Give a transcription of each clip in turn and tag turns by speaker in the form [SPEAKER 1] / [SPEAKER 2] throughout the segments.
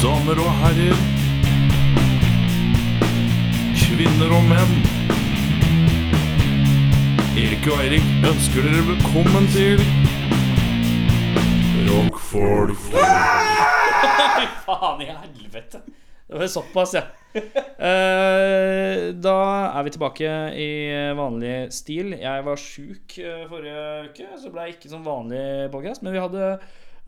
[SPEAKER 1] Damer og herrer. Kvinner og menn. Erik og Eirik ønsker dere velkommen til Rockfolk.
[SPEAKER 2] Faen i helvete! Det var såpass, ja. Eh, da er vi tilbake i vanlig stil. Jeg var sjuk eh, forrige uke, så ble jeg ikke som vanlig podcast, men vi hadde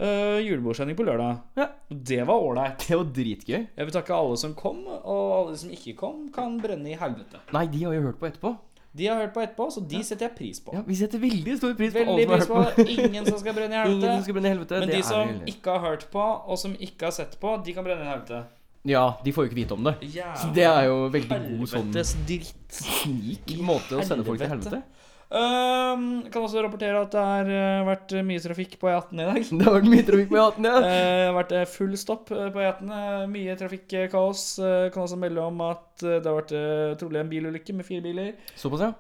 [SPEAKER 2] eh, julebordsending på lørdag.
[SPEAKER 3] Ja.
[SPEAKER 2] Og Det var ålreit.
[SPEAKER 3] Det var dritgøy.
[SPEAKER 2] Jeg vil takke alle som kom, og alle som ikke kom, kan brenne i helvete.
[SPEAKER 3] Nei, de har jo hørt på etterpå.
[SPEAKER 2] De har hørt på etterpå, så de setter jeg pris på.
[SPEAKER 3] Ja, Vi setter veldig stor pris på
[SPEAKER 2] Veldig
[SPEAKER 3] alle
[SPEAKER 2] pris
[SPEAKER 3] som
[SPEAKER 2] på
[SPEAKER 3] har hørt på.
[SPEAKER 2] ingen som skal brenne i
[SPEAKER 3] Ingen som
[SPEAKER 2] helvete.
[SPEAKER 3] skal brenne i helvete.
[SPEAKER 2] Men
[SPEAKER 3] det
[SPEAKER 2] de
[SPEAKER 3] er
[SPEAKER 2] som
[SPEAKER 3] vi heldige.
[SPEAKER 2] ikke har hørt på, og som ikke har sett på, de kan brenne i helvete.
[SPEAKER 3] Ja, de får jo ikke vite om det. Så
[SPEAKER 2] Jævlig
[SPEAKER 3] det er jo veldig god sånn
[SPEAKER 2] helvetes dritt.
[SPEAKER 3] snik måte å sende folk til
[SPEAKER 2] helvete.
[SPEAKER 3] helvete.
[SPEAKER 2] Ehm, kan også rapportere at det har eh, vært mye trafikk på E18 i dag.
[SPEAKER 3] Det har vært mye trafikk på E18,
[SPEAKER 2] Eh,
[SPEAKER 3] ja.
[SPEAKER 2] Det har vært eh, full stopp eh, på E18. eh, Mye trafikkaos. Eh, Kan også melde om at eh, det har vært eh, trolig en bilulykke med fire biler. Ehm, eh,
[SPEAKER 3] Såpass, ja.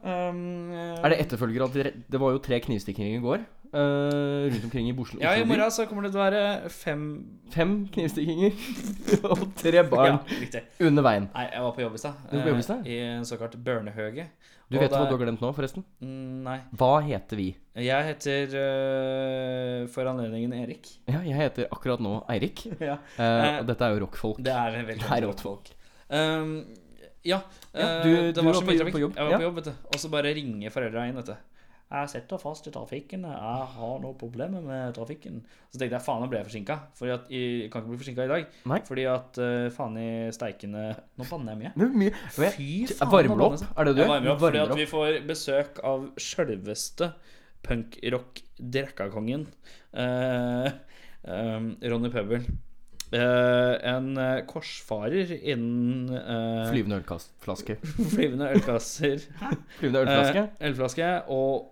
[SPEAKER 3] Er det etterfølgere av de re- Det var jo tre knivstikkinger i går. eh, rundt omkring i Oslo.
[SPEAKER 2] Ja, i
[SPEAKER 3] Oslo by.
[SPEAKER 2] morgen så kommer det til å være fem
[SPEAKER 3] Fem knivstikkinger og tre barn
[SPEAKER 2] Ja, riktig.
[SPEAKER 3] under veien.
[SPEAKER 2] Nei, jeg var på jobb i stad.
[SPEAKER 3] Du var på jobb i stad?
[SPEAKER 2] Eh, I en såkalt børnehøge.
[SPEAKER 3] Du vet hva du har glemt nå, forresten?
[SPEAKER 2] Mm, Nei.
[SPEAKER 3] Hva heter vi?
[SPEAKER 2] Jeg heter eh, for anledningen Erik.
[SPEAKER 3] Ja, jeg heter akkurat nå Eirik.
[SPEAKER 2] Ja.
[SPEAKER 3] eh, og dette er jo rockfolk.
[SPEAKER 2] Det er veldig
[SPEAKER 3] Det er rått folk.
[SPEAKER 2] Um, ja,
[SPEAKER 3] Ja,
[SPEAKER 2] eh,
[SPEAKER 3] du-
[SPEAKER 2] det
[SPEAKER 3] du
[SPEAKER 2] var
[SPEAKER 3] var
[SPEAKER 2] så
[SPEAKER 3] på
[SPEAKER 2] mye
[SPEAKER 3] jobb-
[SPEAKER 2] trafikk.
[SPEAKER 3] på jobb,
[SPEAKER 2] Jeg var
[SPEAKER 3] ja.
[SPEAKER 2] på jobb, vet du. Og så bare ringer foreldra inn, vet du. Jeg sitter fast i trafikken, jeg har noe problemer med trafikken. Så tenkte jeg faen, nå ble jeg forsinka. For jeg kan ikke bli forsinka i dag.
[SPEAKER 3] Nei.
[SPEAKER 2] Fordi at eh, faen i steikende Nå banner jeg mye.
[SPEAKER 3] Det er mye. Men jeg-
[SPEAKER 2] Fy faen. nå
[SPEAKER 3] varmer du
[SPEAKER 2] banner
[SPEAKER 3] opp?
[SPEAKER 2] jeg.
[SPEAKER 3] Er det du
[SPEAKER 2] Jeg varmer
[SPEAKER 3] gjør?
[SPEAKER 2] opp fordi
[SPEAKER 3] Varmer
[SPEAKER 2] at
[SPEAKER 3] opp.
[SPEAKER 2] vi får besøk av sjølveste punkrock-drekkakongen eh, em, Ronny Pøbel. Eh, en eh, korsfarer innen eh,
[SPEAKER 3] Flyvende ølflaske.
[SPEAKER 2] flyvende ølkasser.
[SPEAKER 3] Flyvende ølflaske?
[SPEAKER 2] Eh, ølflaske og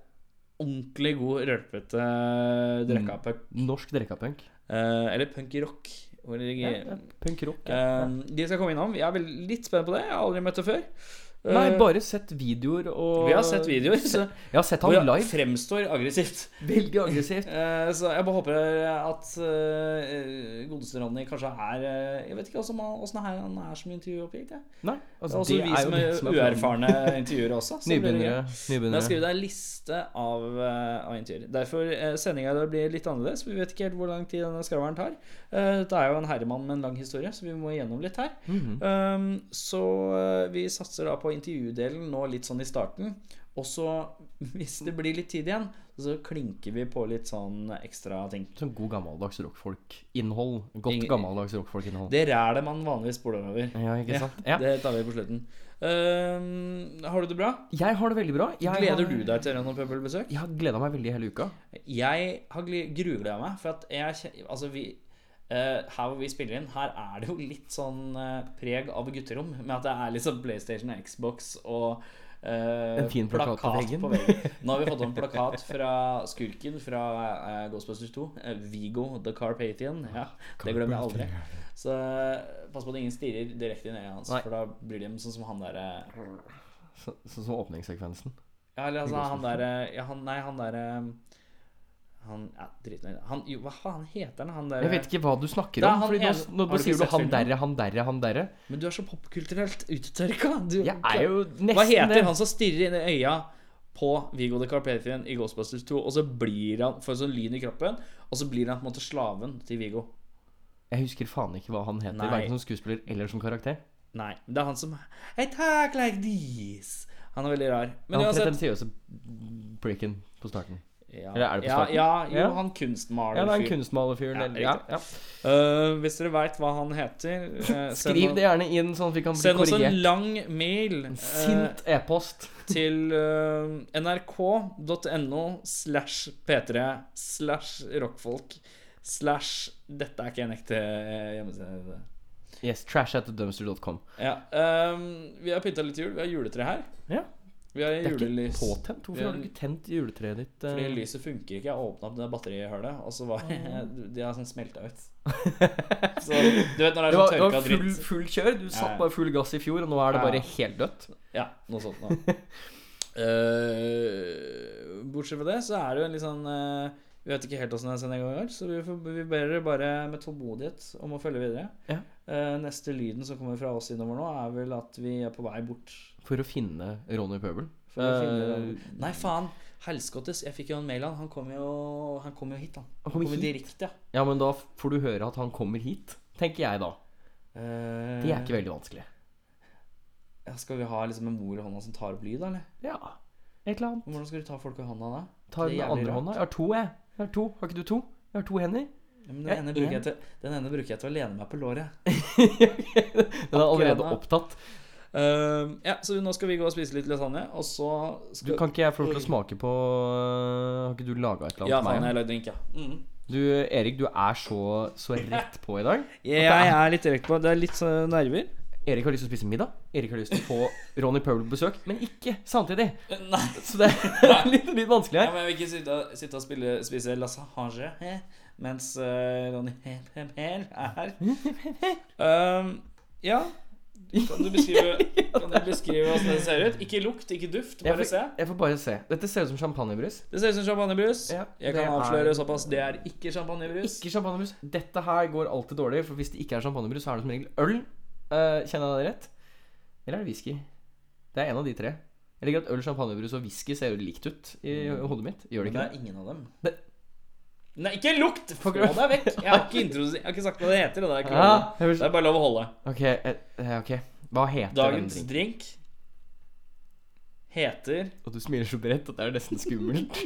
[SPEAKER 2] ordentlig god rølpete
[SPEAKER 3] Mm.
[SPEAKER 2] drekka-punk.
[SPEAKER 3] Norsk drikkapunk.
[SPEAKER 2] Eh, eller punk-rock. Hvor de,
[SPEAKER 3] Ja, ja, Punk rock. Ja.
[SPEAKER 2] Eh, de skal komme innom. Jeg er vel litt spent på det. Jeg har aldri møtt det før. Eh,
[SPEAKER 3] Nei, bare sett videoer og
[SPEAKER 2] Vi har sett videoer så,
[SPEAKER 3] Jeg har sett
[SPEAKER 2] hvor
[SPEAKER 3] han
[SPEAKER 2] jeg
[SPEAKER 3] live.
[SPEAKER 2] fremstår aggressivt.
[SPEAKER 3] Veldig aggressivt.
[SPEAKER 2] Eh, så jeg bare håper at uh, godeste Ronny kanskje er eh, Jeg vet ikke altså, om han- åssen er han er som intervjuobjekt. jeg.
[SPEAKER 3] Nei,
[SPEAKER 2] Det er
[SPEAKER 3] altså,
[SPEAKER 2] også
[SPEAKER 3] det
[SPEAKER 2] vi
[SPEAKER 3] er jo
[SPEAKER 2] som
[SPEAKER 3] det som
[SPEAKER 2] er
[SPEAKER 3] er planen.
[SPEAKER 2] uerfarne intervjuere også. så det blir gøy.
[SPEAKER 3] Nybegynnere.
[SPEAKER 2] Men jeg har
[SPEAKER 3] nybegynnere.
[SPEAKER 2] skrevet en liste av, eh, av intervjuer. Derfor uh, sendinga blir litt annerledes. for Vi vet ikke helt hvor lang tid denne skraveren tar. Eh, dette er jo en herremann med en lang historie, så vi må igjennom litt her.
[SPEAKER 3] Mhm.
[SPEAKER 2] Um, så eh, vi satser da på intervjudelen nå litt sånn i starten. Og så, hvis det blir litt tid igjen, så klinker vi på litt sånn ekstra ting.
[SPEAKER 3] Sånn god gammeldags rockfolk-innhold. Godt
[SPEAKER 2] Ingen-
[SPEAKER 3] gammeldags rockfolk-innhold.
[SPEAKER 2] Det rælet man vanligvis spoler over.
[SPEAKER 3] Ja, ikke sant? Ja.
[SPEAKER 2] Det tar vi på slutten. Um, har du det bra?
[SPEAKER 3] Jeg har det veldig bra. Jeg
[SPEAKER 2] Gleder
[SPEAKER 3] har...
[SPEAKER 2] du deg til Rønn og Pøbel-besøk?
[SPEAKER 3] Jeg har gleda meg veldig hele uka.
[SPEAKER 2] Jeg har gl- grugleda meg, for at jeg kje- Altså, vi eh, Her hvor vi spiller inn, her er det jo litt sånn eh, preg av gutterom. Med at det er liksom PlayStation og Xbox og eh,
[SPEAKER 3] En fin plakat på veggen.
[SPEAKER 2] Nå har vi fått en plakat fra skurken fra eh, Ghostbusters 2. eh, Vigo the Carpathian. Ja, det glemmer jeg aldri. Så eh, pass på at ingen stirrer direkte inn i øynene hans,
[SPEAKER 3] Nei.
[SPEAKER 2] for da blir de sånn som han derre
[SPEAKER 3] Så- Sånn som åpningssekvensen.
[SPEAKER 2] Ja, eller altså, han
[SPEAKER 3] sånn.
[SPEAKER 2] derre ja, han, Nei, han derre han, ja, drit nå i det. Han, jo, hva faen heter han? han der,
[SPEAKER 3] Jeg vet ikke hva du snakker
[SPEAKER 2] Det er
[SPEAKER 3] om.
[SPEAKER 2] han
[SPEAKER 3] Fordi nå,
[SPEAKER 2] ene-
[SPEAKER 3] nå,
[SPEAKER 2] Har
[SPEAKER 3] nå
[SPEAKER 2] du
[SPEAKER 3] sier
[SPEAKER 2] ikke
[SPEAKER 3] du
[SPEAKER 2] sett
[SPEAKER 3] 'han
[SPEAKER 2] filmen?
[SPEAKER 3] derre, han derre, han derre'.
[SPEAKER 2] Men du er så popkulturelt uttørka. Du,
[SPEAKER 3] Jeg er jo nesten
[SPEAKER 2] hva heter
[SPEAKER 3] det.
[SPEAKER 2] han som stirrer inn i øya på Viggo the Carpathian i Ghostbusters 2, og så blir han får sånn lyn i kroppen, og så blir han på en måte slaven til Viggo?
[SPEAKER 3] Jeg husker faen ikke hva han heter,
[SPEAKER 2] Nei.
[SPEAKER 3] verken som skuespiller eller som karakter.
[SPEAKER 2] Nei. Det er han som I talk like this. Han er veldig rar. Men
[SPEAKER 3] Men han
[SPEAKER 2] uansett
[SPEAKER 3] pretensiøse pricken på starten.
[SPEAKER 2] ja,
[SPEAKER 3] Eller er det på
[SPEAKER 2] ja,
[SPEAKER 3] starten?
[SPEAKER 2] ja, jo,
[SPEAKER 3] Ja.
[SPEAKER 2] han kunstmaler
[SPEAKER 3] Ja, det er en kunstmalerfyr.
[SPEAKER 2] Ja,
[SPEAKER 3] eller- Ja,
[SPEAKER 2] riktig.
[SPEAKER 3] ja.
[SPEAKER 2] Øh, hvis dere veit hva han heter eh, send
[SPEAKER 3] Skriv
[SPEAKER 2] oss-
[SPEAKER 3] det gjerne inn, sånn at vi kan bli
[SPEAKER 2] Send oss en
[SPEAKER 3] korrigert.
[SPEAKER 2] lang mail eh,
[SPEAKER 3] En sint e-post.
[SPEAKER 2] til eh, nrk.no slash p3 slash rockfolk slash Dette er ikke en ekte eh, hjemmeside.
[SPEAKER 3] Yes, trash at dumpster.com.
[SPEAKER 2] Ja, ehm, vi har pynta litt jul. Vi har juletre her.
[SPEAKER 3] Ja.
[SPEAKER 2] Vi har
[SPEAKER 3] Det er ikke
[SPEAKER 2] julelys.
[SPEAKER 3] påtent. Hvorfor har du ikke tent juletreet ditt? eh?
[SPEAKER 2] Fordi lyset funker ikke. Jeg åpna opp det batterihullet, og så var
[SPEAKER 3] Mm.
[SPEAKER 2] De har sånn smelta ut. Så du vet når det er
[SPEAKER 3] Det
[SPEAKER 2] sånn
[SPEAKER 3] var, det var
[SPEAKER 2] tørka
[SPEAKER 3] full,
[SPEAKER 2] dritt.
[SPEAKER 3] full kjør. Du
[SPEAKER 2] Ja.
[SPEAKER 3] satt bare full gass i fjor, og nå er det
[SPEAKER 2] Ja.
[SPEAKER 3] bare helt dødt.
[SPEAKER 2] Ja, noe sånt noe. Eh, bortsett fra det, så er det jo en litt sånn eh, Vi vet ikke helt åssen den sendinga går, så vi, får, vi ber dere bare med tålmodighet om å følge videre.
[SPEAKER 3] Ja.
[SPEAKER 2] Eh, neste lyden som kommer fra oss innover nå, er vel at vi er på vei bort.
[SPEAKER 3] For å finne Ronny Pøbel.
[SPEAKER 2] For å finne
[SPEAKER 3] Eh,
[SPEAKER 2] den. Nei, faen! Helskottes. Jeg fikk jo en mail, han. Han kom jo, han kom jo hit, han.
[SPEAKER 3] Han kommer hit?
[SPEAKER 2] direkte, ja.
[SPEAKER 3] Ja, men da får du høre at han kommer hit, tenker jeg da.
[SPEAKER 2] Eh,
[SPEAKER 3] Det er ikke veldig vanskelig.
[SPEAKER 2] ja, Skal vi ha liksom en mor i hånda som tar opp lyd, da, eller?
[SPEAKER 3] Ja. Et eller annet.
[SPEAKER 2] Hvordan skal du ta folk i hånda da?
[SPEAKER 3] Ta
[SPEAKER 2] Det er
[SPEAKER 3] den
[SPEAKER 2] jævlig
[SPEAKER 3] andre
[SPEAKER 2] rart.
[SPEAKER 3] hånda. Jeg har to, jeg. jeg har to. Har ikke du to? Jeg har to hender.
[SPEAKER 2] Ja, men den,
[SPEAKER 3] Ja,
[SPEAKER 2] ene bruker
[SPEAKER 3] en.
[SPEAKER 2] jeg til, den ene bruker jeg til å lene meg på låret.
[SPEAKER 3] Den er
[SPEAKER 2] Akkurat,
[SPEAKER 3] allerede
[SPEAKER 2] ja.
[SPEAKER 3] opptatt.
[SPEAKER 2] Eh, ja, så nå skal vi gå og spise litt lasagne, og så
[SPEAKER 3] Du
[SPEAKER 2] skal
[SPEAKER 3] Kan ikke jeg få lov til å smake på øh, Har ikke du laga et eller
[SPEAKER 2] Ja,
[SPEAKER 3] annet
[SPEAKER 2] faen,
[SPEAKER 3] til meg?
[SPEAKER 2] jeg lagde drink, ja. Mm.
[SPEAKER 3] Du, Erik, du er så, så rett på i dag.
[SPEAKER 2] Jeg er litt direkte på det. Det er litt sånn nerver.
[SPEAKER 3] Erik har lyst til å spise middag. Erik har lyst til å få Ronny Paul på besøk, men ikke samtidig.
[SPEAKER 2] Nei,
[SPEAKER 3] Så det er litt, litt vanskelig
[SPEAKER 2] ja,
[SPEAKER 3] her.
[SPEAKER 2] men jeg vil ikke sitte, sitte og spille, spise lasagne eh, mens eh, Ronny Hem- Hem- Hem er her. Ehm, ja. Kan du beskrive Kan du beskrive åssen det ser ut? Ikke lukt, ikke duft,
[SPEAKER 3] Jeg
[SPEAKER 2] bare se.
[SPEAKER 3] får, jeg får bare se. Dette ser ut som champagnebrus.
[SPEAKER 2] Det ser ut som champagnebrus.
[SPEAKER 3] Ja,
[SPEAKER 2] Jeg
[SPEAKER 3] det
[SPEAKER 2] kan
[SPEAKER 3] er-
[SPEAKER 2] avsløre såpass. Det er ikke champagnebrus.
[SPEAKER 3] Ikke champagnebrus. Dette her går alltid dårlig, for hvis det ikke er champagnebrus, så er det som regel øl. Eh, kjenner jeg det rett? Eller er det whisky? Det er en av de tre. Jeg liker at øl, champagnebrus og whisky ser jo likt ut i hodet mitt. Gjør det
[SPEAKER 2] Mm. Men
[SPEAKER 3] ikke
[SPEAKER 2] det
[SPEAKER 3] det?
[SPEAKER 2] er ingen av dem.
[SPEAKER 3] Det-
[SPEAKER 2] Nei, ikke lukt! Få
[SPEAKER 3] Fuck.
[SPEAKER 2] deg vekk. Jeg har ikke, introdusert- jeg har ikke sagt hva det heter. og Det er, ikke
[SPEAKER 3] Ja,
[SPEAKER 2] lov.
[SPEAKER 3] Ah,
[SPEAKER 2] det
[SPEAKER 3] jeg vil...
[SPEAKER 2] er bare lov å holde.
[SPEAKER 3] Ok, eh, eh, ok. Hva heter
[SPEAKER 2] Dagens
[SPEAKER 3] den drinken?
[SPEAKER 2] drink heter
[SPEAKER 3] Og du smiler så bredt at det er nesten skummelt.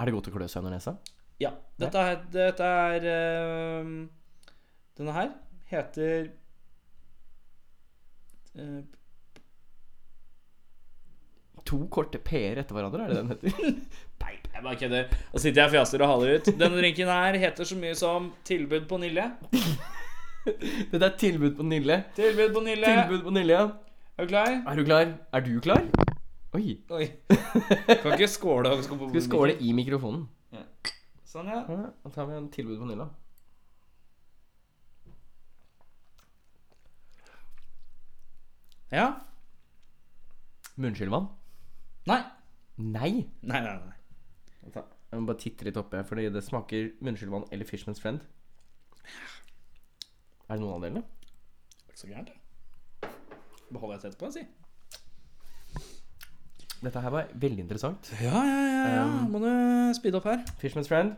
[SPEAKER 3] er det godt å klø seg under nesa?
[SPEAKER 2] Ja. Dette er, dette er ehm, Denne her heter eh,
[SPEAKER 3] To korte p-er etter hverandre, er det den heter?
[SPEAKER 2] Nei, jeg bare kødder. Nå sitter jeg og fjaser og haler ut. Denne drinken her heter så mye som Tilbud på Nille.
[SPEAKER 3] Dette er tilbud på Nille.
[SPEAKER 2] Tilbud på Nille.
[SPEAKER 3] Tilbud på Nille, ja.
[SPEAKER 2] Er du klar?
[SPEAKER 3] Er du klar? Er du klar? Oi.
[SPEAKER 2] Oi. Kan ikke skåle og skåle på
[SPEAKER 3] Skal vi skåle i mikrofonen?
[SPEAKER 2] Sånn, ja.
[SPEAKER 3] Mm, Ja, Da tar vi en tilbud på Nilla.
[SPEAKER 2] Ja.
[SPEAKER 3] Munnskylvann?
[SPEAKER 2] Nei.
[SPEAKER 3] Nei.
[SPEAKER 2] Nei, nei, nei.
[SPEAKER 3] Jeg må bare titte litt oppe, for det smaker munnskylvann eller Fishman's Friend. Er det noen av delene?
[SPEAKER 2] Det var ikke så gærent, det. Beholder jeg tett på, si.
[SPEAKER 3] Dette her var veldig interessant.
[SPEAKER 2] Ja, ja, ja. ja. Må du speede opp her.
[SPEAKER 3] Fishman's Friend?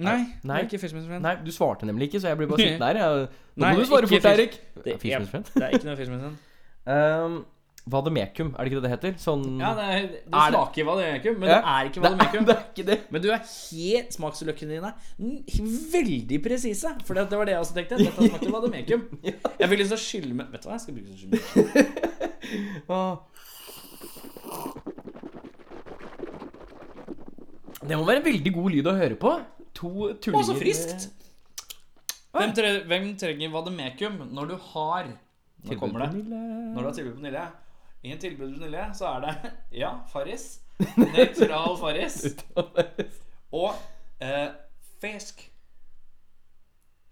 [SPEAKER 2] Nei, det
[SPEAKER 3] Nei.
[SPEAKER 2] er ikke Fishman's Friend.
[SPEAKER 3] Nei, du svarte nemlig ikke, så jeg ble bare sittende her. jeg. Nå
[SPEAKER 2] Nei,
[SPEAKER 3] må du svare
[SPEAKER 2] ikke
[SPEAKER 3] fort,
[SPEAKER 2] Fish-
[SPEAKER 3] Eirik.
[SPEAKER 2] Det,
[SPEAKER 3] Fishman's Friend?
[SPEAKER 2] det er ikke noe Fishman's Friend.
[SPEAKER 3] Um, Vademecum, er det ikke det det heter? Sånn
[SPEAKER 2] Ja, det, er, det
[SPEAKER 3] Er det-
[SPEAKER 2] smaker vademecum, men
[SPEAKER 3] Ja.
[SPEAKER 2] det er ikke
[SPEAKER 3] det, er,
[SPEAKER 2] vademecum.
[SPEAKER 3] det er ikke det.
[SPEAKER 2] Men du er helt smaksløkkene dine er veldig presise. For det var det jeg også tenkte. Dette smakte vademecum. Jeg fikk lyst til å skylle med Vet du hva, jeg skal bruke sånn skylle.
[SPEAKER 3] Åh. Det må være veldig god lyd å høre på. To tullinger
[SPEAKER 2] Og så friskt! Hvem, tre, hvem trenger vademecum når du har Nå kommer det. Når du har tilbud på Nille. I en tilbud på Nille så er det ja, Farris. Nøytral Farris.
[SPEAKER 3] Ah,
[SPEAKER 2] Og eh, fisk.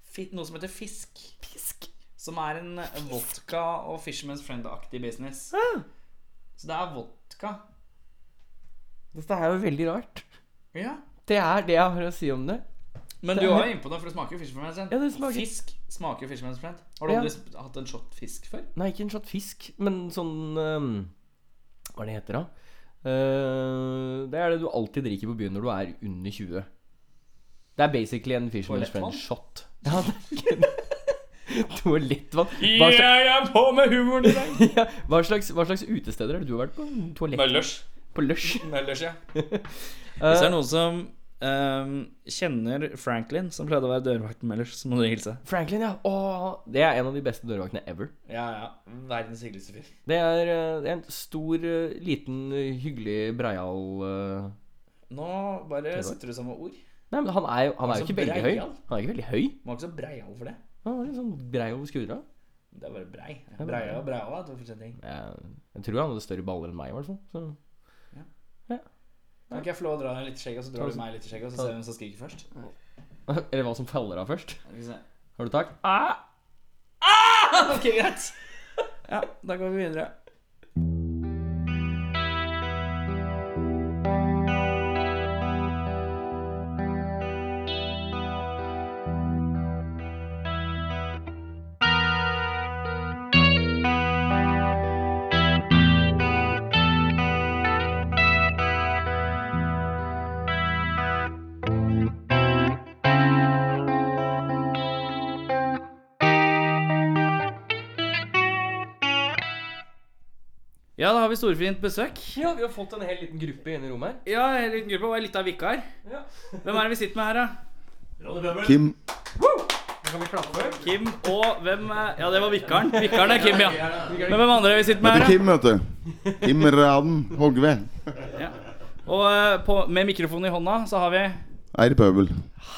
[SPEAKER 2] Fi- Noe som heter fisk.
[SPEAKER 3] Fisk.
[SPEAKER 2] Som er en vodka og Fisherman's Friend-aktig business. Så det er vodka.
[SPEAKER 3] Dette er jo veldig rart.
[SPEAKER 2] Ja.
[SPEAKER 3] Det er det jeg har å si om det.
[SPEAKER 2] Men
[SPEAKER 3] Det
[SPEAKER 2] du
[SPEAKER 3] er-
[SPEAKER 2] var jo innpå det, for det smaker jo Fisherman's Friend.
[SPEAKER 3] Ja, det smaker-
[SPEAKER 2] Fisk smaker jo Fisherman's Friend. Har du
[SPEAKER 3] Ja.
[SPEAKER 2] aldri sp- hatt en shot fisk før?
[SPEAKER 3] Nei, ikke en shot fisk, men sånn um, Hva er det heter, da? Eh, det er det du alltid drikker på byen når du er under 20. Det er basically en Fisherman's
[SPEAKER 2] Toalettvann?
[SPEAKER 3] Friend shot. Ja, det er Toalettvann. Hva slags,
[SPEAKER 2] Jeg er på med humoren i dag!
[SPEAKER 3] ja, hva, slags, hva slags utesteder er det du har vært på? Toalett
[SPEAKER 2] Møllers.
[SPEAKER 3] på lush?
[SPEAKER 2] Møllers, ja. Hvis det er noen som ehm, kjenner Franklin, som pleide å være dørvakten Møllers, så må du hilse.
[SPEAKER 3] Franklin, ja. Åh, det er en av de beste dørvaktene ever.
[SPEAKER 2] Ja, ja. Verdens hyggeligste fyr.
[SPEAKER 3] Det er, eh, det er en stor, eh, liten, eh, hyggelig breial eh,
[SPEAKER 2] Nå bare sitter du sammen med ord.
[SPEAKER 3] Nei, men han er jo, han er jo
[SPEAKER 2] Altså,
[SPEAKER 3] ikke veldig høy.
[SPEAKER 2] breial?
[SPEAKER 3] Han er ikke veldig høy.
[SPEAKER 2] Må ikke så breial for det.
[SPEAKER 3] Han er litt sånn brei over skuldra.
[SPEAKER 2] Det er bare brei. Breia og breiala er to forskjellige ting.
[SPEAKER 3] Jeg, jeg tror han hadde større baller enn meg, i hvert fall. Så.
[SPEAKER 2] Kan ikke jeg få lov å dra deg litt i skjegget, og så drar du meg litt i skjegget, og så ser vi hvem som skriker først?
[SPEAKER 3] Eller hva som faller av først.
[SPEAKER 2] Skal vi se.
[SPEAKER 3] Har du tak? Ah!
[SPEAKER 2] Ok, greit. Ja, da går vi videre. Ja, da har vi storfint besøk.
[SPEAKER 3] Ja, vi har fått en hel liten gruppe inne i rommet her.
[SPEAKER 2] Ja, en liten gruppe og ei lita vikar.
[SPEAKER 3] Ja.
[SPEAKER 2] Hvem er det vi sitter med her, da?
[SPEAKER 4] Kim.
[SPEAKER 3] Da kan vi klappe for.
[SPEAKER 2] Kim og hvem er- Ja, det var vikaren. Vikaren er Kim, ja. Men hvem andre er vi sitter med her,
[SPEAKER 4] Det
[SPEAKER 2] da?
[SPEAKER 4] er Kim, vet du. Kim Raden Hogve.
[SPEAKER 2] Og eh, på, med mikrofonen i hånda så har vi
[SPEAKER 4] R. Pøbel.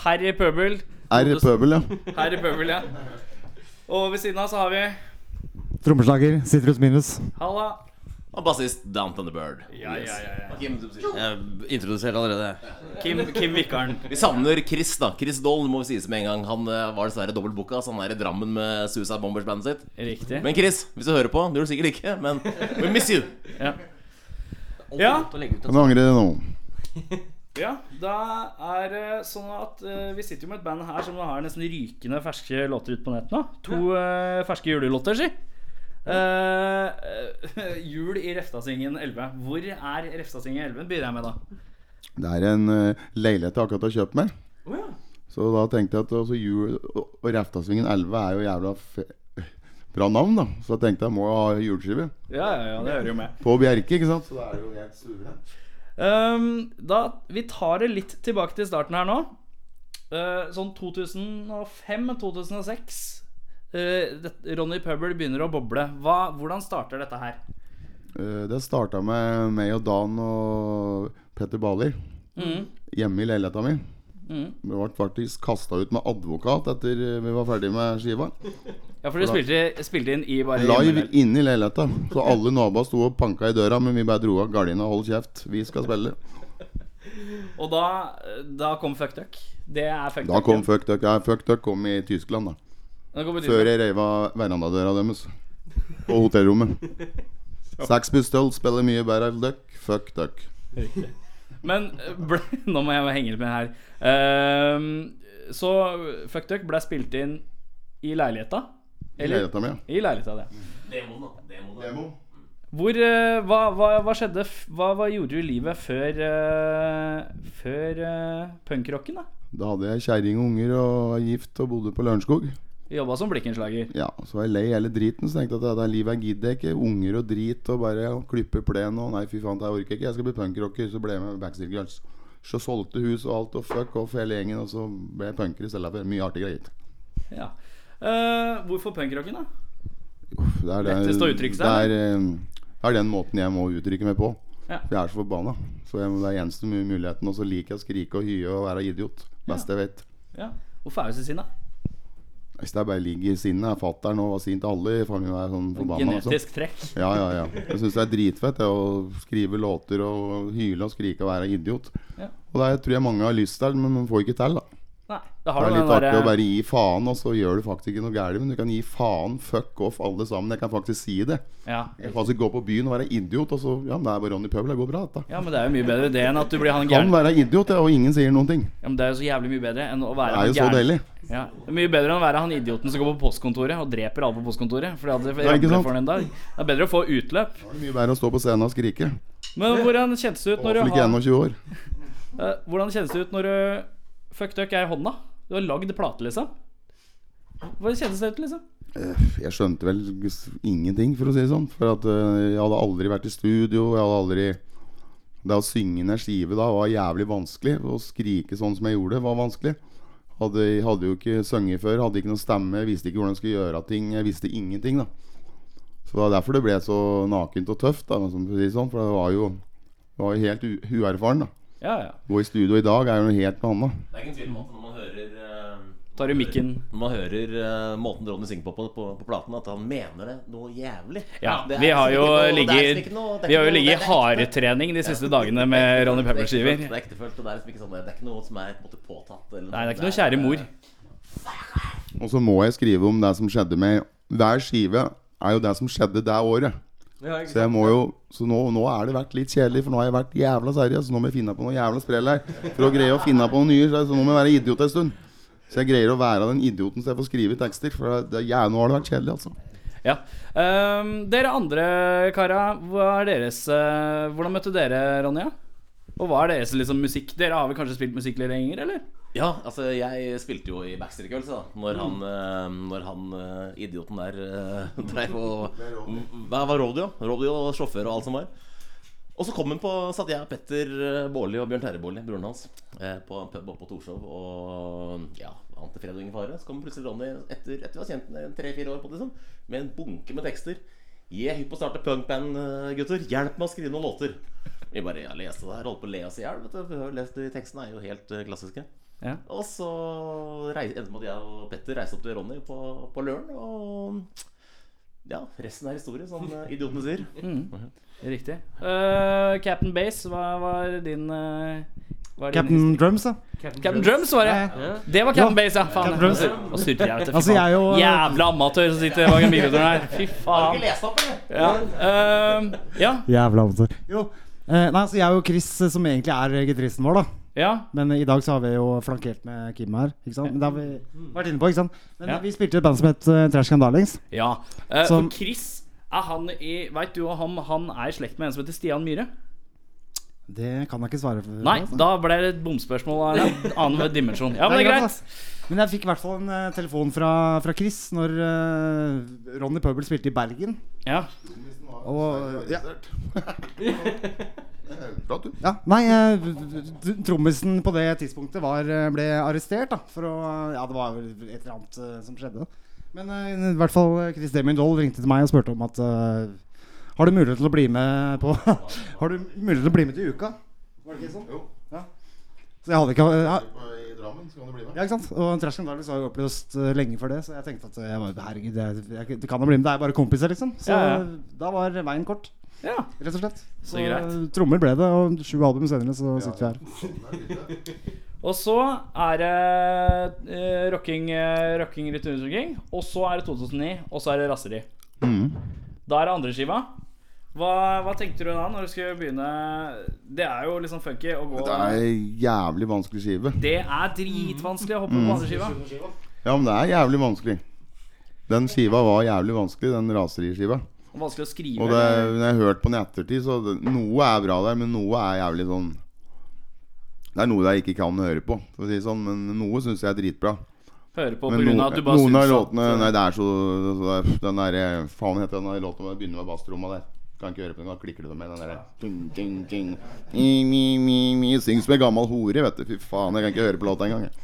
[SPEAKER 2] Harry Pøbel.
[SPEAKER 4] R. Pøbel, ja.
[SPEAKER 2] Harry Pøbel, ja. Og ved siden av så har vi
[SPEAKER 5] Trommeslager, Citrus Minus.
[SPEAKER 2] Halla.
[SPEAKER 6] Og bassist Down Thunderbird.
[SPEAKER 2] Ja, ja, ja, ja.
[SPEAKER 6] Jeg introduserte allerede.
[SPEAKER 2] Kim, Kim Vikaren.
[SPEAKER 6] Vi savner Chris, da. Chris Doll må vi sies med en gang. Han eh, var dessverre dobbeltbooka, så han er i Drammen med Suicide Bombers-bandet sitt.
[SPEAKER 2] Riktig.
[SPEAKER 6] Men Chris, hvis du hører på, det gjør du sikkert ikke, men we miss you.
[SPEAKER 2] Ja.
[SPEAKER 3] Godt å legge ut en
[SPEAKER 4] Kan du angre det nå?
[SPEAKER 2] Ja, da er det sånn at eh, vi sitter jo med et band her som har nesten rykende ferske låter ute på nett nå. To eh, ferske julelåter, si. Eh, eh, jul i Reftasingen 11. Hvor er Reftasingen 11? begynner jeg med, da.
[SPEAKER 4] Det er en eh, leilighet jeg akkurat har kjøpt meg.
[SPEAKER 3] Å ja.
[SPEAKER 4] Så da tenkte jeg at altså, jul og og Reftasvingen 11 er jo jævla fe bra navn, da. Så jeg tenkte jeg må ha juleskive.
[SPEAKER 2] Ja, ja, ja, det hører jo med.
[SPEAKER 4] På Bjerke, ikke sant. Så da er det jo helt suverent.
[SPEAKER 2] Ehm, da, vi tar det litt tilbake til starten her nå. Eh, sånn 2005-2006. Eh, Ronny Pøbel begynner å boble. Hva, hvordan starter dette her?
[SPEAKER 4] Eh, Det starta med meg og Dan og Petter Baler
[SPEAKER 2] Mhm.
[SPEAKER 4] hjemme i leiligheta mi.
[SPEAKER 2] Mhm.
[SPEAKER 4] Vi ble faktisk kasta ut med advokat etter eh, vi var ferdig med skiva.
[SPEAKER 2] Ja, for dere spilte, spilte inn i bare
[SPEAKER 4] Live inne i leiligheta. Så alle naboene sto og panka i døra, men vi bare dro av gardina og hold kjeft. Vi skal spille.
[SPEAKER 2] Og da, da kom Fuck Duck. Det er Fuck
[SPEAKER 4] Da kom
[SPEAKER 2] Duck.
[SPEAKER 4] Fuck Duck. Ja, Fuck Duck kom i Tyskland, da.
[SPEAKER 2] Da kom
[SPEAKER 4] Før
[SPEAKER 2] Før
[SPEAKER 4] jeg reiv av verandadøra deres. På hotellrommet. Sax Pistol spiller mye Better Duck. Fuck Duck.
[SPEAKER 2] Men eh, ble, nå må jeg henge litt med her. Ehm, så Fuck Duck ble spilt inn i leiligheta.
[SPEAKER 4] I
[SPEAKER 2] Eller-
[SPEAKER 4] leiligheta mi, ja.
[SPEAKER 2] I leiligheta, det.
[SPEAKER 6] Demoen, da. Demoen, da.
[SPEAKER 2] Hvor, eh, hva, hva, hva skjedde? f- Hva, hva gjorde du i livet før, eh, før eh, punkrocken? da?
[SPEAKER 4] Da hadde jeg kjerring og unger og var gift og bodde på Lørenskog.
[SPEAKER 2] Jobba som blikkenslager.
[SPEAKER 4] Ja, så var jeg lei hele driten, så tenkte jeg at det er livet jeg gidder ikke. Unger og drit og bare klippe plen og nei, fy faen, det her orker jeg ikke. Jeg skal bli punkrocker. Så ble jeg med Backstreet Girls. Så solgte hus og alt og fuck off hele gjengen, og så ble jeg punker istedenfor. Mye artig greit.
[SPEAKER 2] Ja. Eh, hvorfor punkrocken, da?
[SPEAKER 4] Uff, det er det-
[SPEAKER 2] Lettest å uttrykke seg,
[SPEAKER 4] Det er, eh, det er den måten jeg må uttrykke meg på.
[SPEAKER 2] Ja.
[SPEAKER 4] For jeg er så forbanna. Så jeg, det er eneste mu- muligheten. Og så liker jeg å skrike og hye og være idiot. Best jeg vet.
[SPEAKER 2] Ja. Hvorfor er du så sinna?
[SPEAKER 4] Hvis det bare ligger i sinnet, er fatter'n og var sint alle i familien er sånn forbanna. altså.
[SPEAKER 2] Genetisk trekk.
[SPEAKER 4] Ja, ja, ja. Jeg syns det er dritfett det, å skrive låter og hyle og skrike og være idiot.
[SPEAKER 2] Ja.
[SPEAKER 4] Og det tror jeg mange har lyst til, men man får ikke til, da.
[SPEAKER 2] Nei, da
[SPEAKER 4] Det
[SPEAKER 2] har du
[SPEAKER 4] er
[SPEAKER 2] den
[SPEAKER 4] litt artig å
[SPEAKER 2] derre
[SPEAKER 4] bare gi faen, og så gjør du faktisk ikke noe galt. Men du kan gi faen, fuck off, alle sammen. Jeg kan faktisk si det.
[SPEAKER 2] ja.
[SPEAKER 4] Jeg kan faktisk gå på byen og være idiot, og så Ja, men det er bare Ronny Pøbel, det går bra, dette.
[SPEAKER 2] ja, men det er jo mye bedre det enn at du blir han
[SPEAKER 4] Kan
[SPEAKER 2] gæren.
[SPEAKER 4] være idiot, ja, og ingen sier noen ting.
[SPEAKER 2] Ja, men det er jo så jævlig mye bedre enn å
[SPEAKER 4] Det
[SPEAKER 2] være
[SPEAKER 4] er
[SPEAKER 2] han
[SPEAKER 4] jo så
[SPEAKER 2] gæren.
[SPEAKER 4] deilig.
[SPEAKER 2] Ja. Det er mye bedre enn å være han idioten som går på postkontoret og dreper alle på postkontoret. For det hadde
[SPEAKER 4] Ja,
[SPEAKER 2] ramlet
[SPEAKER 4] ikke sant?
[SPEAKER 2] for den dag. Det er bedre å få utløp.
[SPEAKER 4] Det er mye bedre å stå på scenen og skrike.
[SPEAKER 2] Men hvordan kjentes det ut når du
[SPEAKER 4] Iallfall ikke 21 år.
[SPEAKER 2] Eh, hvordan kjennes det ut når du Fuck duck er i hånda? Du har lagd plate, liksom. Hvordan kjennes det ut, liksom?
[SPEAKER 4] Jeg skjønte vel s- ingenting, for å si det sånn. For at eh, jeg hadde aldri vært i studio. Jeg hadde aldri Det å synge ned skive da var jævlig vanskelig. Å skrike sånn som jeg gjorde, var vanskelig. Hadde, jeg hadde jo ikke sunget før, hadde ikke noe stemme, visste ikke hvordan jeg skulle gjøre ting. Jeg visste ingenting, da. Så det var derfor det ble så nakent og tøft, da, som for å si det sånn. For det var jo, jeg var jo helt u uerfaren, da.
[SPEAKER 2] Ja, ja.
[SPEAKER 4] Gå i studio i dag er jo noe helt noe annet.
[SPEAKER 6] Det er ingen tvil om at når man hører eh,
[SPEAKER 2] Tar du mikken
[SPEAKER 6] Når man hører eh, måten Ronny synger på på, på på platen, at han mener det noe jævlig.
[SPEAKER 2] Ja,
[SPEAKER 6] Det er
[SPEAKER 2] vi har
[SPEAKER 6] liksom
[SPEAKER 2] jo
[SPEAKER 6] ikke noe- det
[SPEAKER 2] ligget
[SPEAKER 6] er liksom ikke noe- det er
[SPEAKER 2] Vi har jo
[SPEAKER 6] ikke noe-
[SPEAKER 2] ligget i
[SPEAKER 6] det er ekte.
[SPEAKER 2] hardtrening de siste dagene med Ronny
[SPEAKER 6] Det er ektefølt,
[SPEAKER 2] Pepper-skiver.
[SPEAKER 6] Det er ektefølt, og det er liksom ikke sånn Det er ikke noe som er på en måte påtatt. Eller
[SPEAKER 2] Nei, det er ikke noe kjære mor.
[SPEAKER 4] Og så må jeg skrive om det som skjedde med Hver skive er jo det som skjedde det året.
[SPEAKER 3] sånn. Ja, ikke
[SPEAKER 4] Så jeg må jo Så nå, nå er det vært litt kjedelig, for nå har jeg vært jævla seriøs. Så nå må jeg finne på noe jævla sprell her for å greie å finne på noe nye. Så så nå må jeg være idiot en stund. Så jeg greier å være den idioten så jeg får skrive tekster. For det, ja, nå har det vært kjedelig, altså.
[SPEAKER 2] Ja. Ehm, dere andre kara, hva er deres eh, Hvordan møtte dere Ronja? Og hva er deres liksom musikk? Dere har vel kanskje spilt musikk litt lenger, eller?
[SPEAKER 6] Ja, altså jeg spilte jo i Backstreet Girls da Når han, eh, når han eh, idioten der eh, dreiv og Hva var Rodeo? Rodeo og sjåfør og alt som var. Og så kom han på satt jeg, Petter eh, Baarli og Bjørn Terje Baarli, broren hans, eh, på en pub oppe på Torshov. Og ja, ante fred og ingen fare. Så kom plutselig Ronny, etter, etter vi har kjent ham tre-fire år, på det, liksom, med en bunke med tekster. Jeg er hypp på å starte punkband, eh, gutter. Hjelp meg å skrive noen låter. Vi bare ja, leste det her, holdt på å le oss i hjel. vet du, Vi har jo lest de tekstene, er jo helt eh, klassiske.
[SPEAKER 2] Ja.
[SPEAKER 6] Og så reis, endte det med at jeg og Petter reiste opp til Ronny på, på Løren. Og ja, resten er historie, som eh, idiotene sier.
[SPEAKER 2] Riktig. Eh, Captain Base, hva var din eh, hva er din
[SPEAKER 5] Captain Drums, da.
[SPEAKER 2] Captain Drums, var det. Det var Captain
[SPEAKER 5] Ja,
[SPEAKER 2] Base, ja. Faen.
[SPEAKER 5] Captain Drums.
[SPEAKER 2] Nå surter jeg, vet du. Fy
[SPEAKER 5] Altså,
[SPEAKER 2] faen.
[SPEAKER 5] jeg og-
[SPEAKER 2] Jævla amatør som sitter bak den mikrofonen her. Fy
[SPEAKER 6] Har du
[SPEAKER 2] faen.
[SPEAKER 6] ikke lest opp, eller?
[SPEAKER 2] Ja. eh, ja.
[SPEAKER 5] Jævla amatør. Jo. Eh, nei, så jeg og Chris, eh, som egentlig er gitaristen vår, da.
[SPEAKER 2] ja.
[SPEAKER 5] Men eh, i dag så har vi jo flankert med Kim her. Ikke sant? Men det har vi vært inne på, ikke sant? Men
[SPEAKER 2] Mm. Ja.
[SPEAKER 5] eh, vi spilte i et band som het eh, Trash Can Darlings.
[SPEAKER 2] ja. Eh, for
[SPEAKER 5] Som-
[SPEAKER 2] Chris er han i Veit du hva han, han er i slekt med en som heter Stian Myhre?
[SPEAKER 5] Det kan jeg ikke svare for.
[SPEAKER 2] Nei,
[SPEAKER 5] altså.
[SPEAKER 2] da ble det et bomspørsmål av en annen dimensjon. Ja, men det er greit.
[SPEAKER 5] ass. Men jeg fikk i hvert fall en eh, telefon fra, fra Chris når eh, Ronny Pøbel spilte i Bergen.
[SPEAKER 2] Ja.
[SPEAKER 5] Og, ja.
[SPEAKER 4] Prat, du.
[SPEAKER 5] Ja, nei, eh, tr- trommisen på det tidspunktet var, eh, ble arrestert da For å, ja det var vel et eller annet eh, som skjedde Men eh, i hvert fall eh, Chris Deming Doll ringte til meg og spurte om at eh, Har du mulighet til å bli med på Har du mulighet til å bli med til uka? Var det ikke sånn?
[SPEAKER 4] Jo.
[SPEAKER 5] Ja Så jeg hadde ikke ja,
[SPEAKER 4] I Drammen, så kan du bli med.
[SPEAKER 5] ja, ikke sant? Og Trash Can Darlings var jo oppløst eh, lenge før det Så jeg tenkte at eh, jeg var, herregud, det, er- jeg, det kan da bli med Det er bare kompiser liksom Så
[SPEAKER 2] Ja, ja.
[SPEAKER 5] da var veien kort,
[SPEAKER 2] ja.
[SPEAKER 5] rett og slett
[SPEAKER 2] Så greit.
[SPEAKER 5] eh, trommer ble det Og sju album senere så sitter vi her
[SPEAKER 2] Og så er det eh, rocking, eh, rocking litt rundt omkring. Og så er det 2009, og så er det Rasseri.
[SPEAKER 4] Mm.
[SPEAKER 2] Da er det andreskiva. Hva, hva tenkte du da når du skulle begynne? Det er jo liksom funky å gå
[SPEAKER 4] Det er jævlig vanskelig skive.
[SPEAKER 2] Det er dritvanskelig å hoppe
[SPEAKER 4] Mm.
[SPEAKER 2] på andreskiva.
[SPEAKER 4] Ja, men det er jævlig vanskelig. Den skiva var jævlig vanskelig, den raseriskiva.
[SPEAKER 2] Og vanskelig å skrive.
[SPEAKER 4] Og det, når jeg har hørt på den i ettertid, så det, noe er bra der, men noe er jævlig sånn Det er noe jeg ikke kan høre på, for å si det sånn, men noe syns jeg er dritbra.
[SPEAKER 2] Høre på
[SPEAKER 4] Men
[SPEAKER 2] pga.
[SPEAKER 4] noen,
[SPEAKER 2] at du bare
[SPEAKER 4] noen av
[SPEAKER 2] syns at- eh,
[SPEAKER 4] låtene Nei, det er så så det er- Den derre Faen heter den der låten hvor jeg begynner med basstromma der. Kan ikke høre på den, da klikker det for meg. Den derre ting, ting, ting. Mi, mi, mi, mi. Syng som ei gammel hore, vet du. Fy faen, jeg kan ikke høre på låta engang. jeg.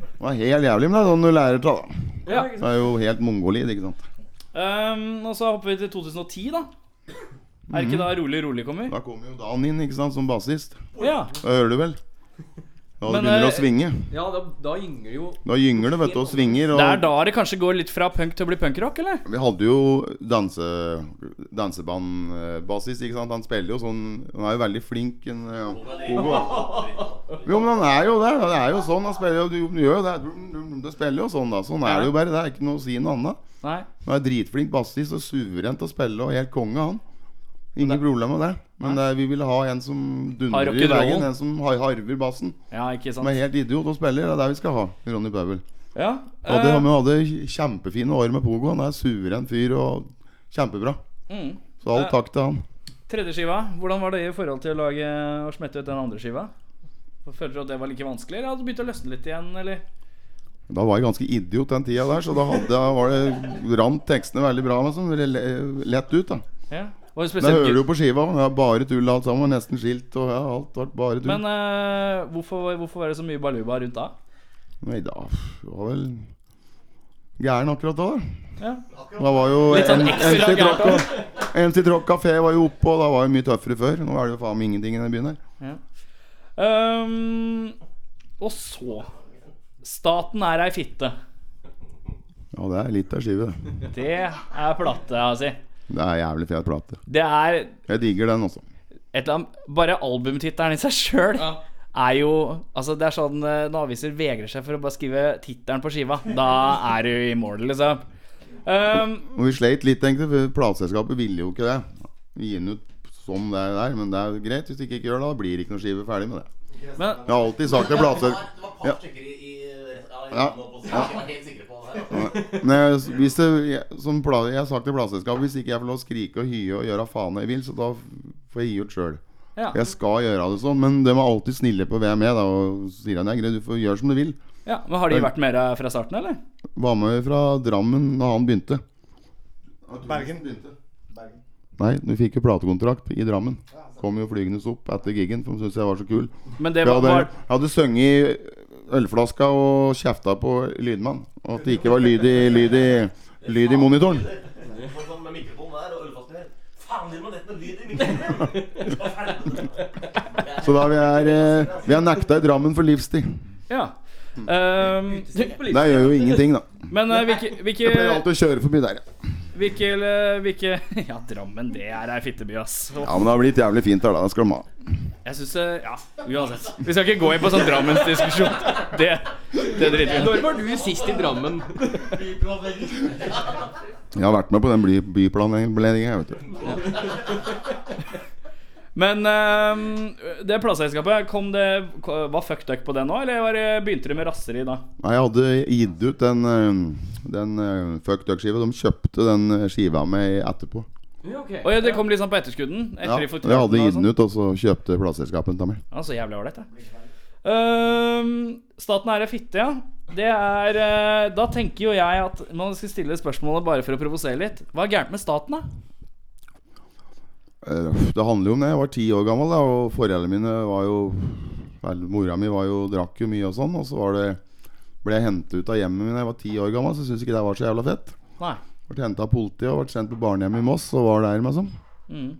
[SPEAKER 4] Det var helt jævlig, men det er sånn du lærer ta, da.
[SPEAKER 2] Ja.
[SPEAKER 4] Det er jo helt mongolid, ikke sant.
[SPEAKER 2] Ehm, og så hopper vi til 2010, da. Er det ikke
[SPEAKER 4] Mhm.
[SPEAKER 2] da Rolig rolig kommer?
[SPEAKER 4] Da kommer jo Dan inn, ikke sant, som bassist.
[SPEAKER 2] Ja.
[SPEAKER 4] Da hører du vel? Da
[SPEAKER 2] Men,
[SPEAKER 4] begynner det
[SPEAKER 2] eh,
[SPEAKER 4] å svinge.
[SPEAKER 3] Ja, da, da gynger det jo
[SPEAKER 4] Da gynger det, vet du, og svinger. Og
[SPEAKER 2] Det er da det kanskje går litt fra punk til å bli punkrock, eller?
[SPEAKER 4] Vi hadde jo danse, dansebandbasis, ikke sant? Han spiller jo sånn Han er jo veldig flink. En, ja. Jo, men han er jo der. Det er jo sånn. Han spiller jo Du, du gjør jo det. Du spiller jo sånn, da. Sånn er det jo bare. Det er ikke noe å si noe annet.
[SPEAKER 2] Nei.
[SPEAKER 4] Han er dritflink bassist og suveren til å spille og helt konge, han. Ingen problem med det. Men det er, vi ville ha en som
[SPEAKER 2] Har
[SPEAKER 4] dundrer i
[SPEAKER 2] rock'n'rollen.
[SPEAKER 4] veggen. En som har, harver bassen.
[SPEAKER 2] Ja, ikke
[SPEAKER 4] Som
[SPEAKER 2] sant.
[SPEAKER 4] er helt idiot og spiller. Det er der vi skal ha Ronny Pøbel.
[SPEAKER 2] Ja.
[SPEAKER 4] Ja, det,
[SPEAKER 2] ehm,
[SPEAKER 4] han hadde kjempefine år med Pogo. Han er suveren fyr og kjempebra.
[SPEAKER 2] Mm.
[SPEAKER 4] Så all takk til han.
[SPEAKER 2] Tredje skiva, hvordan var det i forhold til å lage og smette ut den andre skiva? Følte du at det var like vanskelig, eller hadde du begynt å løsne litt igjen, eller?
[SPEAKER 4] Da var jeg ganske idiot den tida der, så da hadde, da var det rant tekstene veldig bra. Men sånn, le- lett ut, da.
[SPEAKER 2] Ja. Var det
[SPEAKER 4] Det
[SPEAKER 2] spesielt
[SPEAKER 4] hører du
[SPEAKER 2] gøy?
[SPEAKER 4] jo på skiva. og Det er bare tull alt sammen. Nesten skilt og ja, alt var bare tull.
[SPEAKER 2] Men eh, hvorfor, hvorfor var det så mye baluba rundt da?
[SPEAKER 4] Nei da, jeg var vel gæren akkurat da, da.
[SPEAKER 2] Ja.
[SPEAKER 4] Da var jo
[SPEAKER 2] Litt sånn
[SPEAKER 4] M-
[SPEAKER 2] ekstra
[SPEAKER 4] MC Trock
[SPEAKER 2] gærent.
[SPEAKER 4] og- MC Trock kafé var jo oppe, og da var jo mye tøffere før. Nå er det jo faen meg ingenting i den byen her.
[SPEAKER 2] Ehm, og så Staten er ei fitte.
[SPEAKER 4] Ja, det er litt av skive, det.
[SPEAKER 2] Det er plate, altså.
[SPEAKER 4] Det er jævlig fet plate.
[SPEAKER 2] Det er
[SPEAKER 4] Jeg digger den også.
[SPEAKER 2] et eller annet Bare albumtittelen i seg sjøl er jo Altså, det er sånn eh, når aviser vegrer seg for å bare skrive tittelen på skiva. Da er du i mål, liksom. Um,
[SPEAKER 4] Og vi sleit litt, egentlig, for plateselskapet ville jo ikke det. Vi gir den ut som det er der, men det er greit. Hvis du ikke gjør det, da blir det ikke noe skive ferdig med det.
[SPEAKER 2] men
[SPEAKER 4] Jeg har alltid sagt til plateselskapet Ja.
[SPEAKER 6] Det var et par stykker i, i, ja, i
[SPEAKER 4] Ja.
[SPEAKER 6] opposisjon, jeg var helt sikker på det. her, altså.
[SPEAKER 4] Hvis det, jeg, som pla, jeg har sagt til plateselskapet hvis ikke jeg får lov å skrike og hye og gjøre faen jeg vil, så da får jeg gi ut sjøl.
[SPEAKER 2] Ja.
[SPEAKER 4] Jeg skal gjøre det sånn, men de var alltid snille på hvem jeg er, da, og sier han, ja, greit, du får gjøre som du vil.
[SPEAKER 2] Ja, men Har de vært med deg fra starten, eller?
[SPEAKER 4] Var med fra Drammen da han begynte.
[SPEAKER 5] Bergen.
[SPEAKER 4] Nei, du fikk jo platekontrakt i Drammen. Kom jo flygende opp etter gigen, for de syntes jeg var så kul.
[SPEAKER 2] Men det
[SPEAKER 4] Jeg
[SPEAKER 2] var,
[SPEAKER 4] hadde,
[SPEAKER 2] var
[SPEAKER 4] jeg hadde sunget i ølflaska og kjefta på lydmann. Og at det ikke var lyd i, lyd i, lyd i monitoren.
[SPEAKER 6] Med mikrofonen der og ølflasken her. Faen, de må nett med lyd i mikrofonen!
[SPEAKER 4] Så da vi er, eh, vi er nekta i Drammen for livstid.
[SPEAKER 2] Ja. Ehm,
[SPEAKER 4] Det gjør jo ingenting, da.
[SPEAKER 2] men eh, hvilke, hvilke,
[SPEAKER 4] Jeg pleier alltid å kjøre forbi der. ja.
[SPEAKER 2] hvilke, eh, hvilke Ja, Drammen, det er ei fitteby, ass.
[SPEAKER 4] Ja, men det har blitt jævlig fint der, da. Det skal de ha.
[SPEAKER 2] Jeg syns Ja, uansett. Vi skal ikke gå inn på sånn Drammensdiskusjon. Det, det driter vi i.
[SPEAKER 3] Når var du sist i Drammen?
[SPEAKER 4] Jeg har vært med på den bly- byplanleggingen, jeg, vet du.
[SPEAKER 2] Men ehm, det plateselskapet, kom det Var fucked up på det nå, eller var det, begynte det med rasseri da?
[SPEAKER 4] Nei, jeg hadde gitt ut den, eh, den eh, Fuck Duck-skiva. De kjøpte den eh, skiva med etterpå.
[SPEAKER 3] Ja, ok.
[SPEAKER 2] Å ja, det kom litt sånn på etterskudden? Etter
[SPEAKER 4] Ja,
[SPEAKER 2] de
[SPEAKER 4] jeg
[SPEAKER 2] forklarte
[SPEAKER 4] hadde
[SPEAKER 2] det og
[SPEAKER 4] gitt
[SPEAKER 2] sånn.
[SPEAKER 4] den ut, og så kjøpte plateselskapet den av meg.
[SPEAKER 2] Ja, så jævlig ålreit, det. Ehm, staten er ei fitte, ja. Det er eh, Da tenker jo jeg at man skal stille spørsmålet bare for å provosere litt. Hva er gærent med staten, da?
[SPEAKER 4] Eh, Det handler jo om det. Jeg var ti år gammel, da, og foreldrene mine var jo Vel, mora mi var jo, drakk jo mye og sånn. Og så var det, ble jeg hentet ut av hjemmet mitt da jeg var ti år gammel, så syntes ikke det var så jævla fett.
[SPEAKER 2] Nei.
[SPEAKER 4] Ble hentet av politiet og ble sendt på barnehjemmet i Moss og var der, liksom.
[SPEAKER 2] Mm.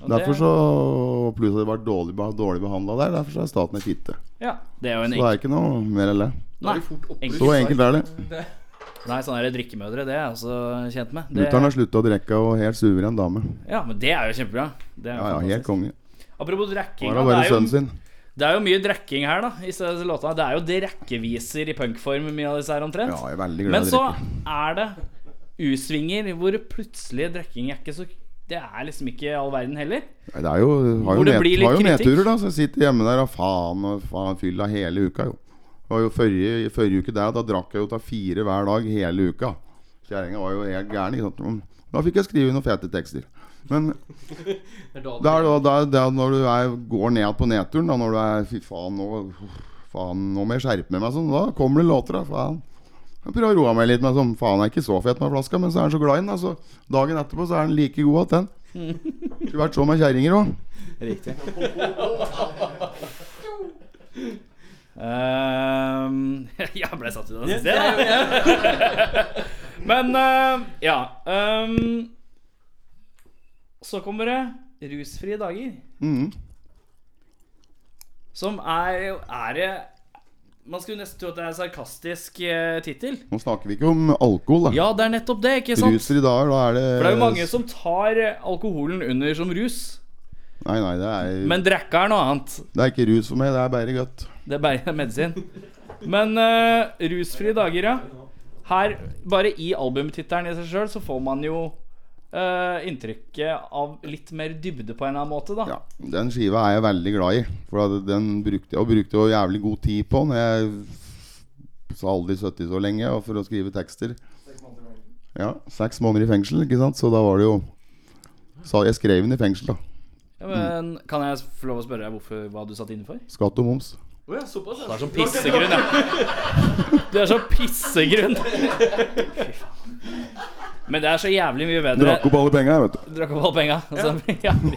[SPEAKER 2] Og
[SPEAKER 4] Derfor
[SPEAKER 2] det,
[SPEAKER 4] så Pluss at jeg var dårlig, beh- dårlig behandla der. Derfor så er staten ei fitte.
[SPEAKER 2] Ja, det er jo en
[SPEAKER 4] Så det er ikke noe mer eller det.
[SPEAKER 2] Nei,
[SPEAKER 4] Så
[SPEAKER 2] enkelt.
[SPEAKER 4] enkelt er det.
[SPEAKER 2] Nei, sånne her drikkemødre, det er jeg også kjent med. Det,
[SPEAKER 4] Mutter'n har slutta å drikke og helt suveren dame.
[SPEAKER 2] ja, men det er jo kjempebra. Det er jo
[SPEAKER 4] Ja, ja, helt
[SPEAKER 2] fantastisk.
[SPEAKER 4] konge.
[SPEAKER 2] Apropos drikking,
[SPEAKER 4] Var da
[SPEAKER 2] da, det,
[SPEAKER 4] bare
[SPEAKER 2] er
[SPEAKER 4] sønnen
[SPEAKER 2] jo-
[SPEAKER 4] sin.
[SPEAKER 2] det er jo mye drikking her, da. I stedet for låta. Det er jo direkkeviser i punkform, mye av disse her omtrent.
[SPEAKER 4] Ja, jeg er veldig
[SPEAKER 2] Men
[SPEAKER 4] glad i å
[SPEAKER 2] så
[SPEAKER 4] drikke.
[SPEAKER 2] er det U-svinger hvor plutselig drikking er ikke så Det er liksom ikke all verden heller.
[SPEAKER 4] Nei, Det er jo, har jo,
[SPEAKER 2] Hvor det
[SPEAKER 4] ned,
[SPEAKER 2] blir litt
[SPEAKER 4] har jo
[SPEAKER 2] kritikk.
[SPEAKER 4] nedturer, da. Så jeg sitter hjemme der og faen og faen fylla hele uka, jo. Det var jo forrige, i forrige uke der, da drakk jeg jo ta fire hver dag hele uka. Kjerringa var jo helt gæren. Ikke sant? Men Da fikk jeg skrive noen fete tekster. Men det er da, da, da når du er, går ned på nedturen, da når du er Fy faen, nå, uff, faen, nå må jeg skjerpe meg, meg sånn. Da kommer det låter, da. Faen. Jeg prøver å roe meg litt. Men sånn, faen, jeg er ikke så fet med flaska, men så er han så glad i den. da, så Dagen etterpå så er han like god at den. Skulle vært så med kjerringer òg.
[SPEAKER 2] Ehm, jeg ble satt ut av det siste. Men eh, ja ehm, Så kommer det rusfrie dager.
[SPEAKER 4] Mhm.
[SPEAKER 2] Som er jo Er det Man skulle nesten tro at det er en sarkastisk eh, tittel.
[SPEAKER 4] Nå snakker vi ikke om alkohol, da.
[SPEAKER 2] Ja, det er nettopp det, ikke sant?
[SPEAKER 4] Ruser i dag, da er det
[SPEAKER 2] For det er jo
[SPEAKER 4] Eh,
[SPEAKER 2] mange som tar alkoholen under som rus.
[SPEAKER 4] Nei, nei, det er,
[SPEAKER 2] Men drikke er noe annet.
[SPEAKER 4] det er ikke rus for meg, det er bare godt.
[SPEAKER 2] Det er bare medisin. Men eh, rusfrie dager, ja. Her, bare i albumtittelen i seg sjøl, så får man jo eh, inntrykket av litt mer dybde på en eller annen måte, da.
[SPEAKER 4] Ja, Den skiva er jeg veldig glad i, for at den brukte jeg og brukte jo jævlig god tid på når jeg så aldri sittet så lenge og for å skrive tekster. Ja, Seks måneder i fengsel, ikke sant, så da var det jo Så jeg skrev den i fengsel, da.
[SPEAKER 2] Ja, men kan jeg få lov å spørre deg hvorfor, hva du satt inne for?
[SPEAKER 4] Skatt og moms.
[SPEAKER 3] Å ja, såpass, ja.
[SPEAKER 2] Du er så pissegrunn, ja. Du er så pissegrunn. Fy faen. Men det er så jævlig mye bedre.
[SPEAKER 4] Drakk opp alle penga, vet du.
[SPEAKER 2] Drakk opp alle penga. Altså, jævlig.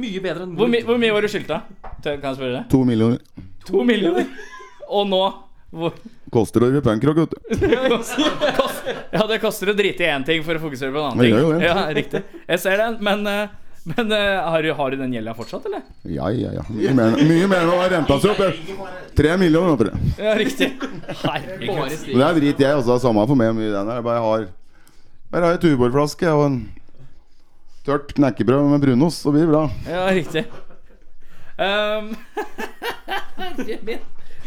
[SPEAKER 3] Mye bedre enn
[SPEAKER 2] hvor, mi, hvor mye var du skyldt, da? Tør- Kan jeg spørre deg?
[SPEAKER 4] To millioner.
[SPEAKER 2] To millioner. Og nå hvor,
[SPEAKER 4] Koster å drive punkrock, vet du.
[SPEAKER 2] kost, Ja, det koster å drite i én ting for å fokusere på en annen
[SPEAKER 4] Det
[SPEAKER 2] ting.
[SPEAKER 4] gjør jo det.
[SPEAKER 2] Ja, riktig. Jeg ser den, men, eh, men eh, har, du- har du den gjelda fortsatt, eller?
[SPEAKER 4] Ja, ja, ja. Mye mer, mye mer enn å ha renta seg opp. jeg. Tre millioner, vet du.
[SPEAKER 2] Ja, riktig.
[SPEAKER 3] Bare
[SPEAKER 2] Herregud.
[SPEAKER 3] stig.
[SPEAKER 4] Men det er drit jeg også. Samme for meg hvor mye den er. Jeg bare har Bare har ei tuborgflaske og en tørt knekkebrød med brunost, så blir det bra.
[SPEAKER 2] Ja, riktig. Um, herre min.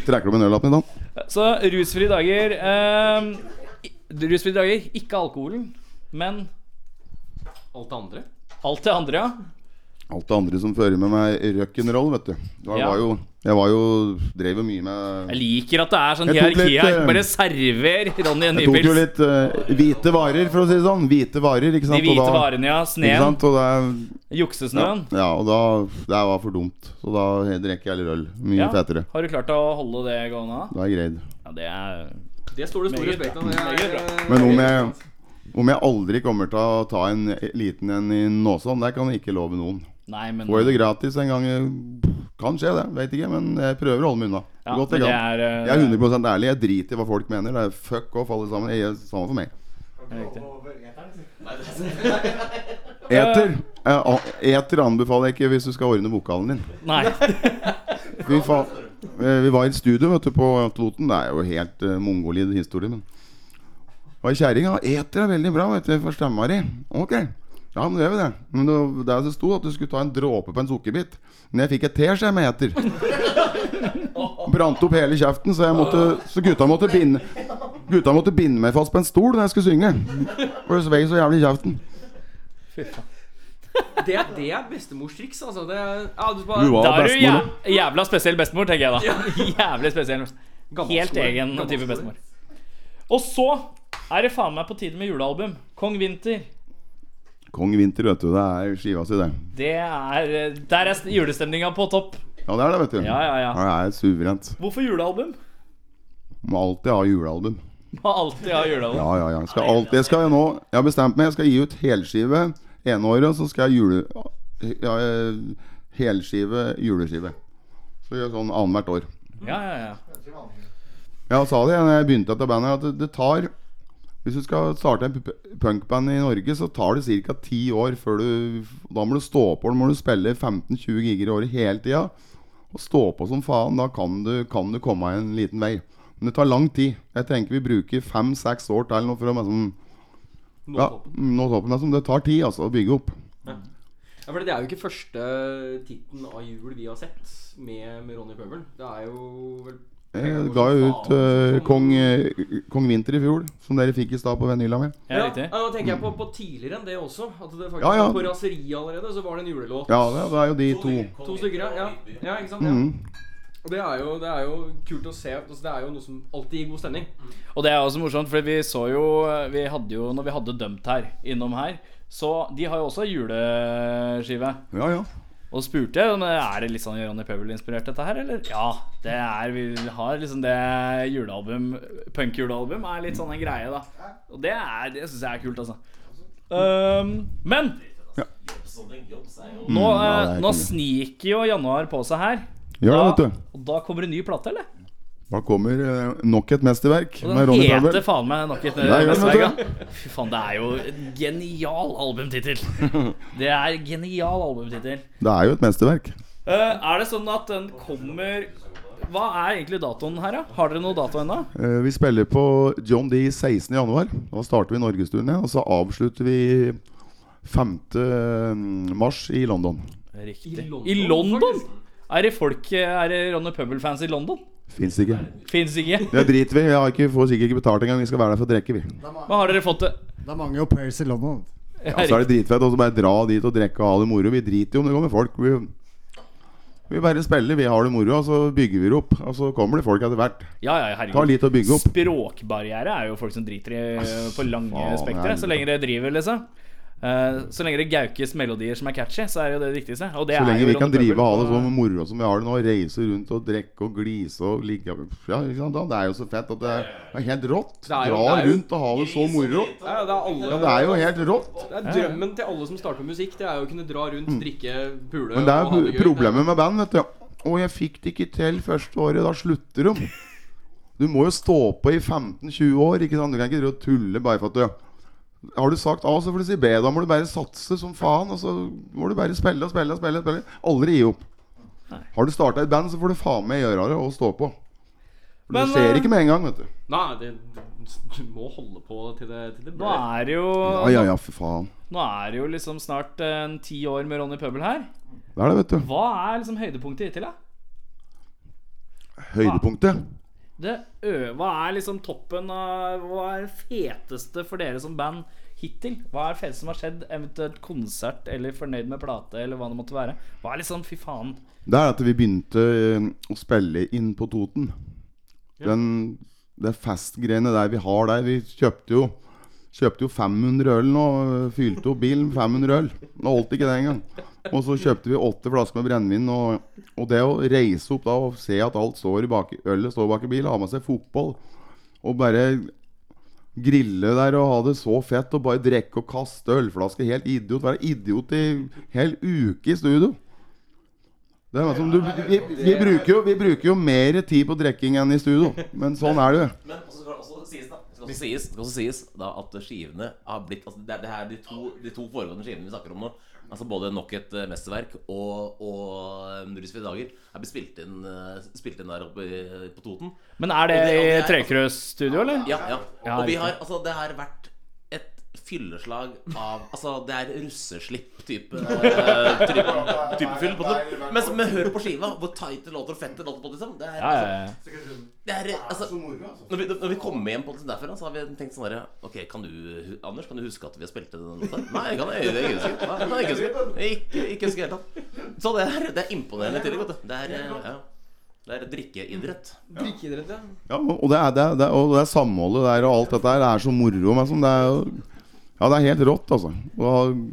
[SPEAKER 4] Trekker du opp en øllapp i dag?
[SPEAKER 2] Så rusfrie dager ehm, i- Rusfrie dager, ikke alkoholen, men
[SPEAKER 3] Alt det andre?
[SPEAKER 2] alt det andre, ja.
[SPEAKER 4] alt det andre som fører med meg rock'n'roll, vet du. Jeg
[SPEAKER 2] Ja.
[SPEAKER 4] var jo, jeg var jo Drev jo mye med
[SPEAKER 2] Jeg liker at det er sånn
[SPEAKER 4] Jeg tok
[SPEAKER 2] hierarki
[SPEAKER 4] litt,
[SPEAKER 2] her.
[SPEAKER 4] eh,
[SPEAKER 2] Bare server Ronny en
[SPEAKER 4] Jeg tok jo
[SPEAKER 2] nypils.
[SPEAKER 4] litt eh, hvite varer, for å si det sånn. Hvite varer, ikke
[SPEAKER 2] De
[SPEAKER 4] sant.
[SPEAKER 2] hvite
[SPEAKER 4] og da,
[SPEAKER 2] varene, ja.
[SPEAKER 4] ikke
[SPEAKER 2] Sneen.
[SPEAKER 4] sant? Og da, ja,
[SPEAKER 2] Juksesnøen.
[SPEAKER 4] ja, og da Det var for dumt. Så da drikker jeg litt øl. Mye
[SPEAKER 2] Ja.
[SPEAKER 4] fetere.
[SPEAKER 2] Har du klart å holde det gående? da?
[SPEAKER 4] Da er jeg greid.
[SPEAKER 2] Ja, det er
[SPEAKER 3] Det står det stor
[SPEAKER 2] Meget
[SPEAKER 3] respekt
[SPEAKER 2] bra.
[SPEAKER 3] av. det er-
[SPEAKER 2] Meget
[SPEAKER 4] Men om jeg, om jeg aldri kommer til å ta en liten en i Nåsån, det kan jeg ikke love noen.
[SPEAKER 2] Nei, men
[SPEAKER 4] Får jeg det gratis en gang eh, Kan skje, det. Vet ikke. Men jeg prøver å holde meg unna.
[SPEAKER 2] Ja,
[SPEAKER 4] Godt
[SPEAKER 2] men
[SPEAKER 4] jeg
[SPEAKER 2] det
[SPEAKER 4] kan.
[SPEAKER 2] er, eh,
[SPEAKER 4] Jeg er 100 ærlig. Jeg driter i hva folk mener. Det er fuck off, alle sammen. Jeg er samme for meg.
[SPEAKER 2] eh,
[SPEAKER 4] Eter. Eh, a- Eter anbefaler jeg ikke hvis du skal ordne vokalen din.
[SPEAKER 2] Nei.
[SPEAKER 4] Vi, fa eh, vi var i et studio vet du, på Toten. Det er jo helt uh, mongolid historie, men Og ei kjerring ja, eter er veldig bra, vet du. For stemma di. Ok. Ja, men gjør vi det. Men det, det det sto at du skulle ta en dråpe på en sukkerbit. Men jeg fikk et teskje med eter. Brant opp hele kjeften, så, jeg måtte, så gutta måtte binde Gutta måtte binde meg fast på en stol da jeg skulle synge. For det svei så jævlig i kjeften.
[SPEAKER 3] Det er, det er bestemors triks, altså. Det er, ja, du bare,
[SPEAKER 4] Du var
[SPEAKER 2] Da er du
[SPEAKER 4] bestemor, da.
[SPEAKER 2] jæ- jævla spesiell bestemor, tenker jeg da. Jævlig spesiell.
[SPEAKER 3] Gammel
[SPEAKER 2] Helt
[SPEAKER 3] skole.
[SPEAKER 2] egen
[SPEAKER 3] Gammel
[SPEAKER 2] type
[SPEAKER 3] skole.
[SPEAKER 2] bestemor. Og så er det faen meg på tide med julealbum. Kong Vinter.
[SPEAKER 4] Kong Vinter, vet du. Det er skiva si, det.
[SPEAKER 2] Det er eh, Der er julestemninga på topp.
[SPEAKER 4] Ja, det er det, vet du.
[SPEAKER 2] Ja, ja, ja.
[SPEAKER 4] Det er suverent.
[SPEAKER 2] Hvorfor julealbum?
[SPEAKER 4] Må alltid ha julealbum.
[SPEAKER 2] Må alltid ha julealbum.
[SPEAKER 4] Ja, ja, ja. Skal alt, det skal jeg nå Jeg har bestemt meg. Jeg skal gi ut helskive ene året, og så skal jeg jule... Ja, eh, helskive, juleskive. Så gjør jeg sånn annethvert år.
[SPEAKER 2] Ja, ja, ja.
[SPEAKER 4] Jeg sa det da jeg begynte etter bandet, at det- det tar Hvis du skal starte en p- p- punkband i Norge, så tar det ca. ti år før du Da må du stå på, da må du spille 15-20 giger i året hele tida. Og stå på som faen. Da kan du, kan du komme deg en liten vei. Men det tar lang tid. Jeg tenker vi bruker fem-seks år til nå for å liksom
[SPEAKER 3] Nå
[SPEAKER 4] ja,
[SPEAKER 3] toppen.
[SPEAKER 4] nå toppen liksom. Det tar tid altså, å bygge opp.
[SPEAKER 3] Ja, for det er jo ikke første titten av jul vi har sett med, med Ronny Pøbel. Det er jo vel altså.
[SPEAKER 4] Jeg ga jo ut eh, Kong, eh, Kong Vinter i fjor, som dere fikk i stad på vinyla mi.
[SPEAKER 2] Ja, riktig.
[SPEAKER 3] ja, Nå tenker jeg på, på tidligere enn det også. At det faktisk
[SPEAKER 4] Ja, ja.
[SPEAKER 3] På raseri allerede så var det en julelåt.
[SPEAKER 4] Ja, det, det er jo de to.
[SPEAKER 3] To stykker, ja. ja. ja ikke sant?
[SPEAKER 4] Mhm.
[SPEAKER 3] Ja. Og det er, jo, det er jo kult å se. Altså, det er jo noe som alltid gir god stemning.
[SPEAKER 2] Og det er også morsomt, for vi så jo Vi hadde jo, når vi hadde dømt her, innom her, så de har jo også juleskive.
[SPEAKER 4] Ja, ja.
[SPEAKER 2] Og så spurte jeg om er det litt sånn Ronny Pøbel-inspirert, dette her, eller? Ja, det er Vi har liksom det julealbum Punk-julealbum er litt sånn en greie, da. Og det, er- det syns jeg er kult, altså. Ehm, men nå,
[SPEAKER 4] Mm, ja,
[SPEAKER 2] eh,
[SPEAKER 4] det er
[SPEAKER 2] nå
[SPEAKER 4] konge.
[SPEAKER 2] sniker jo januar på seg her.
[SPEAKER 4] Gjør det,
[SPEAKER 2] Da-
[SPEAKER 4] vet du.
[SPEAKER 2] Og da kommer det ny plate, eller?
[SPEAKER 4] Da kommer eh, nok et mesterverk
[SPEAKER 2] Og den
[SPEAKER 4] med Ronny
[SPEAKER 2] heter
[SPEAKER 4] Pøbel.
[SPEAKER 2] faen meg nok et
[SPEAKER 4] Nei, gjør den,
[SPEAKER 2] Vestberg,
[SPEAKER 4] vet
[SPEAKER 2] ja. Fy faen, det er jo en genial albumtittel. Det er genial albumtittel.
[SPEAKER 4] Det er jo et mesterverk.
[SPEAKER 2] Eh, er det sånn at den kommer Hva er egentlig datoen her, da? Har dere noe dato ennå?
[SPEAKER 4] Eh, vi spiller på John D 16. januar. Da starter vi norgesturen igjen. Og så avslutter vi 5. mars i London.
[SPEAKER 2] Riktig.
[SPEAKER 3] I London,
[SPEAKER 2] I London?
[SPEAKER 3] faktisk.
[SPEAKER 2] Er det folk Er det Ronny Pøbel-fans i London?
[SPEAKER 4] Fins ikke.
[SPEAKER 2] Fins ikke.
[SPEAKER 4] Det driter vi i. Vi har ikke, får sikkert ikke betalt engang. Vi skal være der for å drikke, vi.
[SPEAKER 2] Men har dere fått det?
[SPEAKER 5] Det er mange au pairs i London.
[SPEAKER 4] Ja, så er det dritfett. Og så bare dra dit og drikke og ha det moro. Vi driter jo om det kommer folk. Vi, vi bare spiller, vi har det moro, og så bygger vi det opp. Og så kommer det folk etter hvert.
[SPEAKER 2] Ja, ja,
[SPEAKER 4] Ta
[SPEAKER 2] herregud.
[SPEAKER 4] litt å bygge opp.
[SPEAKER 2] Språkbarriere er jo folk som driter i eh, på lange
[SPEAKER 4] faen,
[SPEAKER 2] spektre.
[SPEAKER 4] helvete.
[SPEAKER 2] Så lenge det driver, liksom. Eh, så lenge det gaukes melodier som er catchy, så er det jo det viktigste. Og det
[SPEAKER 4] Så
[SPEAKER 2] er
[SPEAKER 4] lenge
[SPEAKER 2] jo
[SPEAKER 4] vi kan
[SPEAKER 2] Ronny
[SPEAKER 4] drive og
[SPEAKER 2] Pøbel.
[SPEAKER 4] ha det så moro som vi har det nå, reise rundt og drikke og glise og ligge Ja, ikke sant? da? Det er jo så fett at det er, det er helt rått.
[SPEAKER 3] er jo-
[SPEAKER 4] Dra
[SPEAKER 3] det er jo-
[SPEAKER 4] rundt og ha det så moro.
[SPEAKER 3] Ja, ja, det, er alle,
[SPEAKER 4] Ja, det er jo helt rått.
[SPEAKER 3] det er drømmen til alle som starter med musikk. Det er jo å kunne dra rundt, drikke, pule
[SPEAKER 4] Men det
[SPEAKER 3] og ha
[SPEAKER 4] er jo
[SPEAKER 3] det gøy.
[SPEAKER 4] problemet med band, vet du. Å, jeg fikk det ikke til første året. Da slutter de. Du må jo stå på i 15-20 år, ikke sant. Du kan ikke drive og tulle bare for at du har du sagt A, så får du si B. Da må du bare satse som faen. Og så må du bare spille og spille og spille. og spille. Aldri gi opp. Har du starta et band, så får du faen meg gjøre det og stå på. For
[SPEAKER 2] Men,
[SPEAKER 4] det skjer
[SPEAKER 2] eh,
[SPEAKER 4] ikke med en gang, vet du.
[SPEAKER 3] Nei, det, du må holde på til det, til det
[SPEAKER 2] Nå
[SPEAKER 3] blør.
[SPEAKER 2] er det jo
[SPEAKER 4] Ja, ja, ja, for faen.
[SPEAKER 2] Nå er det jo liksom snart en ti år med Ronny Pøbel her.
[SPEAKER 4] Det er det, vet du.
[SPEAKER 2] Hva er liksom høydepunktet hittil, da?
[SPEAKER 4] Høydepunktet.
[SPEAKER 2] Det ø, hva er liksom toppen av Hva er det feteste for dere som band hittil? Hva er det feteste som har skjedd? Eventuelt konsert eller fornøyd med plate eller hva det måtte være? Hva er litt sånn fy faen?
[SPEAKER 4] Det er at vi begynte eh, å spille inn på Toten. Den, det festgreiene der vi har der Vi kjøpte jo, kjøpte jo 500 øl nå. eh, Fylte opp bilen med 500 øl. Nå holdt ikke det engang. Og så kjøpte vi åtte flasker med brennevin. Og, og det å reise opp da og se at alt står i bak, ølet står bak i bilen, ha med seg fotball og bare grille der og ha det så fett og bare drikke og kaste ølflasker helt idiot. Være idiot i hel uke i studio. Det er som du, vi, vi, bruker jo, vi bruker jo mer tid på drikking enn i studio, men sånn er det jo.
[SPEAKER 6] Men så skal det også sies, da. Det skal også sies, det skal også sies da at skivene har blitt altså, Det er, det er de, to, de to foregående skivene vi snakker om nå. Altså Både 'Nok et eh, mesterverk' og, og um, 'Rusfrie dager' er blitt spilt inn, eh, spilt inn der oppe i- på Toten.
[SPEAKER 2] Men er det
[SPEAKER 6] Og det- og
[SPEAKER 2] i
[SPEAKER 6] det er-
[SPEAKER 2] Trekrøs-studio, eller?
[SPEAKER 6] Ja, ja.
[SPEAKER 2] Ja,
[SPEAKER 6] Og vi
[SPEAKER 2] riktig.
[SPEAKER 6] har Altså, det har vært et fylleslag av Altså, det er russeslipp-type type, type fyll. På det. Men, men hør på skiva, hvor tight det låter og fett det låter på, liksom. Det er,
[SPEAKER 2] Ja, ja, ja.
[SPEAKER 6] altså, det er altså når vi, når vi kommer hjem på det derfra, så har vi tenkt sånn herre Ok, kan du, Anders, kan du huske at vi har spilt til den låta? Nei, jeg kan jeg, det jeg husker Nei, nei, ikke husker. Ikke, ikke husker i det hele tatt. Så det er, det er imponerende til, vet du. Det er, eh, ja, det er drikkeidrett.
[SPEAKER 3] Drikkeidrett, ja.
[SPEAKER 4] Ja, og det er, det, er- det, er- og det er samholdet der og alt dette her. Det er så moro. Men sånn, det er, jo- ja, det er helt rått, altså. Og,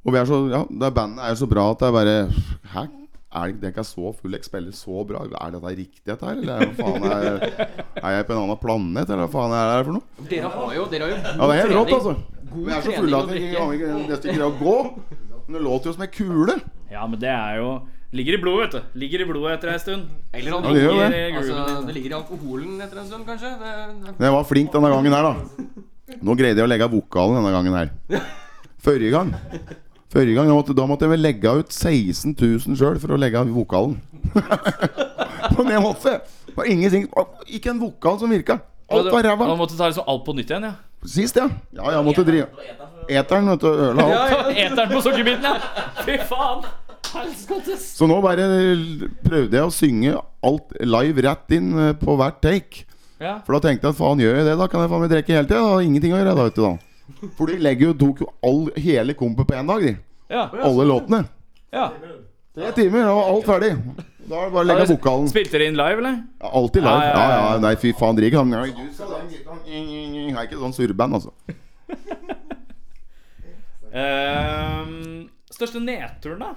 [SPEAKER 4] og vi er så Ja, det er, bandet er jo så bra at det er bare Hæ? Er det, det ikke er så full, jeg spiller så bra. Er dette riktig, dette her? Eller er, faen, er, er jeg på en annen planet, eller hva faen er det her for noe?
[SPEAKER 3] Dere har jo, dere har jo
[SPEAKER 4] Ja, det er helt rått,
[SPEAKER 3] trening.
[SPEAKER 4] altså. Vi er så fulle at vi ikke- vi ikke nesten greier å gå. Men det låter jo som ei kule.
[SPEAKER 2] Ja, men det er jo Ligger i blodet, vet du. Ligger i blodet etter ei stund.
[SPEAKER 3] Eller
[SPEAKER 4] Ja, det gjør
[SPEAKER 2] Ligger
[SPEAKER 4] jo det.
[SPEAKER 2] i grooven liksom.
[SPEAKER 3] Altså,
[SPEAKER 2] din.
[SPEAKER 3] det ligger i alkoholen etter en stund, kanskje. Det,
[SPEAKER 4] Men jeg var flink denne gangen her, da. Nå greide jeg å legge av vokalen denne gangen her. Forrige gang Førre gang, da måtte, da måtte jeg vel legge ut 16 000 sjøl for å legge av vokalen. På en måte. Det var ingenting Ikke en vokal som virka. Alt var ræva.
[SPEAKER 2] Da måtte du ta liksom alt på nytt igjen, ja.
[SPEAKER 4] Sist, ja. Ja, jeg måtte drive Eteren, vet du. Øla opp.
[SPEAKER 2] Eteren på sukkerbiten, ja! Fy faen! Helskottes!
[SPEAKER 4] Så nå bare prøvde jeg å synge alt live rett inn eh, på hvert take.
[SPEAKER 2] Ja.
[SPEAKER 4] For da tenkte jeg at faen gjør jeg det, da kan jeg faen meg drikke hele tida. Da har jeg ingenting å gjøre da, vet du da. For de legger jo tok jo all, hele kompet på én dag, de.
[SPEAKER 2] ja.
[SPEAKER 4] Alle låtene.
[SPEAKER 2] ja.
[SPEAKER 4] Tre timer, da var alt ferdig. Da er det bare å legge av vokalen.
[SPEAKER 2] Spilte dere inn live, eller?
[SPEAKER 4] Ja, Alltid live.
[SPEAKER 2] Ja,
[SPEAKER 4] Ja,
[SPEAKER 2] ja, ja.
[SPEAKER 4] ja, nei, fy faen, drik han. Jeg er ikke sånn surreband, altså.
[SPEAKER 2] Ehm, største nedturen, da?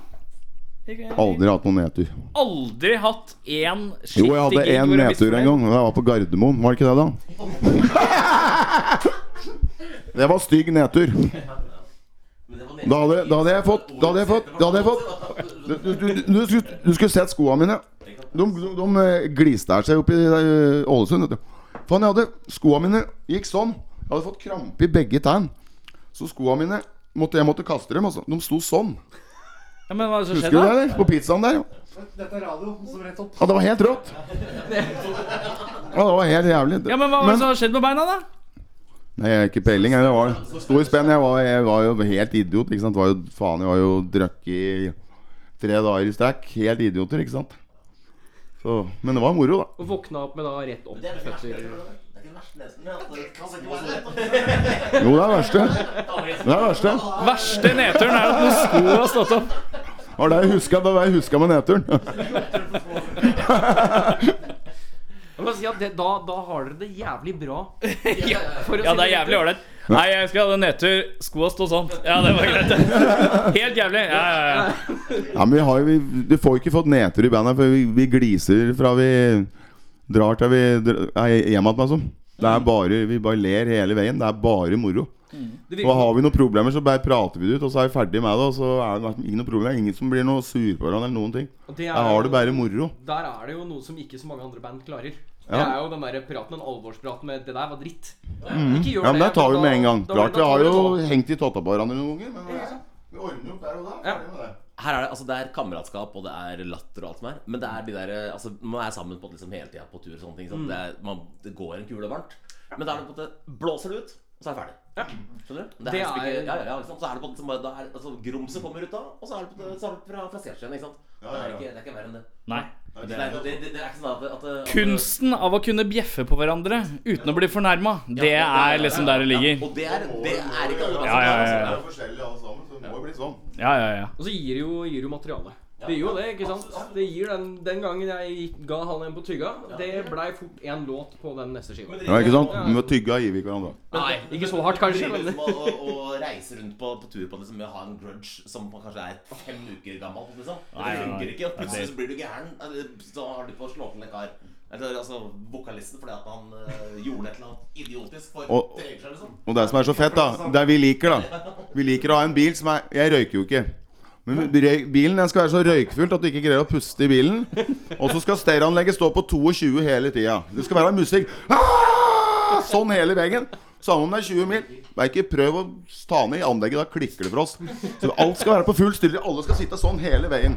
[SPEAKER 2] Ikke-
[SPEAKER 4] Aldri hatt noen nedtur.
[SPEAKER 2] Aldri hatt én
[SPEAKER 4] Jo, jeg hadde én nedtur en gang. og Jeg var på Gardermoen, var det ikke det, da? Det var stygg nedtur. Da hadde, da hadde jeg fått Da hadde jeg fått, da hadde jeg fått Du, du, du, du, skulle, du skulle sett skoene mine. De, de, de eh, gliste her seg oppe i eh, Ålesund. Vet du. Faen, jeg hadde skoene mine gikk sånn. Jeg hadde fått krampe i begge tærne. Så skoene mine måtte, Jeg måtte kaste dem. Altså. De sto sånn.
[SPEAKER 2] Ja, men hva er det som
[SPEAKER 4] Husker du
[SPEAKER 2] skjedde?
[SPEAKER 4] det,
[SPEAKER 2] da?
[SPEAKER 4] eller? På pizzaen der.
[SPEAKER 5] Dette er radio, som rett opp.
[SPEAKER 4] Ja, det var helt rått. Ja, det var helt jævlig.
[SPEAKER 2] Ja, men Hva var det som skjedde med beina, da?
[SPEAKER 4] Nei, jeg har ikke peiling. Jeg var stor spenn. Jeg var, jeg var jo helt idiot. ikke sant? Var jo, faen, jeg var jo drukket i tre dager i strekk. Helt idioter, ikke sant. Så, men det var moro, da.
[SPEAKER 3] og våkna opp med da rett opp til fødsel.
[SPEAKER 4] Jo, det er det verste. Det er det verste.
[SPEAKER 2] Verste nedturen er at noen sko har stått opp.
[SPEAKER 4] Var det jeg huska, det var jeg huska med nedturen.
[SPEAKER 3] Jeg må si at det, da, da har dere det jævlig bra. For å
[SPEAKER 2] Ja, det
[SPEAKER 3] si
[SPEAKER 2] er
[SPEAKER 3] rett
[SPEAKER 2] jævlig
[SPEAKER 3] ut.
[SPEAKER 2] ålreit. Nei, jeg husker jeg hadde en nedtur. Skoa sto sånn. Ja, det var greit. det. Helt jævlig. Ja, ja, ja.
[SPEAKER 4] Ja, men vi har jo vi- Du får ikke fått nedtur i bandet, for vi, vi gliser fra vi drar til vi dr- er hjemme igjen, altså. Det er bare, vi bare ler hele veien. Det er bare moro.
[SPEAKER 3] Det
[SPEAKER 4] Og
[SPEAKER 3] virker,
[SPEAKER 4] har vi noen problemer, så bare prater vi det ut, og så er vi ferdig med det. Og så er det liksom ikke noe problem. Det er ingen som blir noe sur på hverandre eller noen ting.
[SPEAKER 3] og det er
[SPEAKER 4] Jeg har det
[SPEAKER 3] jo-
[SPEAKER 4] bare moro.
[SPEAKER 3] Der er det jo noe som ikke så mange andre band klarer. Det
[SPEAKER 4] Ja.
[SPEAKER 3] er jo den der praten, den alvorspraten med 'det der var dritt'. Ikke gjør
[SPEAKER 4] Mm. Ja, men det tar vi
[SPEAKER 3] da-
[SPEAKER 4] med en gang.
[SPEAKER 3] da-
[SPEAKER 4] Klart
[SPEAKER 3] da
[SPEAKER 4] vi
[SPEAKER 3] tar
[SPEAKER 4] har
[SPEAKER 3] vi
[SPEAKER 4] jo
[SPEAKER 3] det.
[SPEAKER 4] hengt i totta på hverandre noen ganger, men det er- vi ordner opp der og da.
[SPEAKER 3] Ja.
[SPEAKER 4] Ferdig med det.
[SPEAKER 6] Her er det, altså det er kameratskap, og det er latter og alt som er. Men det er de der, altså, man er sammen på
[SPEAKER 2] Mm.
[SPEAKER 6] liksom hele tida på tur og sånne ting. sant? Det, er, man, det går en kule varmt. Men da er det på en måte Blåser det ut, og så er det ferdig. Skjønner du? Det er
[SPEAKER 3] Det
[SPEAKER 6] liksom ikke,
[SPEAKER 3] er-
[SPEAKER 6] ja, ja, ja, liksom, så er det på liksom, bare- da er, altså, Grumset kommer ut da, og så er det, på, så er det fra, fra seerskjeen, ikke sant?
[SPEAKER 4] Ja, ja, ja.
[SPEAKER 6] Det, er ikke, det er ikke verre enn det.
[SPEAKER 2] Nei.
[SPEAKER 6] Det, det, er- det, det er ikke sånn at, at, at
[SPEAKER 2] Kunsten av å kunne bjeffe på hverandre uten å bli fornærma,
[SPEAKER 6] Ja,
[SPEAKER 2] det
[SPEAKER 6] ja,
[SPEAKER 2] er liksom
[SPEAKER 6] ja,
[SPEAKER 2] der det
[SPEAKER 6] ja.
[SPEAKER 2] ligger.
[SPEAKER 6] Og det er, det er
[SPEAKER 4] eh,
[SPEAKER 6] ikke alle plasser.
[SPEAKER 2] Ja, ja, ja, ja.
[SPEAKER 4] sånn. Det er jo forskjellig alle sammen, så det må jo bli sånn.
[SPEAKER 2] Ja, ja, ja.
[SPEAKER 3] Og så gir det jo, gir det jo materiale. Det gir jo det, ikke sant? Det gir den, den gangen jeg gikk- ga han en på tygga, det blei fort én låt på den neste skiva.
[SPEAKER 4] Ja, ikke sant? Vi må tygge av Ivik hverandre.
[SPEAKER 3] Nei, ikke så hardt kanskje,
[SPEAKER 6] Men
[SPEAKER 3] men
[SPEAKER 6] liksom, å, å, å reise rundt på, på tur på liksom, med å ha en grudge som kanskje er fem uker gammel liksom. Det
[SPEAKER 2] Nei, nei, nei.
[SPEAKER 6] funker ikke. og Plutselig så blir du gæren. Eller, Så har du på å slå til en kar. Eller altså vokalisten fordi at han eh, gjorde et eller annet idiotisk for
[SPEAKER 4] Og-
[SPEAKER 6] tre uker siden. Liksom.
[SPEAKER 4] Og det som er så fett, da Det er vi liker, da. Vi liker å ha en bil som er Jeg røyker jo ikke. Men røy- bilen den skal være så røykfullt at du ikke greier å puste i bilen. Og så skal stereoanlegget stå på 22 hele tida. Det skal være musikk Ah! Sånn hele veien. Samme om det er 20 mil. Bare ikke prøv å ta ned i anlegget. Da klikker det for oss. Så alt skal være på full stille. Alle skal sitte sånn hele veien.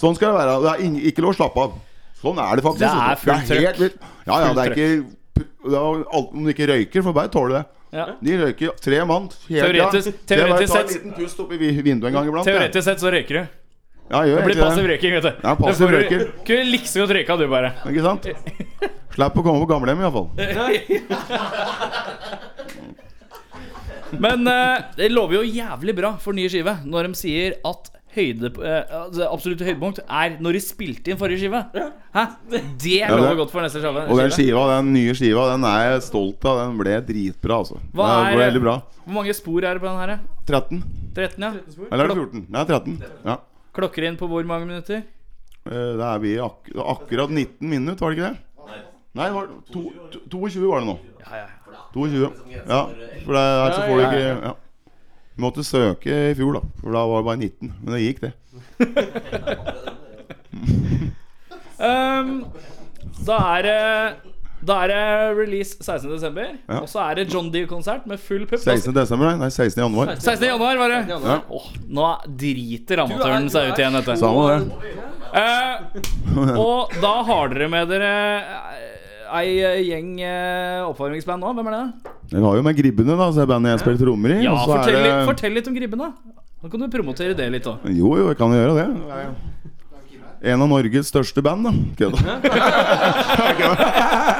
[SPEAKER 4] Sånn skal det være. Det er ing- ikke lov å slappe av. Sånn er det faktisk.
[SPEAKER 2] Det er fullt
[SPEAKER 4] Det er helt
[SPEAKER 2] trøkk.
[SPEAKER 4] vilt. Ja, ja, det er ikke det er alt, Om du ikke røyker, får du bare tåle det.
[SPEAKER 2] ja.
[SPEAKER 4] De røyker tre mann hele
[SPEAKER 2] Teoretisk- teoretisk
[SPEAKER 4] tida. sett. Jeg bare tar en
[SPEAKER 2] sett-
[SPEAKER 4] liten pust oppi vi- vinduet en gang iblant. jeg.
[SPEAKER 2] Teoretisk sett så røyker du.
[SPEAKER 4] Ja, jeg gjør
[SPEAKER 2] Det blir
[SPEAKER 4] egentlig
[SPEAKER 2] passiv
[SPEAKER 4] det.
[SPEAKER 2] røyking, vet du.
[SPEAKER 4] Ja, passiv
[SPEAKER 2] Da får du-
[SPEAKER 4] røyker.
[SPEAKER 2] Kunne like så godt røyka du, bare.
[SPEAKER 4] Ikke sant? Slapp å komme på gamlehjem, iallfall.
[SPEAKER 2] Men eh, det lover jo jævlig bra for ny skive når de sier at høyde, eh, altså, absolutt høydepunkt er når de spilte inn forrige skive. Hæ? Det lover
[SPEAKER 4] det-
[SPEAKER 2] godt for neste skive.
[SPEAKER 4] Og den
[SPEAKER 2] skive.
[SPEAKER 4] skiva, den nye skiva, den er jeg stolt av. Den ble dritbra, altså.
[SPEAKER 2] Hva
[SPEAKER 4] den
[SPEAKER 2] er-
[SPEAKER 4] ble veldig bra.
[SPEAKER 2] Hvor mange spor er det på den her? eh?
[SPEAKER 4] 13?
[SPEAKER 2] 13, ja?
[SPEAKER 4] Eller er det 14? Nei, 13. Ja.
[SPEAKER 2] Klokker inn på hvor mange minutter?
[SPEAKER 4] Eh, Da er vi ak akkurat 19 minutter, var det ikke det? Nei, det var to, to, 22 var det nå.
[SPEAKER 2] Ja, ja.
[SPEAKER 4] 22. Ja, for det er så får du ikke ja. Vi måtte søke i fjor, da. For da var det bare 19. Men det gikk, det.
[SPEAKER 2] Ehm, da er det da er det release 16.12.,
[SPEAKER 4] Ja.
[SPEAKER 2] og så er det John Dee-konsert med full pupp.
[SPEAKER 4] 16. desember, nei, nei, 16. januar.
[SPEAKER 2] 16. januar, var det.
[SPEAKER 3] Ja.
[SPEAKER 2] Åh, nå driter
[SPEAKER 3] Du
[SPEAKER 2] amatøren
[SPEAKER 3] er-
[SPEAKER 2] seg
[SPEAKER 3] du
[SPEAKER 2] ut
[SPEAKER 3] er
[SPEAKER 2] igjen, dette.
[SPEAKER 4] Samme det.
[SPEAKER 2] Eh, og da har dere med dere eh, ei eh, gjeng eh, oppvarmingsband nå. Hvem er det?
[SPEAKER 4] Det var jo med Gribbene, da, så er bandet jeg spiller trommer i.
[SPEAKER 2] Ja,
[SPEAKER 4] og så er
[SPEAKER 2] fortell, litt,
[SPEAKER 4] det-
[SPEAKER 2] fortell litt om Gribbene. Nå kan du promotere det litt òg.
[SPEAKER 4] Jo, jo, jeg kan jo gjøre det. En av Norges største band, da. Kødda.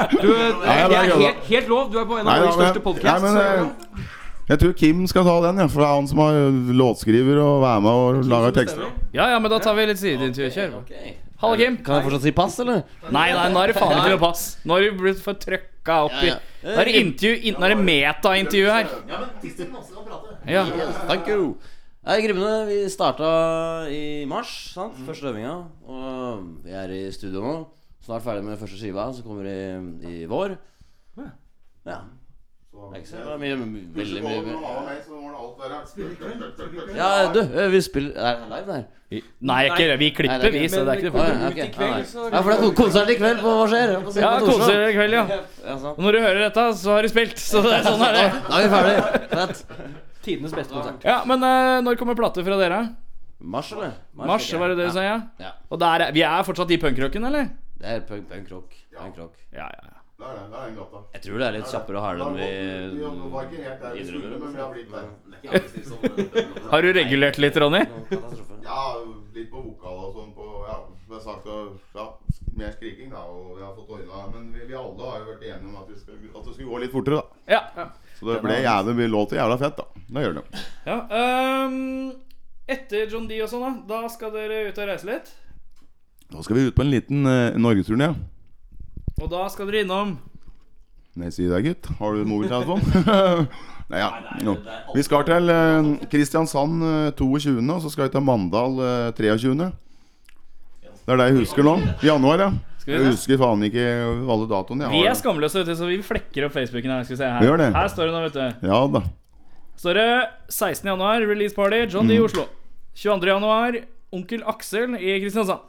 [SPEAKER 3] Du, det
[SPEAKER 4] Nei,
[SPEAKER 3] er
[SPEAKER 4] det er gøy, da.
[SPEAKER 3] helt, helt lov. Du er på en
[SPEAKER 4] Nei,
[SPEAKER 3] av
[SPEAKER 4] da,
[SPEAKER 3] våre største
[SPEAKER 4] men- nei, men,
[SPEAKER 3] podkaster.
[SPEAKER 4] eh, Jeg tror Kim skal ta den, ja, for det er han som har låtskriver og er med og lager tekster.
[SPEAKER 2] Ja, ja, men da tar vi litt sideintervju. Kjør. Halla, Kim.
[SPEAKER 7] Kan jeg fortsatt si pass, eller?
[SPEAKER 2] Nei, nei, nå er det faen ikke noe pass. Nå har du blitt for trøkka opp i Nå er det intervju, in, nå er det metaintervju her.
[SPEAKER 6] Ja, men Kristin også kan prate.
[SPEAKER 2] Ja.
[SPEAKER 7] Yes, thank you. Nei, Grimmene, vi starta i mars, sant?
[SPEAKER 3] Mm.
[SPEAKER 7] Første øvinga. Og vi er i studio nå. Snart ferdig med første skiva, som kommer i, i vår. Ja. Det er ikke så mye, mye Veldig mye, mye. Ja, du, eh, vi spiller Er det live, der?
[SPEAKER 2] Nei, ikke, vi klipper, vi, så det er ikke noe problem.
[SPEAKER 7] ja,
[SPEAKER 3] ut
[SPEAKER 7] ok.
[SPEAKER 3] i kveld,
[SPEAKER 7] Ja, nei.
[SPEAKER 3] så-
[SPEAKER 7] ja, for det er kon- konsert i kveld. Hva hva skjer? Jeg får se
[SPEAKER 2] Ja,
[SPEAKER 7] på
[SPEAKER 2] koser
[SPEAKER 7] torsdag.
[SPEAKER 2] dere i kveld, ja.
[SPEAKER 7] Ja,
[SPEAKER 2] Og
[SPEAKER 7] sant.
[SPEAKER 2] når du hører dette, så har du spilt. Så det, sånn er det.
[SPEAKER 7] Da er vi ferdig. Fett.
[SPEAKER 3] Tidenes beste konsert.
[SPEAKER 2] Ja, Men eh, når kommer plater fra dere?
[SPEAKER 7] Mars, eller?
[SPEAKER 2] Mars,
[SPEAKER 7] ok.
[SPEAKER 2] var det det du sa? Ja.
[SPEAKER 7] Ja.
[SPEAKER 2] Og der, er- vi er fortsatt i punkrocken, eller?
[SPEAKER 7] Det er punk, punk rock. Punk rock.
[SPEAKER 2] Ja, ja. ja.
[SPEAKER 7] Jeg tror det er litt kjappere og hardere enn vi
[SPEAKER 2] Har du regulert litt, Ronny?
[SPEAKER 7] Katastrofe.
[SPEAKER 4] Ja, litt på vokal og sånn på Ja, det er sagt og, ja, mer skriking, da, og vi har fått ordna Men vi, vi alle har jo vært enige om at, vi skal, at det skulle gå litt fortere, da.
[SPEAKER 2] Ja. ja.
[SPEAKER 4] Så det ble jævlig mye låter. Jævla fett, da. Det gjør det.
[SPEAKER 2] ja ehm, etter John D og sånn, da, da skal dere ut og reise litt.
[SPEAKER 4] Nå skal vi ut på en liten uh, norgesturné.
[SPEAKER 2] Og da skal dere innom
[SPEAKER 4] Nei, si det, gutt. Har du mobiltelefon? nei, ja. Jo. Vi skal til eh, Kristiansand eh, 22., og så skal vi til Mandal eh, 23. Det er det jeg husker nå. Januar, ja.
[SPEAKER 2] Skal vi
[SPEAKER 4] Jeg
[SPEAKER 2] det?
[SPEAKER 4] husker faen ikke alle datoene.
[SPEAKER 2] Vi
[SPEAKER 4] Jeg
[SPEAKER 2] er
[SPEAKER 4] har.
[SPEAKER 2] skamløse, vet du, så vi flekker opp Facebooken her. Skal vi se her.
[SPEAKER 4] Vi gjør det.
[SPEAKER 2] her står det nå, vet du.
[SPEAKER 4] Ja da.
[SPEAKER 2] Står det 16. januar, release party, John D
[SPEAKER 4] Mm.
[SPEAKER 2] i Oslo. 22. januar, Onkel Aksel i Kristiansand.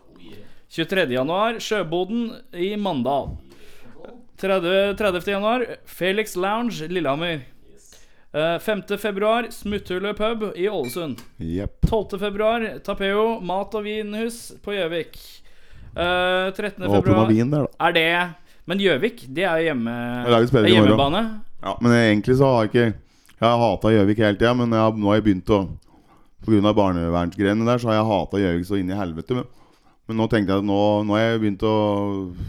[SPEAKER 2] 23. januar, Sjøboden i Mandal. 30. 30. januar, Felix Lounge, Lillehammer. Eh, 5. februar, Smutthullet pub i Ålesund.
[SPEAKER 4] Jepp.
[SPEAKER 2] 12. februar, Tapeo mat- og vinhus på Gjøvik. Eh, 13.
[SPEAKER 4] Håper det var
[SPEAKER 2] februar
[SPEAKER 4] vin der, da.
[SPEAKER 2] Er det Men Gjøvik, det er jo hjemme,
[SPEAKER 4] Det er jo spilling
[SPEAKER 2] det er
[SPEAKER 4] i morgen.
[SPEAKER 2] hjemmebane.
[SPEAKER 4] Ja, men egentlig så har jeg ikke Jeg har hata Gjøvik hele tida, men jeg, har- nå har jeg begynt å Pga. barnevernsgreiene der, så har jeg hata Gjøvik så inn i helvete. Men, men nå tenkte jeg at nå, nå har jeg begynt å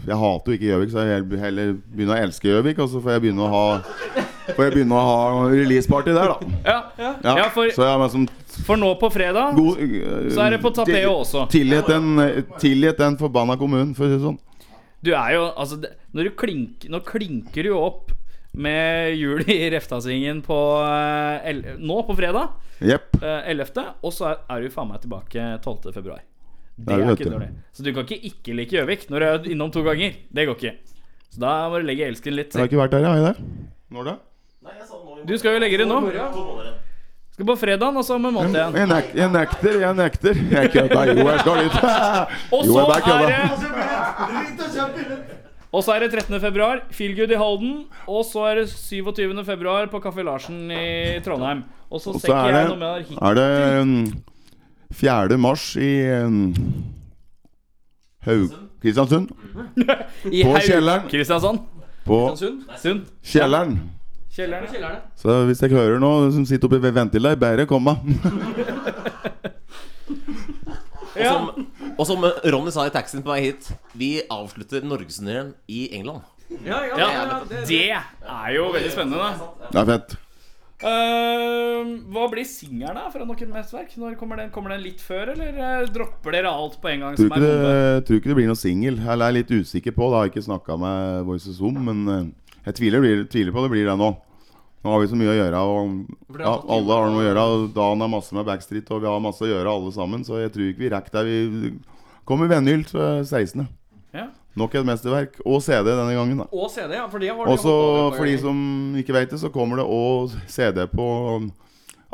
[SPEAKER 4] Jeg hater jo ikke Gjøvik, så jeg heller- heller begynner å elske Gjøvik, og så får jeg begynne å ha Får jeg begynne å ha releaseparty der, da.
[SPEAKER 2] Ja, ja.
[SPEAKER 4] Ja,
[SPEAKER 2] ja for,
[SPEAKER 4] så jeg har liksom
[SPEAKER 2] for nå på fredag
[SPEAKER 4] god
[SPEAKER 2] så er det
[SPEAKER 4] Um,
[SPEAKER 2] på tapetet også.
[SPEAKER 4] Tilgitt den, tilgitt den forbanna kommunen, for å si det sånn.
[SPEAKER 2] Du er jo Altså, det- når du klink, nå klinker du jo opp med jul i Reftasingen på eh, el, Nå på fredag,
[SPEAKER 4] Jepp.
[SPEAKER 2] eh, 11., og så er, er du faen meg tilbake 12. februar. Det
[SPEAKER 4] Ja,
[SPEAKER 2] er
[SPEAKER 4] vet
[SPEAKER 2] ikke
[SPEAKER 4] du.
[SPEAKER 2] dårlig. Så du kan ikke ikke like Gjøvik når du er innom to ganger. Det går ikke. Så da må du legge elsken litt.
[SPEAKER 4] Jeg har
[SPEAKER 2] selv.
[SPEAKER 4] ikke vært der, jeg. Har jeg det? Når da?
[SPEAKER 2] Du skal jo legge det nå. Skal på fredagen, og så om en måned igjen.
[SPEAKER 4] Jeg, nek jeg nekter, jeg nekter. Jeg kødda. Jo, jeg skal dit.
[SPEAKER 2] Og
[SPEAKER 4] Jo,
[SPEAKER 2] så
[SPEAKER 4] jeg bare
[SPEAKER 2] er
[SPEAKER 4] kødda.
[SPEAKER 2] det Og så er det 13. februar, Feelgood i Halden. Og så er det 27. februar på Kaffe Larsen i Trondheim. Og så
[SPEAKER 4] Og
[SPEAKER 2] ser
[SPEAKER 4] så
[SPEAKER 2] ikke
[SPEAKER 4] er
[SPEAKER 2] jeg noe mer
[SPEAKER 4] det,
[SPEAKER 2] hit.
[SPEAKER 4] er det um, 4. mars i um, Haug... Kristiansund?
[SPEAKER 2] I
[SPEAKER 4] På
[SPEAKER 2] Haug-
[SPEAKER 4] kjelleren.
[SPEAKER 2] Kristiansand.
[SPEAKER 4] På
[SPEAKER 3] Sund?
[SPEAKER 2] Sund.
[SPEAKER 4] kjelleren.
[SPEAKER 2] Kjelleren.
[SPEAKER 3] Kjellerne?
[SPEAKER 4] Så hvis jeg hører noe som sitter oppe i ventil der, bare kom, da.
[SPEAKER 2] Ja.
[SPEAKER 6] Og som Ronny sa i taxien på vei hit, vi avslutter norgesturneen i England.
[SPEAKER 3] Ja, ja,
[SPEAKER 2] ja, Det er jo veldig spennende.
[SPEAKER 4] Det er fett.
[SPEAKER 2] Ehm, hva blir singelen da fra Noen mesterverk? Når kommer, den, kommer den litt før, eller eh, dropper dere alt på en gang?
[SPEAKER 4] Tror
[SPEAKER 2] Som er
[SPEAKER 4] ikke,
[SPEAKER 2] bombe?
[SPEAKER 4] det, tror ikke det blir noe singel. Eller jeg er litt usikker på. Det har jeg ikke snakka med Voices om, men eh, jeg tviler, blir, tviler på det blir det nå. Nå har vi så mye å gjøre, og ja, alle har noe å gjøre. og Dan har masse med Backstreet, og vi har masse å gjøre alle sammen, så jeg tror ikke vi rekker det. Vi kommer Venhylt eh, 16.
[SPEAKER 2] Ja.
[SPEAKER 4] Nok et mesterverk. Og CD denne gangen, da.
[SPEAKER 3] Og CD, ja. For det har de
[SPEAKER 4] Også
[SPEAKER 3] holdt på med et par
[SPEAKER 4] for de
[SPEAKER 3] ganger.
[SPEAKER 4] som ikke vet det, så kommer det òg CD på um,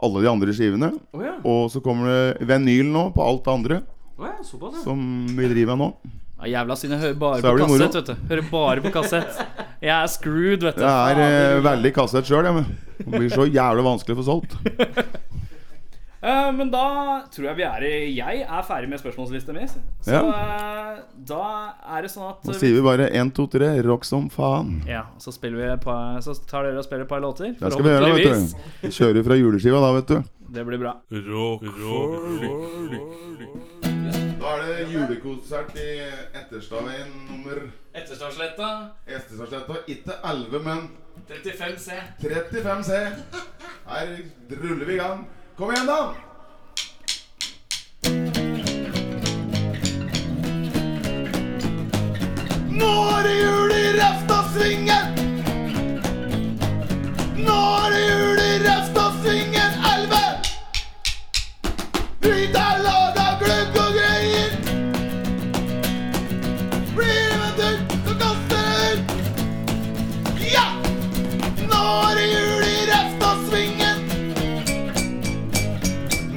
[SPEAKER 4] alle de andre skivene.
[SPEAKER 3] Å ja.
[SPEAKER 4] Og så kommer det vinyl nå på alt det andre
[SPEAKER 3] Å ja, såpass, ja.
[SPEAKER 4] som vi driver med nå.
[SPEAKER 2] Ja, jævla synd. Jeg hører bare
[SPEAKER 4] Så
[SPEAKER 2] på
[SPEAKER 4] er det moro.
[SPEAKER 2] kassett, vet du. Hører bare på kassett. Jeg er screwed, vet du.
[SPEAKER 4] Det er eh, veldig kassett sjøl, jeg. men Det blir så jævlig vanskelig å få solgt.
[SPEAKER 2] Eh, men da tror jeg vi er i Jeg er ferdig med spørsmålslista mi. Så eh, da er det sånn at
[SPEAKER 4] Nå sier vi bare 1, 2, 3, rock som faen.
[SPEAKER 2] Ja, så, spiller vi et par, så tar dere og spiller et par låter.
[SPEAKER 4] Det skal vi gjøre,
[SPEAKER 2] Forhåpentligvis.
[SPEAKER 4] vet du. Kjører fra juleskiva da, vet du.
[SPEAKER 2] Det blir bra.
[SPEAKER 1] Rock,
[SPEAKER 4] Da er det julekonsert i Etterstadveien nummer
[SPEAKER 2] Etterstadsletta
[SPEAKER 4] Estestadsletta. Ikke 11, men
[SPEAKER 2] 35C.
[SPEAKER 4] 35 C. Her ruller vi i gang. Kom igjen, da! Nå er det jul i Reftasvingen! Nå er det jul i Reftasvingen 11! Drit er lada, gløgg og greier. Blir det med tørt, så kaster det ut. Ja! Nå er det jul i Reftasvingen.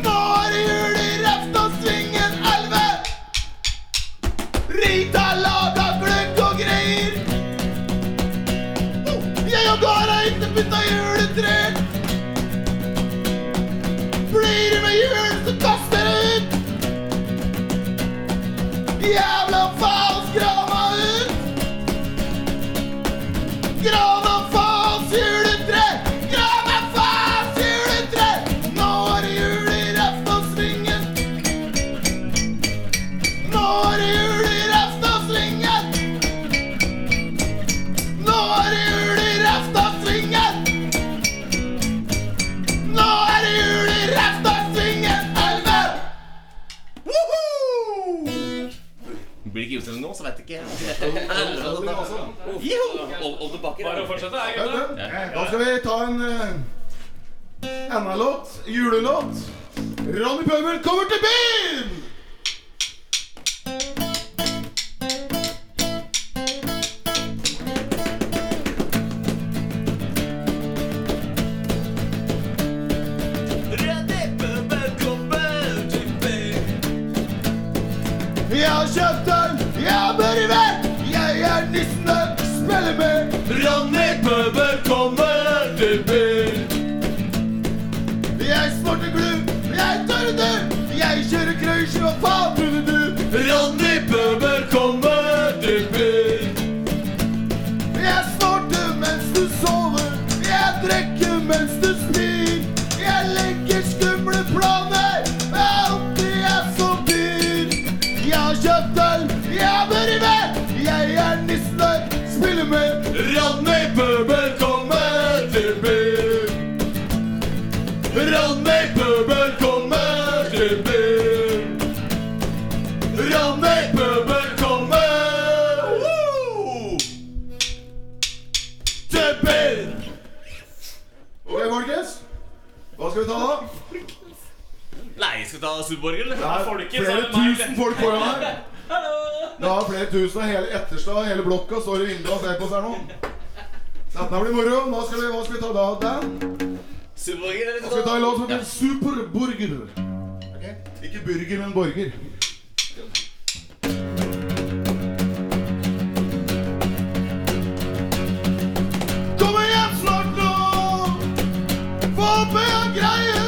[SPEAKER 4] Nå er det jul i Reftasvingen 11. Rita laga gløgg og greier. Oh, Jeg og Gara ikke putta juletrær. Blir det med jul, så kaster det ut. Jævla faen, skrama ut. Granafaens juletre! Granafaens juletre! Nå er det jul i Reftasvingen. Nå er det jul i Reftasvingen. Nå er det jul i Reftasvingen. Nå er det jul i Reftasvingen 11! Woohoo!
[SPEAKER 6] Blir det ikke utsendt nå, så vet jeg ikke.
[SPEAKER 2] Bare å fortsette, jeg, gutta.
[SPEAKER 4] Da skal vi ta en eh, enda låt. Julelåt. Ronny Pøbel kommer til byen! Jeg har kjøpt øl, jeg har børrevenn, jeg er nissen der spiller med. Ronny Pøbel kommer til byen. Jeg snorter glubb, jeg tørrer du, jeg kjører krøysj, hva faen trodde du? Ronny Pøbel kommer til byen. Jeg snorter mens du sover, jeg drikker mens du spyr. Jeg har kjøpt øl, jeg bør i med. Jeg er nissen der, spiller med. Rannøy Bøbel kommer til byen. Rannøy Bøbel kommer til byen. Rannøy Bøbel kommer Woo! til byen. Ok, folkens. Hva skal vi ta da?
[SPEAKER 6] Nei, skal vi ta Sudborger, eller?
[SPEAKER 4] Det er flere tusen folk foran her. Det er flere tusen. Hele Etterstad, hele blokka står i vinduet og ser på oss her nå. Så Dette blir moro. Nå skal vi, hva skal vi ta da? Dan?
[SPEAKER 6] Sudborger, eller?
[SPEAKER 4] Nå skal vi ta en låt som heter Superburger. Ikke burger, men borger. Kommer hjem snart nå. Få opp øya greier.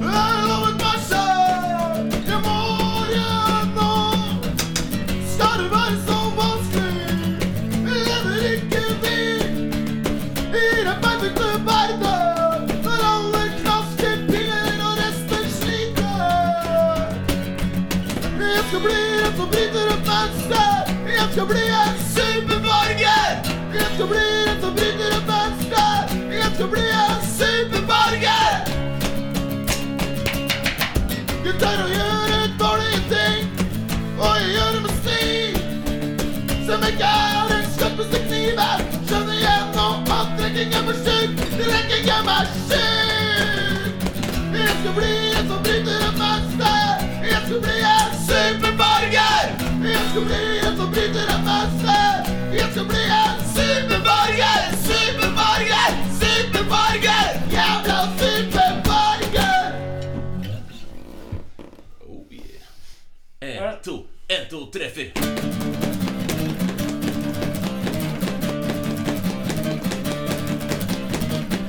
[SPEAKER 4] Jeg har lovet meg selv. Jeg må hjem nå. Skal det være så vanskelig? Vi lever ikke vi. I den perfekte verden Der alle knasker piller og resten sliter Jeg skal bli en som bryter opp mønster Jeg skal bli en superborger Jeg skal bli en som bryter opp mønster Jeg skal bli en superborger Jeg tør å gjøre dårlige ting Og jeg gjør det med stil som ikke er den skarpeste kniven. Skjønner jeg nå at drikking gjør meg sjuk, drikking gjør meg sjuk. Jeg skal bli en som bryter et mønster. Jeg skal bli en superborger. Jeg skal bli en som bryter et mønster. Jeg skal bli en superborger, superborger, superborger. Jævla superborger.
[SPEAKER 6] Oh, yeah.
[SPEAKER 4] Eh.
[SPEAKER 6] En, to, en, to, tre, fire.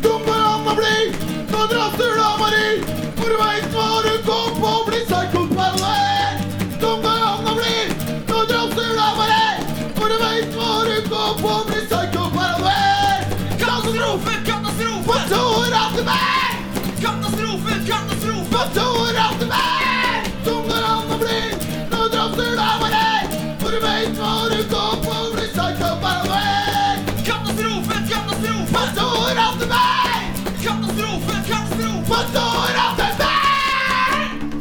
[SPEAKER 4] Dummer Anna blir Nå drasser du av Marie For du vet hva du kom på Blir psykopaller Dummer Anna blir Nå drasser du av Marie For du vet hva du kom på Blir psykopaller Katastrofe, katastrofe Hva tror at du er? Katastrofe, katastrofe Hva tror at du er? Dummer Anna blir Nå drasser du av Marie For du vet hva du kom på Blir psykopaller Katastrofe, katastrofe Hva står av til meg? Katastrofe, katastrofe Hva står av til meg?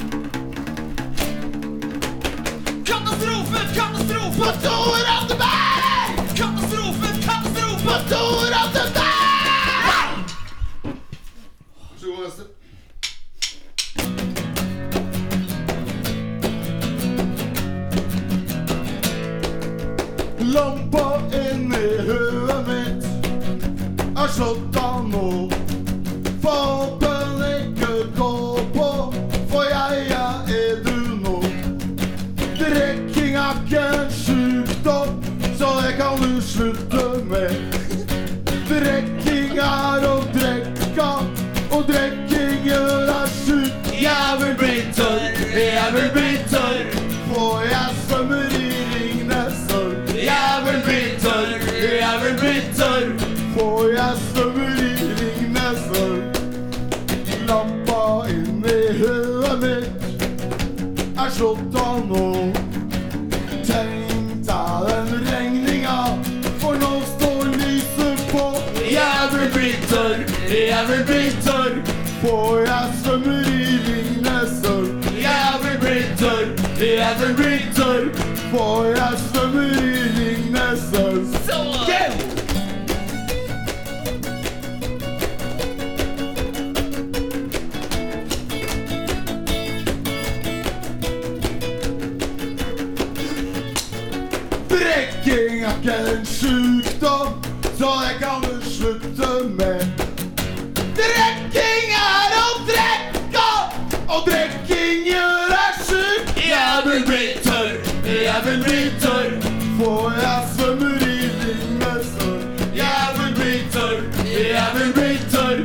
[SPEAKER 4] Katastrofe, katastrofe Hva står av til meg? Katastrofe, katastrofe Hva står av til meg? Vær så god, neste. Lampa inni huet mitt er slått av nå. Faen ikke gå på, for jeg er edru nå. Drikking er ikke en sjukdom, så det kan du slutte med. Drikking er å drekka, og drikking gjør deg sjuk. Jeg vil bli tørr, jeg vil bli tørr, for jeg svømmer i Ringnes sølv. Jeg vil bli tørr, jeg vil bli tørr, for jeg svømmer i Ringnes sølv. Lampa inni huet mitt er slått av nå. Tenk deg den regninga, for nå står lyset på. Jeg vil bli tørr, jeg vil bli tørr, for jeg svømmer i Ringnesølv. Jeg vil bli tørr, jeg vil bli tørr, for jeg svømmer i Ringnesølv. Yeah! Drikking er ikke en sjukdom, så det kan du slutte med. Drikking er å drikke, og drikking gjør deg sjuk. Jeg vil bli tørr, jeg vil bli tørr, for jeg svømmer i dine sår. Jeg vil bli tørr, jeg vil bli tørr,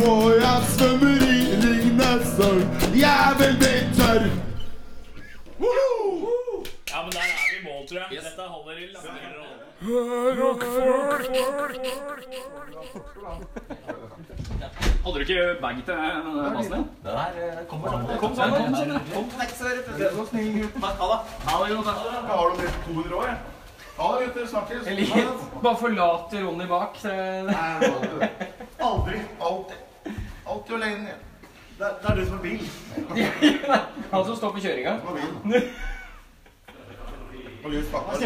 [SPEAKER 4] for jeg svømmer i dine sår. Jeg vil bli tørr. Woohoo!
[SPEAKER 2] Ja, men der er vi i mål, tror jeg. Dette holder i lange roller.
[SPEAKER 1] Rockfolk!
[SPEAKER 8] Hadde du ikke bag til masen din?
[SPEAKER 6] Det der eh, kommer sammen.
[SPEAKER 8] Kom sammen, kom sammen. Kom. Takk, Ha det. Ha det godt. da.
[SPEAKER 4] Jeg har noe 200 år, jeg. Ha det, gutter. Snakkes.
[SPEAKER 3] Bare forlate Ronny bak. så-
[SPEAKER 4] Aldri. Alltid. Alltid alene. Det er, det er du som er bil.
[SPEAKER 3] Han som står på kjøringa.
[SPEAKER 4] Som er bil. Og lys pakke.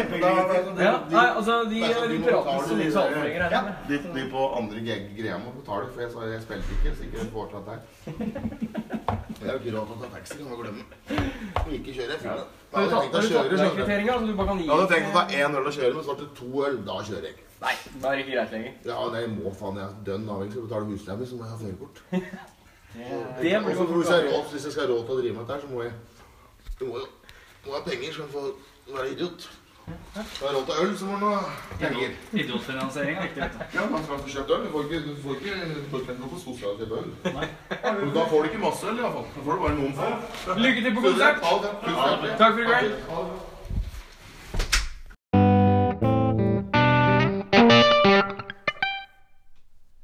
[SPEAKER 3] Ja, nei, altså De,
[SPEAKER 4] Det er sånn,
[SPEAKER 3] de
[SPEAKER 4] du må
[SPEAKER 3] prater
[SPEAKER 4] betale
[SPEAKER 3] så
[SPEAKER 4] de
[SPEAKER 3] mye
[SPEAKER 4] der-
[SPEAKER 3] saltpenger her.
[SPEAKER 4] De, de på andre geg- greia må betale, for jeg, sa- jeg spilte ikke. Så ikke jeg får tatt her. Jeg har jo ikke råd til å ta taxi, kan du glemme. Om ikke kjører, jeg finner det.
[SPEAKER 3] Har
[SPEAKER 4] Da
[SPEAKER 3] du
[SPEAKER 4] hadde jeg
[SPEAKER 3] tatt
[SPEAKER 4] tenkt
[SPEAKER 3] har du tatt
[SPEAKER 4] å kjøre,
[SPEAKER 3] med
[SPEAKER 4] skjønner du.
[SPEAKER 3] kvitteringa? Så du bare kan gi
[SPEAKER 4] Jeg hadde tenkt å ta én øl og kjøre, men så ble det to øl. Da kjører jeg ikke.
[SPEAKER 3] Nei, da er det ikke greit lenger.
[SPEAKER 4] Ja, nei, må faen, jeg er dønn avhengig. Skal jeg betale husleia mi, så må jeg ha førerkort.
[SPEAKER 3] Det
[SPEAKER 4] Og
[SPEAKER 3] blir
[SPEAKER 4] så
[SPEAKER 3] jo
[SPEAKER 4] hvis, jeg har råd- hvis jeg skal ha råd til å drive med dette, her, så må jeg Du må jo må ha penger, skal du få være idiot. Skal du ha råd til øl, så må du ha penger.
[SPEAKER 8] Idiotfinansiering er viktig. vet
[SPEAKER 4] Ja, man skal få kjøpt øl. Du får ikke, du får ikke, du får ikke noe på sosialkjøpt øl. Men Da får du ikke masse øl, iallfall. Da får du bare noen få.
[SPEAKER 3] bra. Lykke til på
[SPEAKER 4] Så det er
[SPEAKER 3] konsert!
[SPEAKER 4] tall, det er tusen hjertelig.
[SPEAKER 3] Takk for i kveld.
[SPEAKER 4] Ha det bra.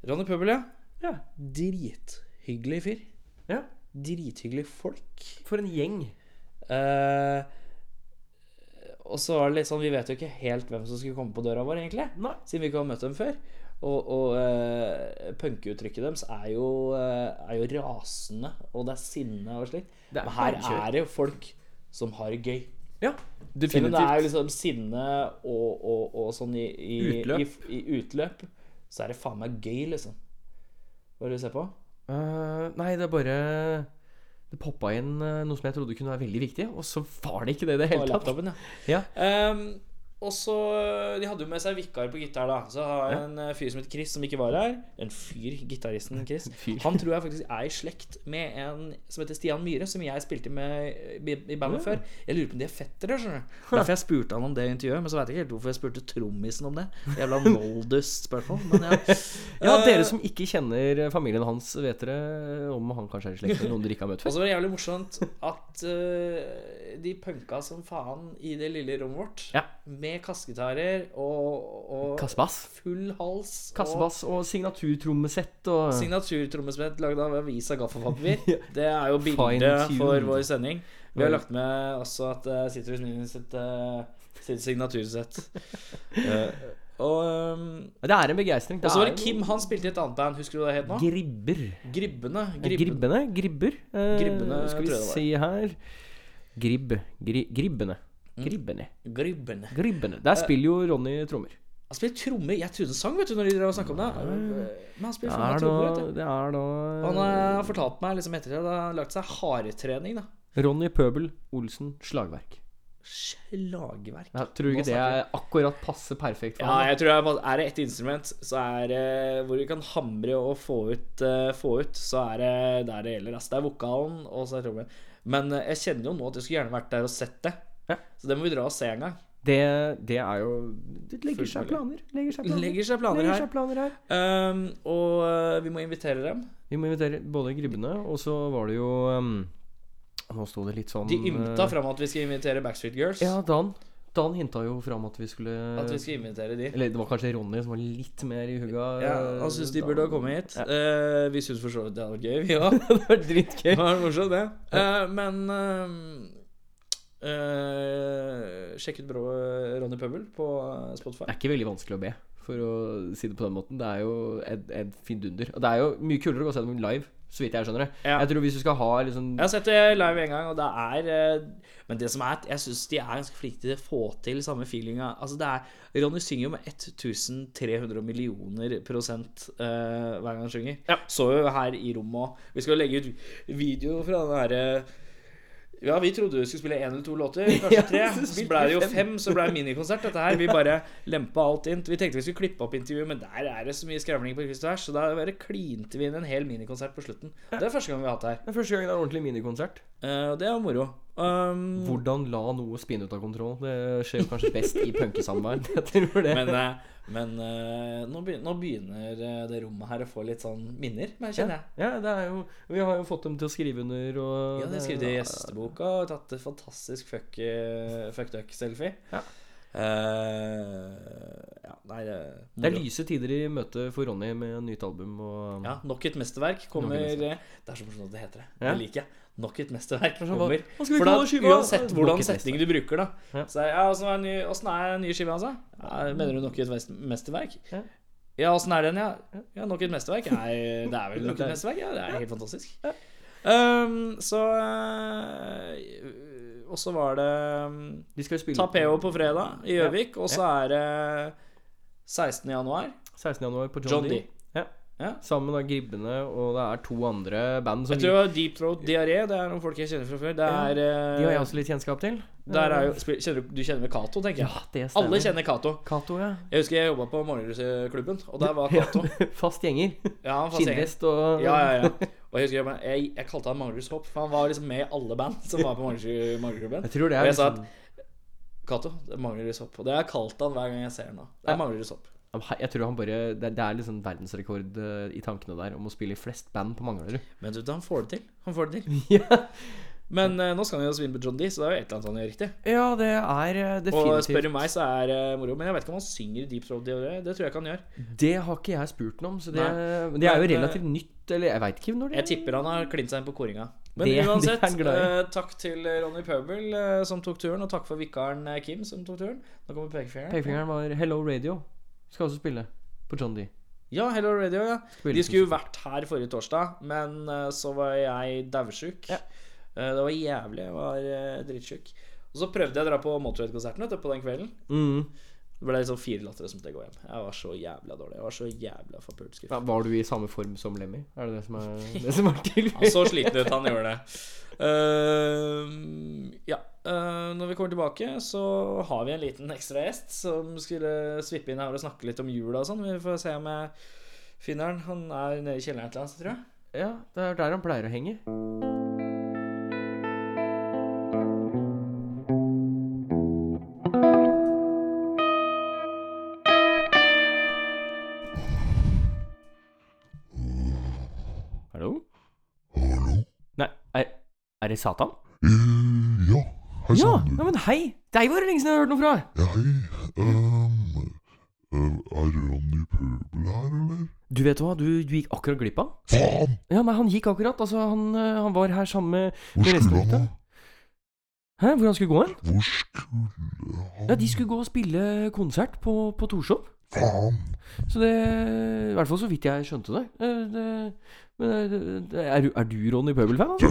[SPEAKER 2] Ronny Pøbel, ja.
[SPEAKER 3] Ja.
[SPEAKER 2] Drithyggelig fyr.
[SPEAKER 3] Ja.
[SPEAKER 2] Drithyggelig folk.
[SPEAKER 3] For en gjeng.
[SPEAKER 2] Eh, og så var det litt sånn Vi vet jo ikke helt hvem som skulle komme på døra vår, egentlig.
[SPEAKER 3] Nei.
[SPEAKER 2] Siden vi ikke har møtt dem før. Og, og eh, punkeuttrykket deres er jo, eh, er jo rasende, og det er sinne og slikt.
[SPEAKER 3] Det er
[SPEAKER 2] Men her
[SPEAKER 3] bare kjør.
[SPEAKER 2] er det jo folk som har det gøy.
[SPEAKER 3] Ja,
[SPEAKER 2] Selv om det er jo
[SPEAKER 3] definitivt.
[SPEAKER 2] liksom sinne og, og, og sånn i, i,
[SPEAKER 3] Utløp.
[SPEAKER 2] i, i utløp, så er det faen meg gøy, liksom. Hva er det du ser på?
[SPEAKER 3] Eh, nei, det er bare Det poppa inn eh, noe som jeg trodde kunne være veldig viktig, og så var det ikke det i det
[SPEAKER 2] På
[SPEAKER 3] hele tatt.
[SPEAKER 2] laptopen, ja.
[SPEAKER 3] Ja.
[SPEAKER 2] Ehm, og så eh, De hadde jo med seg vikar på gitar, da. Så har jeg en eh, fyr som heter Chris, som ikke var her. En fyr, gitaristen Chris. Han tror jeg faktisk er i slekt med en som heter Stian Myhre, som jeg spilte med i, i bandet før. Jeg lurer på om de er fettere, skjønner du. Derfor jeg spurte han om det i intervjuet, men så veit jeg ikke helt hvorfor jeg spurte trommisen om det. Jævla Moldus-spørsmål. Men ja.
[SPEAKER 3] Ja,
[SPEAKER 2] Eh,
[SPEAKER 3] Dere som ikke kjenner familien hans, vet dere om han kanskje er i slekt med noen dere ikke har møtt
[SPEAKER 2] Og
[SPEAKER 3] før?
[SPEAKER 2] så var det jævlig morsomt at eh, de punka som faen i det lille rommet vårt.
[SPEAKER 3] Ja.
[SPEAKER 2] Med kassegitarer og, og
[SPEAKER 3] Kassebass.
[SPEAKER 2] full hals.
[SPEAKER 3] Kassebass og signaturtrommesett og
[SPEAKER 2] Og signaturtrommespett lagd av avis av gaffelpapir. Det er jo bildet
[SPEAKER 3] Fine-tuned.
[SPEAKER 2] for vår sending. Vi har lagt med også at det sitter hos Nynäs sitt, eh, sitt signatursett. Eh, og um,
[SPEAKER 3] Ja, Det er en begeistring.
[SPEAKER 2] og så var det Kim, han spilte i et annet band. Husker du hva det het nå?
[SPEAKER 3] Gribber.
[SPEAKER 2] Gribbene. Gribbene.
[SPEAKER 3] Gribbene? Gribber? Eh,
[SPEAKER 2] Gribbene,
[SPEAKER 3] skal
[SPEAKER 2] tror jeg
[SPEAKER 3] vi
[SPEAKER 2] det var.
[SPEAKER 3] se her Gribb. Gri, gribbene. Gribbene.
[SPEAKER 2] Gribbene.
[SPEAKER 3] Gribbene.
[SPEAKER 2] Eh,
[SPEAKER 3] Der spiller jo Ronny trommer.
[SPEAKER 2] Han spiller trommer. Jeg trodde han sang, vet du, når de drev og snakka om det. Men han
[SPEAKER 3] Det
[SPEAKER 2] spiller faen
[SPEAKER 3] er
[SPEAKER 2] meg
[SPEAKER 3] da,
[SPEAKER 2] trommer, vet du.
[SPEAKER 3] det er da
[SPEAKER 2] Og Han eh, har fortalt meg liksom etter det, da han har lagt seg hardtrening, da.
[SPEAKER 3] Ronny Pøbel Olsen Slagverk.
[SPEAKER 2] Slagverk.
[SPEAKER 3] Ja, tror du
[SPEAKER 2] Nå
[SPEAKER 3] ikke det er akkurat passe perfekt for
[SPEAKER 2] Ja,
[SPEAKER 3] ham?
[SPEAKER 2] jeg tror jeg, bare- Er det ett instrument så er det hvor du kan hamre og få ut, eh, få ut så er det der det gjelder. ass. Det er vokalen og så er trommen. Men eh, jeg kjenner jo nå at jeg skulle gjerne vært der og sett det.
[SPEAKER 3] Ja.
[SPEAKER 2] Så det må vi dra og se en gang.
[SPEAKER 3] Det, det er jo Det legger
[SPEAKER 2] Fullt
[SPEAKER 3] seg
[SPEAKER 2] mulig.
[SPEAKER 3] planer. Legger seg planer,
[SPEAKER 2] Legger seg planer
[SPEAKER 3] legger
[SPEAKER 2] her.
[SPEAKER 3] seg planer her.
[SPEAKER 2] Um, og eh, vi må invitere dem.
[SPEAKER 3] Vi må invitere både Gribbene, og så var det jo ehm, Nå sto det litt sånn
[SPEAKER 2] De ymta
[SPEAKER 3] eh,
[SPEAKER 2] fram at vi skal invitere Backstreet Girls.
[SPEAKER 3] Ja, Dan. Dan hinta jo fram at vi skulle
[SPEAKER 2] At vi skal invitere de.
[SPEAKER 3] Eller det var kanskje Ronny som var litt mer i hugga.
[SPEAKER 2] Ja,
[SPEAKER 3] eh,
[SPEAKER 2] han syns de burde ha kommet hit. Eh, vi syns for så vidt det hadde vært gøy, vi òg.
[SPEAKER 3] det var dritgøy.
[SPEAKER 2] Det var morsomt, det. Eh, men eh, eh, sjekk ut Brå, Ronny Pøbel på eh,
[SPEAKER 3] Det
[SPEAKER 2] Spotify.
[SPEAKER 3] er ikke veldig vanskelig å be, for å si det på den måten. Det er jo et, et fidunder. Og det er jo mye kulere å gå og se dem live, så vidt jeg skjønner det.
[SPEAKER 2] Ja.
[SPEAKER 3] Jeg tror hvis du skal ha liksom
[SPEAKER 2] Jeg har sett det live en gang, og det er eh, Men det som er jeg syns de er ganske flinke til å få til samme feelinga. Altså, det er Ronny synger jo med 1300 millioner prosent eh, hver gang han synger. Så jo her i rommet òg. Vi skal jo legge ut video fra den herre ja, vi trodde vi skulle spille én eller to låter, kanskje tre. Så ble det jo fem, så ble det minikonsert. Dette her, Vi bare lempa alt inn. Vi tenkte vi skulle klippe opp intervjuet, men der er det så mye skravling på kryss og tvers, så da bare klinte vi inn en hel minikonsert på slutten. Det er første gang vi har hatt det her.
[SPEAKER 3] Det er første gang det er ordentlig minikonsert.
[SPEAKER 2] Eh, og det er jo moro. Um,
[SPEAKER 3] Hvordan la noe spinne ut av kontroll? Det skjer jo kanskje best i punkesamarbeid. Jeg tror det.
[SPEAKER 2] men eh, men eh, nå, begynner, nå begynner eh, det rommet her å få litt sånn minner, men kjenner jeg.
[SPEAKER 3] ja, det er jo Vi har jo fått dem til å skrive under og
[SPEAKER 2] Ja, De har skrevet i gjesteboka og tatt et fantastisk fuck, eh, fuck duck-selfie.
[SPEAKER 3] Ja.
[SPEAKER 2] Eh, ja, Nei, det
[SPEAKER 3] Det er lyse tider i møte for Ronny med nytt album og
[SPEAKER 2] Ja, nok et mesterverk kommer
[SPEAKER 3] Mm. Nok et
[SPEAKER 2] Det er så morsomt at det heter det.
[SPEAKER 3] Ja.
[SPEAKER 2] Det liker jeg. Nok et mesterverk
[SPEAKER 3] sånn, hva-
[SPEAKER 2] kommer.
[SPEAKER 3] hva skal vi
[SPEAKER 2] For da,
[SPEAKER 3] kalle skiva?
[SPEAKER 2] uansett
[SPEAKER 3] Nok
[SPEAKER 2] hvordan
[SPEAKER 3] et
[SPEAKER 2] setning du bruker, da.
[SPEAKER 3] Ja.
[SPEAKER 2] Så er, ja, åssen er, ny- åssen er den nye skiva, altså? Ja, mener du nok et vest- mesterverk?
[SPEAKER 3] Ja.
[SPEAKER 2] Ja, åssen er den, ja? Ja, nok et mesterverk? Nei, det er vel nok et
[SPEAKER 3] Det er-
[SPEAKER 2] mesterverk? Ja, det er helt fantastisk. Um, så øh, Og så var det um,
[SPEAKER 3] De skal jo spille
[SPEAKER 2] Tapeo på fredag i Gjøvik, og så er det 16. januar.
[SPEAKER 3] 16. januar på John,
[SPEAKER 2] John D.
[SPEAKER 3] D. Ja.
[SPEAKER 2] Ja.
[SPEAKER 3] Sammen med da Gribbene, og det er to andre band som
[SPEAKER 2] Jeg tror det var Deep Throat Diaré. Det er noen folk jeg kjenner fra før. Det
[SPEAKER 3] Ja,
[SPEAKER 2] er,
[SPEAKER 3] De har
[SPEAKER 2] eh,
[SPEAKER 3] jeg også litt kjennskap til.
[SPEAKER 2] der er jo, spil- kjenner du, du kjenner vel Cato, tenker jeg.
[SPEAKER 3] Ja, det stemmer.
[SPEAKER 2] Alle kjenner Cato.
[SPEAKER 3] Cato, ja.
[SPEAKER 2] Jeg husker jeg jobba på Målerudklubben, og der var Cato.
[SPEAKER 3] Fast gjenger.
[SPEAKER 2] Ja, han var fascinerende.
[SPEAKER 3] Skinnvest og
[SPEAKER 2] Ja, ja, ja. Og jeg husker jeg, bare- jeg, jeg kalte han Manglerus Hopp, for han var liksom med i alle band som var på Manglerud- Manglerudklubben.
[SPEAKER 3] Jeg tror
[SPEAKER 2] Og
[SPEAKER 3] det er
[SPEAKER 2] jeg sa at-
[SPEAKER 3] liksom-
[SPEAKER 2] Cato, det er Manglerus Hopp. Og det har jeg kalt han hver gang jeg ser han nå. Det er Manglerus Hopp.
[SPEAKER 3] Jeg tror liksom- han bare Det er, det er liksom verdensrekord eh, i tankene der om å spille i flest band på Manglerud.
[SPEAKER 2] Men vet du, han får det til. Han får det til.
[SPEAKER 3] Ja.
[SPEAKER 2] Men eh, nå skal han jo svinne på John D, så det er jo et eller annet han gjør riktig.
[SPEAKER 3] ja, det er eh,
[SPEAKER 2] Og
[SPEAKER 3] definitivt
[SPEAKER 2] spør du meg, så er det moro. Men jeg vet ikke om han synger i Deep Throat Diaré. Det tror jeg ikke han gjør.
[SPEAKER 3] Det har ikke jeg spurt ham om, så det,
[SPEAKER 2] Nei.
[SPEAKER 3] men det er jo
[SPEAKER 2] Men, eh,
[SPEAKER 3] relativt nytt. Eller jeg veit ikke når det
[SPEAKER 2] Jeg tipper han har klint seg inn på koringa. Men
[SPEAKER 3] Det- det er han
[SPEAKER 2] uansett,
[SPEAKER 3] glad i.
[SPEAKER 2] eh, takk til Ronny Pøbel eh, som tok turen, og takk for vikaren eh, Kim som tok turen. Nå kommer pekefingeren.
[SPEAKER 3] Pekefingeren var Hello Radio. Skal også spille på John D.
[SPEAKER 2] Ja, Hello Radio, ja.
[SPEAKER 3] Spille
[SPEAKER 2] De skulle jo
[SPEAKER 3] som-
[SPEAKER 2] vært her forrige torsdag, men eh, så var jeg daudsjuk.
[SPEAKER 3] Ja.
[SPEAKER 2] Eh, Det var jævlig. Jeg var eh, dritsjuk. Og så prøvde jeg å dra på Motorhead-konserten vet du, på den kvelden.
[SPEAKER 3] mm.
[SPEAKER 2] Det ble liksom fire latter som til å gå hjem. Jeg var så jævla dårlig. Jeg var så jævla forpult skuffet.
[SPEAKER 3] ja, Var du i samme form som Lemmy? Er det det som er, det som er til?
[SPEAKER 2] Han så sliten ut, han gjorde det. Ehm, ja. eh, når vi kommer tilbake, så har vi en liten ekstra gjest som skulle svippe inn her og snakke litt om jula og sånn. Vi får se om jeg finner han. Han er nede i kjelleren et eller annet, tror jeg.
[SPEAKER 3] Ja, det er der han pleier å henge. Hallo? Nei, er, er det Satan?
[SPEAKER 9] Eh, ja. Hei
[SPEAKER 3] ja,
[SPEAKER 9] sann, du.
[SPEAKER 3] nei, men hei! Deg var det lenge siden jeg har hørt noe fra!
[SPEAKER 9] Ja, hei. Um, er Ronny Pøbel her, eller?
[SPEAKER 3] Du vet hva, du, du gikk akkurat glipp av han.
[SPEAKER 9] Faen!
[SPEAKER 3] Ja, nei, han gikk akkurat. Altså, han, eh, han var her sammen med
[SPEAKER 9] Hvor
[SPEAKER 3] Det er
[SPEAKER 9] skulle han,
[SPEAKER 3] resten
[SPEAKER 9] da?
[SPEAKER 3] av Hæ, hvor han skulle gå hen?
[SPEAKER 9] Hvor skulle han
[SPEAKER 3] Ja, de skulle gå og spille konsert på, på Torshov.
[SPEAKER 9] Faen!
[SPEAKER 3] Så det I hvert fall så vidt jeg skjønte det. Eh, det men eh, det- det- er, du- er du Ronny Pøbel-fan? Altså?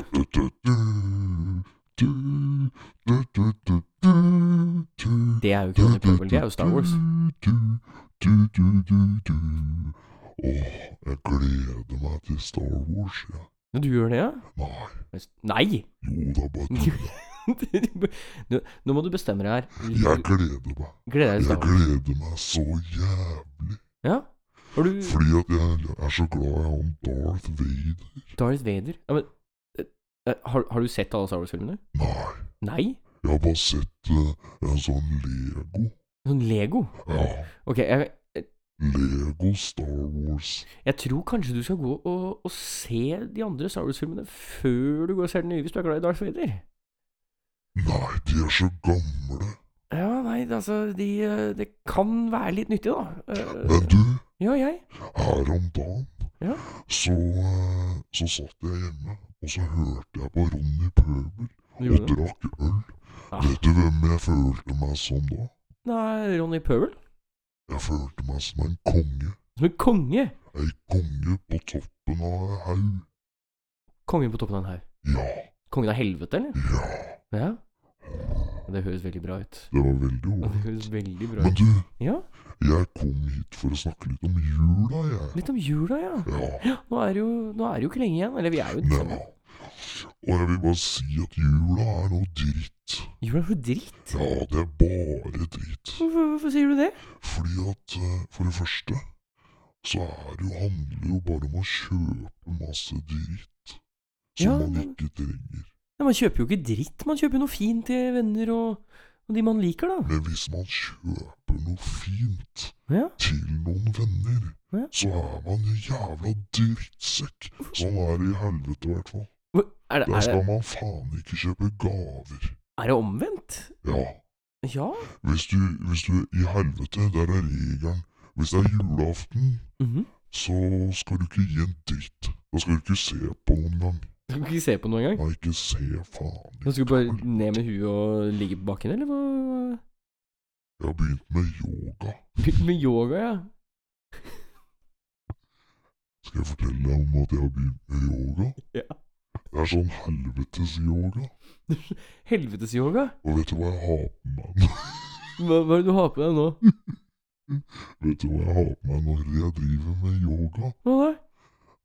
[SPEAKER 3] Det er jo ikke Ronny Pøbel, det er jo Star Wars.
[SPEAKER 9] Åh, jeg gleder meg til Star Wars, ja.
[SPEAKER 3] Men du gjør det, ja?
[SPEAKER 9] Nei,
[SPEAKER 3] Nei!
[SPEAKER 9] jo da, bare tull.
[SPEAKER 3] Nå, nå må du bestemme deg her.
[SPEAKER 9] Jeg gleder meg.
[SPEAKER 3] Gleder deg til Star
[SPEAKER 9] Jeg
[SPEAKER 3] Wars.
[SPEAKER 9] gleder meg så jævlig.
[SPEAKER 3] Ja? Har du
[SPEAKER 9] Fordi at jeg er så glad i han Darth Vader.
[SPEAKER 3] Darth Vader? Ja, men eh, eh, har, har du sett alle Star Wars-filmene?
[SPEAKER 9] Nei,
[SPEAKER 3] Nei?
[SPEAKER 9] jeg har bare sett eh, en sånn Lego.
[SPEAKER 3] Sånn Lego?
[SPEAKER 9] Ja,
[SPEAKER 3] Ok, jeg,
[SPEAKER 9] Lego Star Wars.
[SPEAKER 3] Jeg tror kanskje du skal gå og, og se de andre Star Wars-filmene før du går og ser den nye, hvis du er glad i Darth Vader.
[SPEAKER 9] Nei, de er så gamle.
[SPEAKER 3] Ja, nei, altså de, eh, Det kan være litt nyttig, da. Eh,
[SPEAKER 9] Men du,
[SPEAKER 3] Ja, jeg.
[SPEAKER 9] her om dagen
[SPEAKER 3] Ja.
[SPEAKER 9] så, eh, så satt jeg hjemme, og så hørte jeg på Ronny Pøbel
[SPEAKER 3] Du
[SPEAKER 9] og
[SPEAKER 3] gjorde det.
[SPEAKER 9] drakk øl.
[SPEAKER 3] Ah.
[SPEAKER 9] Vet du hvem jeg følte meg som da?
[SPEAKER 3] Nei, Ronny Pøbel.
[SPEAKER 9] Jeg følte meg som en konge.
[SPEAKER 3] Som en konge.
[SPEAKER 9] Ei konge på toppen av en haug.
[SPEAKER 3] Kongen på toppen av en haug.
[SPEAKER 9] Ja,
[SPEAKER 3] Kongen av helvete, eller?
[SPEAKER 9] ja.
[SPEAKER 3] Ja. Det høres veldig bra ut.
[SPEAKER 9] Det var veldig
[SPEAKER 3] Ja, Det
[SPEAKER 9] ålreit.
[SPEAKER 3] høres veldig bra
[SPEAKER 9] Men
[SPEAKER 3] ut.
[SPEAKER 9] du,
[SPEAKER 3] Ja,
[SPEAKER 9] jeg kom hit for å snakke litt om jula, jeg.
[SPEAKER 3] litt om jula, ja.
[SPEAKER 9] Ja,
[SPEAKER 3] Nå er det jo, nå er det jo ikke lenge igjen. Eller vi er jo i
[SPEAKER 9] nemma.
[SPEAKER 3] desember.
[SPEAKER 9] Og jeg vil bare si at jula er noe dritt.
[SPEAKER 3] Jula er jo dritt.
[SPEAKER 9] Ja, det er bare dritt.
[SPEAKER 3] Hvorfor, hvorfor sier du det?
[SPEAKER 9] Fordi at, eh, for det første, så er det jo, handler det jo bare om å kjøpe masse dritt som
[SPEAKER 3] Ja,
[SPEAKER 9] man
[SPEAKER 3] men-
[SPEAKER 9] ikke trenger.
[SPEAKER 3] Ja, man kjøper jo ikke dritt. Man kjøper jo noe fint til venner og, og de man liker, da.
[SPEAKER 9] Men hvis man kjøper noe fint
[SPEAKER 3] Ja.
[SPEAKER 9] til noen venner,
[SPEAKER 3] Ja.
[SPEAKER 9] så er man en jævla drittsekk. Sånn er det i helvete, i hvert fall.
[SPEAKER 3] Hvor- Er det,
[SPEAKER 9] Der
[SPEAKER 3] er det,
[SPEAKER 9] skal man faen ikke kjøpe gaver.
[SPEAKER 3] er det omvendt?
[SPEAKER 9] Ja,
[SPEAKER 3] Ja?
[SPEAKER 9] Hvis du, hvis du I helvete, der er regelen. Hvis det er julaften,
[SPEAKER 3] Mhm.
[SPEAKER 9] så skal du ikke gi en dritt. Da skal du ikke se på noen gang.
[SPEAKER 3] Du kan ikke se på noe engang?
[SPEAKER 9] Nei, ikke se faen.
[SPEAKER 3] Du skal bare ned med huet og ligge på bakken, eller hva?
[SPEAKER 9] Jeg har begynt med yoga.
[SPEAKER 3] Begynte med yoga, ja.
[SPEAKER 9] Skal jeg fortelle deg om at jeg har begynt med yoga?
[SPEAKER 3] Ja.
[SPEAKER 9] Det er sånn helvetes yoga.
[SPEAKER 3] Helvetesyoga?
[SPEAKER 9] Og vet du hva jeg har på meg nå?
[SPEAKER 3] Hva, hva er det du har på deg nå?
[SPEAKER 9] Vet du hva jeg har på meg når jeg driver med yoga?
[SPEAKER 3] Hva da?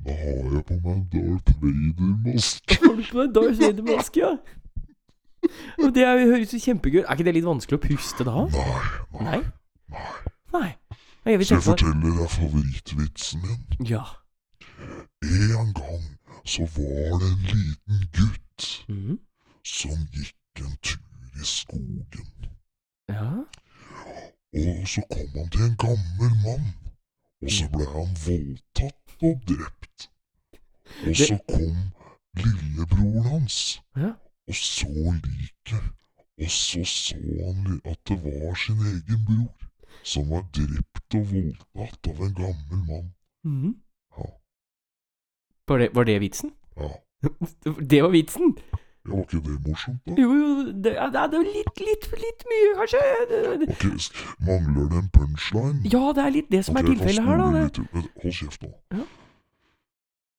[SPEAKER 9] Da har jeg på meg Darth Vader-maske.
[SPEAKER 3] Har du på deg Darth Vader-maske, ja? Og det er, høres jo kjempegøy Er ikke det litt vanskelig å puste da?
[SPEAKER 9] Nei,
[SPEAKER 3] Nei?
[SPEAKER 9] nei, nei.
[SPEAKER 3] Nei. Nei, jeg vil
[SPEAKER 9] Skal jeg
[SPEAKER 3] tenke på
[SPEAKER 9] fortelle deg favorittvitsen min?
[SPEAKER 3] Ja.
[SPEAKER 9] En gang så var det en liten gutt
[SPEAKER 3] Mhm.
[SPEAKER 9] som gikk en tur i skogen.
[SPEAKER 3] Ja.
[SPEAKER 9] Og så kom han til en gammel mann, og så ble han voldtatt og drept. Og
[SPEAKER 3] Det-
[SPEAKER 9] så kom lillebroren hans
[SPEAKER 3] Ja.
[SPEAKER 9] og så liket, og så så han li- at det var sin egen bror som var drept og voldtatt av en gammel mann.
[SPEAKER 3] Mhm.
[SPEAKER 9] Ja,
[SPEAKER 3] Var, det, var det vitsen?
[SPEAKER 9] ja.
[SPEAKER 3] Det var vitsen!
[SPEAKER 9] Ja, Var ikke det morsomt, da?
[SPEAKER 3] Jo, jo, det, ja, det er- det er litt, litt, litt mye, kanskje. Det- det-
[SPEAKER 9] Ok, s- Mangler det en punchline?
[SPEAKER 3] Ja, det er litt det som er
[SPEAKER 9] Ok, hold
[SPEAKER 3] tilfellet her, da.
[SPEAKER 9] snoren
[SPEAKER 3] Det.
[SPEAKER 9] litt til. Vent, Hold kjeft nå.
[SPEAKER 3] Ja.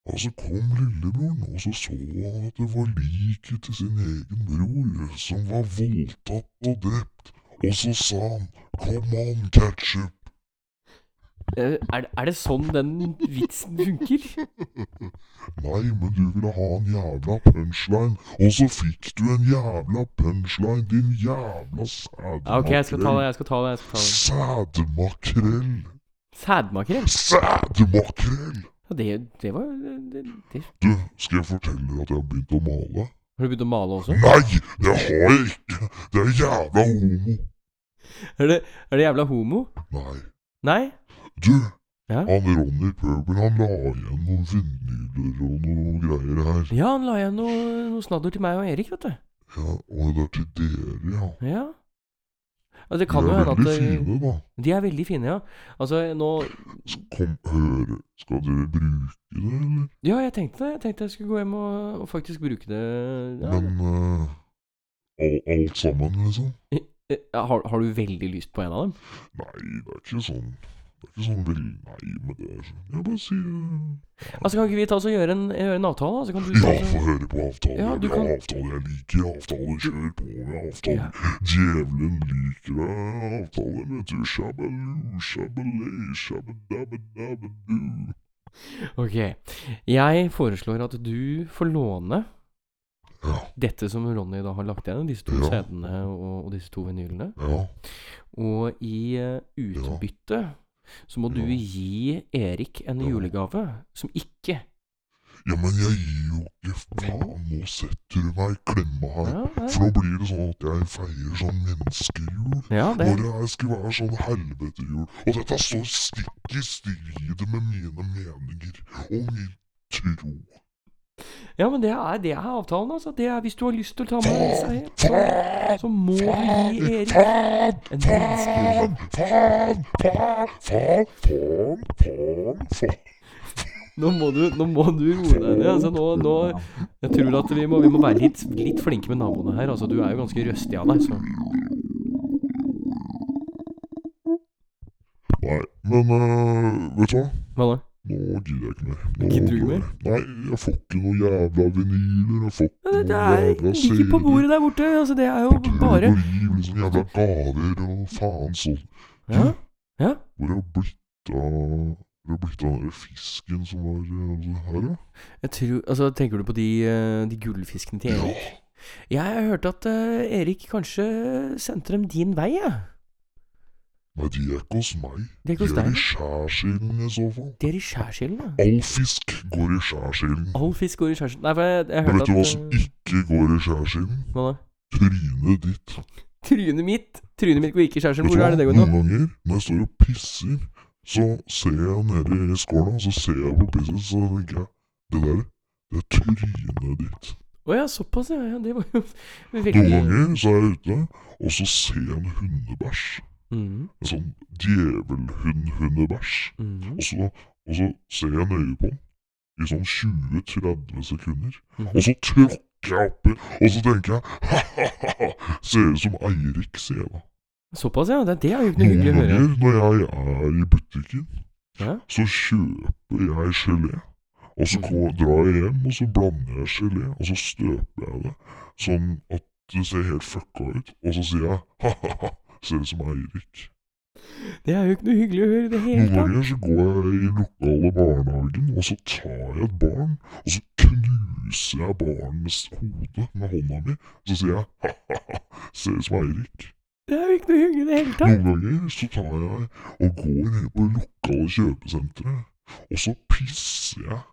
[SPEAKER 9] Og så kom lillebroren, og så så han at det var liket til sin egen bror som var voldtatt og drept. Og så sa han 'Come on, ketchup'.
[SPEAKER 3] Eh, Er, det- er det sånn den vitsen funker?
[SPEAKER 9] Nei, men du ville ha en jævla punchline, og så fikk du en jævla punchline, din jævla
[SPEAKER 3] Ja, ok, jeg skal ta det,
[SPEAKER 9] sædmakrell.
[SPEAKER 3] jeg skal ta det. jeg skal ta det
[SPEAKER 9] Sædmakrell.
[SPEAKER 3] Sædmakrell?
[SPEAKER 9] Sædmakrell!
[SPEAKER 3] Ja, det, det var det, det.
[SPEAKER 9] Du, skal jeg fortelle deg at jeg har begynt å male?
[SPEAKER 3] Har du begynt å male også?
[SPEAKER 9] Nei, det har jeg ikke. Det er jævla homo.
[SPEAKER 3] Er det, er det jævla homo?
[SPEAKER 9] Nei.
[SPEAKER 3] Nei?
[SPEAKER 9] Du,
[SPEAKER 3] Ja?
[SPEAKER 9] han Ronny Pøbel, han la igjen noen vinyler og noen greier her.
[SPEAKER 3] Ja, han la igjen noe, noe snadder til meg og Erik, vet du.
[SPEAKER 9] Ja, og det er til dere, ja.
[SPEAKER 3] Ja. Ja, det
[SPEAKER 9] De
[SPEAKER 3] kan jo
[SPEAKER 9] er
[SPEAKER 3] hende at
[SPEAKER 9] veldig
[SPEAKER 3] det,
[SPEAKER 9] fine, da.
[SPEAKER 3] De er veldig fine, ja. Altså, nå
[SPEAKER 9] Så kom, høre, skal dere bruke det, eller?
[SPEAKER 3] Ja, jeg tenkte det. Jeg tenkte jeg skulle gå hjem og, og faktisk bruke det. Ja.
[SPEAKER 9] Men eh, al- alt sammen, liksom?
[SPEAKER 3] Eh, Har, har du veldig lyst på en av dem?
[SPEAKER 9] Nei, det er ikke sånn. Det er ikke sånn veldig Nei, men det er sånn. Jeg bare sier eh,
[SPEAKER 3] Altså, Kan ikke vi ta oss og gjøre en, gjøre en avtale? da? Så kan du
[SPEAKER 9] Ja,
[SPEAKER 3] ta oss
[SPEAKER 9] få
[SPEAKER 3] og-
[SPEAKER 9] høre på avtaler.
[SPEAKER 3] Ja,
[SPEAKER 9] Ja,
[SPEAKER 3] du kan-
[SPEAKER 9] avtaler. Jeg liker avtaler. Kjør på med avtaler. Djevelen liker deg. Avtaler, vet du. Shabbaloo, shabbalay, shabbadabbadabbadoo.
[SPEAKER 3] Ok. Jeg foreslår at du får låne
[SPEAKER 9] Ja,
[SPEAKER 3] dette som Ronny da har lagt igjen, disse to
[SPEAKER 9] Ja.
[SPEAKER 3] sedene og, og disse to vinylene.
[SPEAKER 9] ja.
[SPEAKER 3] Og i eh, utbytte så må du
[SPEAKER 9] Ja.
[SPEAKER 3] gi Erik en
[SPEAKER 9] Ja.
[SPEAKER 3] julegave som ikke
[SPEAKER 9] Ja, men jeg gir jo ikke faen. Nå setter du meg i klemma her.
[SPEAKER 3] Ja, nei.
[SPEAKER 9] For nå blir det sånn at jeg feier sånn menneskejul.
[SPEAKER 3] ja det
[SPEAKER 9] Når jeg skulle være sånn helvetejul. Og dette står stikk i strid med mine meninger og min tro.
[SPEAKER 3] Ja, men det er, det er avtalen, altså. Det er hvis du har lyst til å ta med deg
[SPEAKER 9] Faen!
[SPEAKER 3] seier, så,
[SPEAKER 9] Faen!
[SPEAKER 3] så må du gi
[SPEAKER 9] Faen!
[SPEAKER 3] Erik
[SPEAKER 9] Faen! Faen!
[SPEAKER 3] en menneskejulegave.
[SPEAKER 9] Faen! Faen! Faen! Faen! Faen! Faen!
[SPEAKER 3] Nå må du, nå må du roe deg ned. Altså, nå, nå Jeg tror at vi må, vi må være litt, litt flinke med naboene her. Altså, du er jo ganske røstig av deg, så
[SPEAKER 9] Nei, men eh, vet du hva?
[SPEAKER 3] Hva da?
[SPEAKER 9] Nå gidder jeg ikke mer. Nå
[SPEAKER 3] Gidder du ikke mer?
[SPEAKER 9] Nei, jeg får ikke noe jævla vinyler. Jeg får ikke
[SPEAKER 3] Ja, Det det
[SPEAKER 9] noe
[SPEAKER 3] er
[SPEAKER 9] jævla
[SPEAKER 3] ligger på bordet der borte. Altså, det er jo bare
[SPEAKER 9] Og riv liksom jævla gaver og faen sånn.
[SPEAKER 3] Ja? Ja?
[SPEAKER 9] Hvor er det blitt av Hvor er det blitt av den der fisken som var eh, her, da?
[SPEAKER 3] Jeg tror Altså, tenker du på de, eh, de gullfiskene til Erik? Jeg hørte at eh, Erik kanskje sendte dem din vei, jeg.
[SPEAKER 9] Nei, de er ikke hos meg.
[SPEAKER 3] De er
[SPEAKER 9] De
[SPEAKER 3] ikke hos
[SPEAKER 9] er i
[SPEAKER 3] deg?
[SPEAKER 9] skjærsilden i så fall.
[SPEAKER 3] De er i skjærsilden, ja.
[SPEAKER 9] All fisk går i skjærsilden.
[SPEAKER 3] All fisk går i skjærsilden. Nei, for jeg, jeg
[SPEAKER 9] Men
[SPEAKER 3] hørte
[SPEAKER 9] vet
[SPEAKER 3] at
[SPEAKER 9] du hva som
[SPEAKER 3] eh,
[SPEAKER 9] ikke går i skjærsilden?
[SPEAKER 3] Hva da?
[SPEAKER 9] Trynet ditt.
[SPEAKER 3] Trynet mitt! Trynet mitt går ikke i skjærsilden.
[SPEAKER 9] Vet du hva? Mm.
[SPEAKER 3] Hvor er det det går nå?
[SPEAKER 9] Noen ganger når jeg står og pisser, så ser jeg nede i skåla, så ser jeg på pisset, så tenker jeg Det der, det er trynet ditt.
[SPEAKER 3] Å ja, såpass, ja. ja. Det var jo
[SPEAKER 9] Noen
[SPEAKER 3] veldig
[SPEAKER 9] ganger så er jeg ute, og så ser jeg en hundebæsj.
[SPEAKER 3] Mhm,
[SPEAKER 9] En sånn djevelhund-hundebæsj.
[SPEAKER 3] mhm,
[SPEAKER 9] Og så, og så ser jeg nøye på den i sånn 20-30 sekunder.
[SPEAKER 3] Mhm.
[SPEAKER 9] Og så tråkker jeg oppi, og så tenker jeg ha-ha-ha, ser ut som Eirik, sier jeg da.
[SPEAKER 3] Såpass, ja. Det, det er jo ikke noe
[SPEAKER 9] Noen
[SPEAKER 3] hyggelig å høre.
[SPEAKER 9] ganger når jeg er i butikken,
[SPEAKER 3] Ja. Mm.
[SPEAKER 9] så kjøper jeg gelé. Og så går, drar jeg hjem, og så blander jeg gelé, og så støper jeg det sånn at det ser helt fucka ut. Og så sier jeg ha-ha-ha, ser ut som Eirik.
[SPEAKER 3] Det er jo ikke noe hyggelig å høre i det hele
[SPEAKER 9] Noen
[SPEAKER 3] tatt.
[SPEAKER 9] ganger så går jeg i lokale barnehagen, og så tar jeg et barn, og så knuser jeg barnets hode med hånda mi, så sier jeg ha-ha-ha, ser ut som Eirik.
[SPEAKER 3] Det er jo ikke noe hyggelig i det hele tatt.
[SPEAKER 9] Noen ganger så tar jeg og går ned på det lokale kjøpesenteret, og så pisser jeg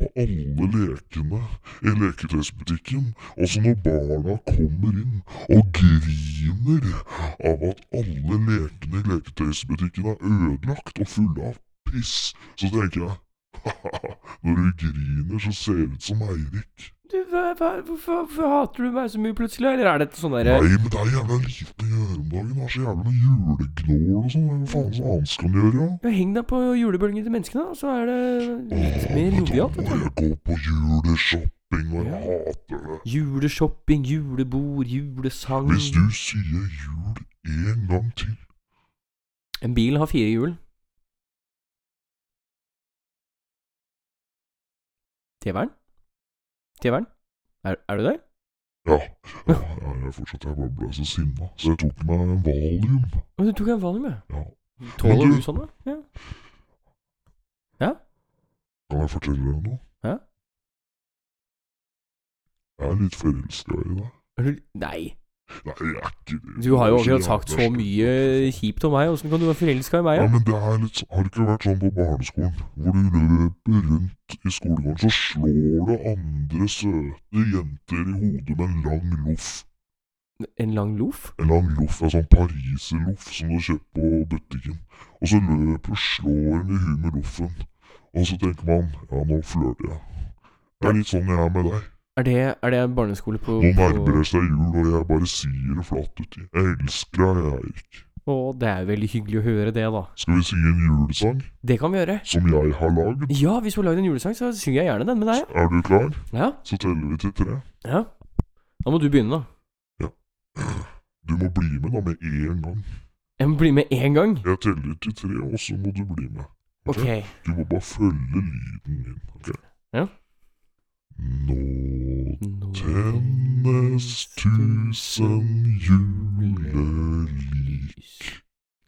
[SPEAKER 9] på alle lekene i leketøysbutikken, og så når barna kommer inn og griner av at alle lekene i leketøysbutikken er ødelagt og fulle av piss, så tenker jeg ha-ha, når du griner så ser det ut som Eirik.
[SPEAKER 3] Du, hva, hva, hvorfor, hvorfor hater du meg så mye plutselig, eller er dette sånn derre
[SPEAKER 9] Nei, men det er jævla lite å gjøre om dagen, det er så jævla mye julegnål og sånn, hva faen så annet skal man gjøre, ja?
[SPEAKER 3] Ja, Heng deg på julebølgen til menneskene, da, så er det litt mer
[SPEAKER 9] Men da
[SPEAKER 3] jovialt.
[SPEAKER 9] må
[SPEAKER 3] vet du.
[SPEAKER 9] jeg gå på juleshopping, og jeg hater det.
[SPEAKER 3] Juleshopping, julebord, julesang
[SPEAKER 9] Hvis du sier jul en gang til
[SPEAKER 3] En bil har fire hjul. Tevern? Tevern? Er, er du der?
[SPEAKER 9] Ja, ja, ja jeg er fortsatt jeg bare ble så sinna, så jeg tok meg en valium.
[SPEAKER 3] Å, du tok en valium, ja.
[SPEAKER 9] Ja.
[SPEAKER 3] Tåler
[SPEAKER 9] Men du-
[SPEAKER 3] du sånn, da? Ja.
[SPEAKER 9] Kan jeg fortelle deg noe?
[SPEAKER 3] Ja.
[SPEAKER 9] Jeg er litt forelska i deg.
[SPEAKER 3] Er du Nei.
[SPEAKER 9] Nei, jeg er ikke det.
[SPEAKER 3] Du har jo
[SPEAKER 9] Det er
[SPEAKER 3] akkurat sagt så
[SPEAKER 9] jævla
[SPEAKER 3] mye kjipt om meg. Åssen kan du være forelska i meg?
[SPEAKER 9] Ja,
[SPEAKER 3] Ja?
[SPEAKER 9] men det er litt, har det ikke vært sånn på barneskolen, hvor du løper rundt i skolegården, så slår det andre søte jenter i hodet med en lang loff.
[SPEAKER 3] En lang loff?
[SPEAKER 9] En lang loff, en sånn pariserloff som du kjøper på butikken. Og så løper og slår en i huet med loffen. Og så tenker man, ja, nå flørter jeg. Det er litt sånn jeg er med deg.
[SPEAKER 3] Er det, er det en barneskole på,
[SPEAKER 9] Nå
[SPEAKER 3] på
[SPEAKER 9] nærmer det seg jul, og jeg bare sier det flatt uti. Jeg elsker deg, Eirik.
[SPEAKER 3] Å, det er veldig hyggelig å høre det, da.
[SPEAKER 9] Skal vi synge en julesang
[SPEAKER 3] Det kan vi gjøre.
[SPEAKER 9] som jeg har lagd?
[SPEAKER 3] Ja, hvis du har lagd en julesang, så synger jeg gjerne den med deg.
[SPEAKER 9] Er du klar?
[SPEAKER 3] Ja.
[SPEAKER 9] Så teller vi til tre.
[SPEAKER 3] ja. Da må du begynne, da.
[SPEAKER 9] Du må bli med da med en gang.
[SPEAKER 3] Jeg må bli med én gang.
[SPEAKER 9] Jeg teller til tre, og så må du bli med.
[SPEAKER 3] Ok.
[SPEAKER 9] Du må bare følge lyden min, ok?
[SPEAKER 3] Ja.
[SPEAKER 9] Nå
[SPEAKER 3] Nå
[SPEAKER 9] tennes tusen julelys,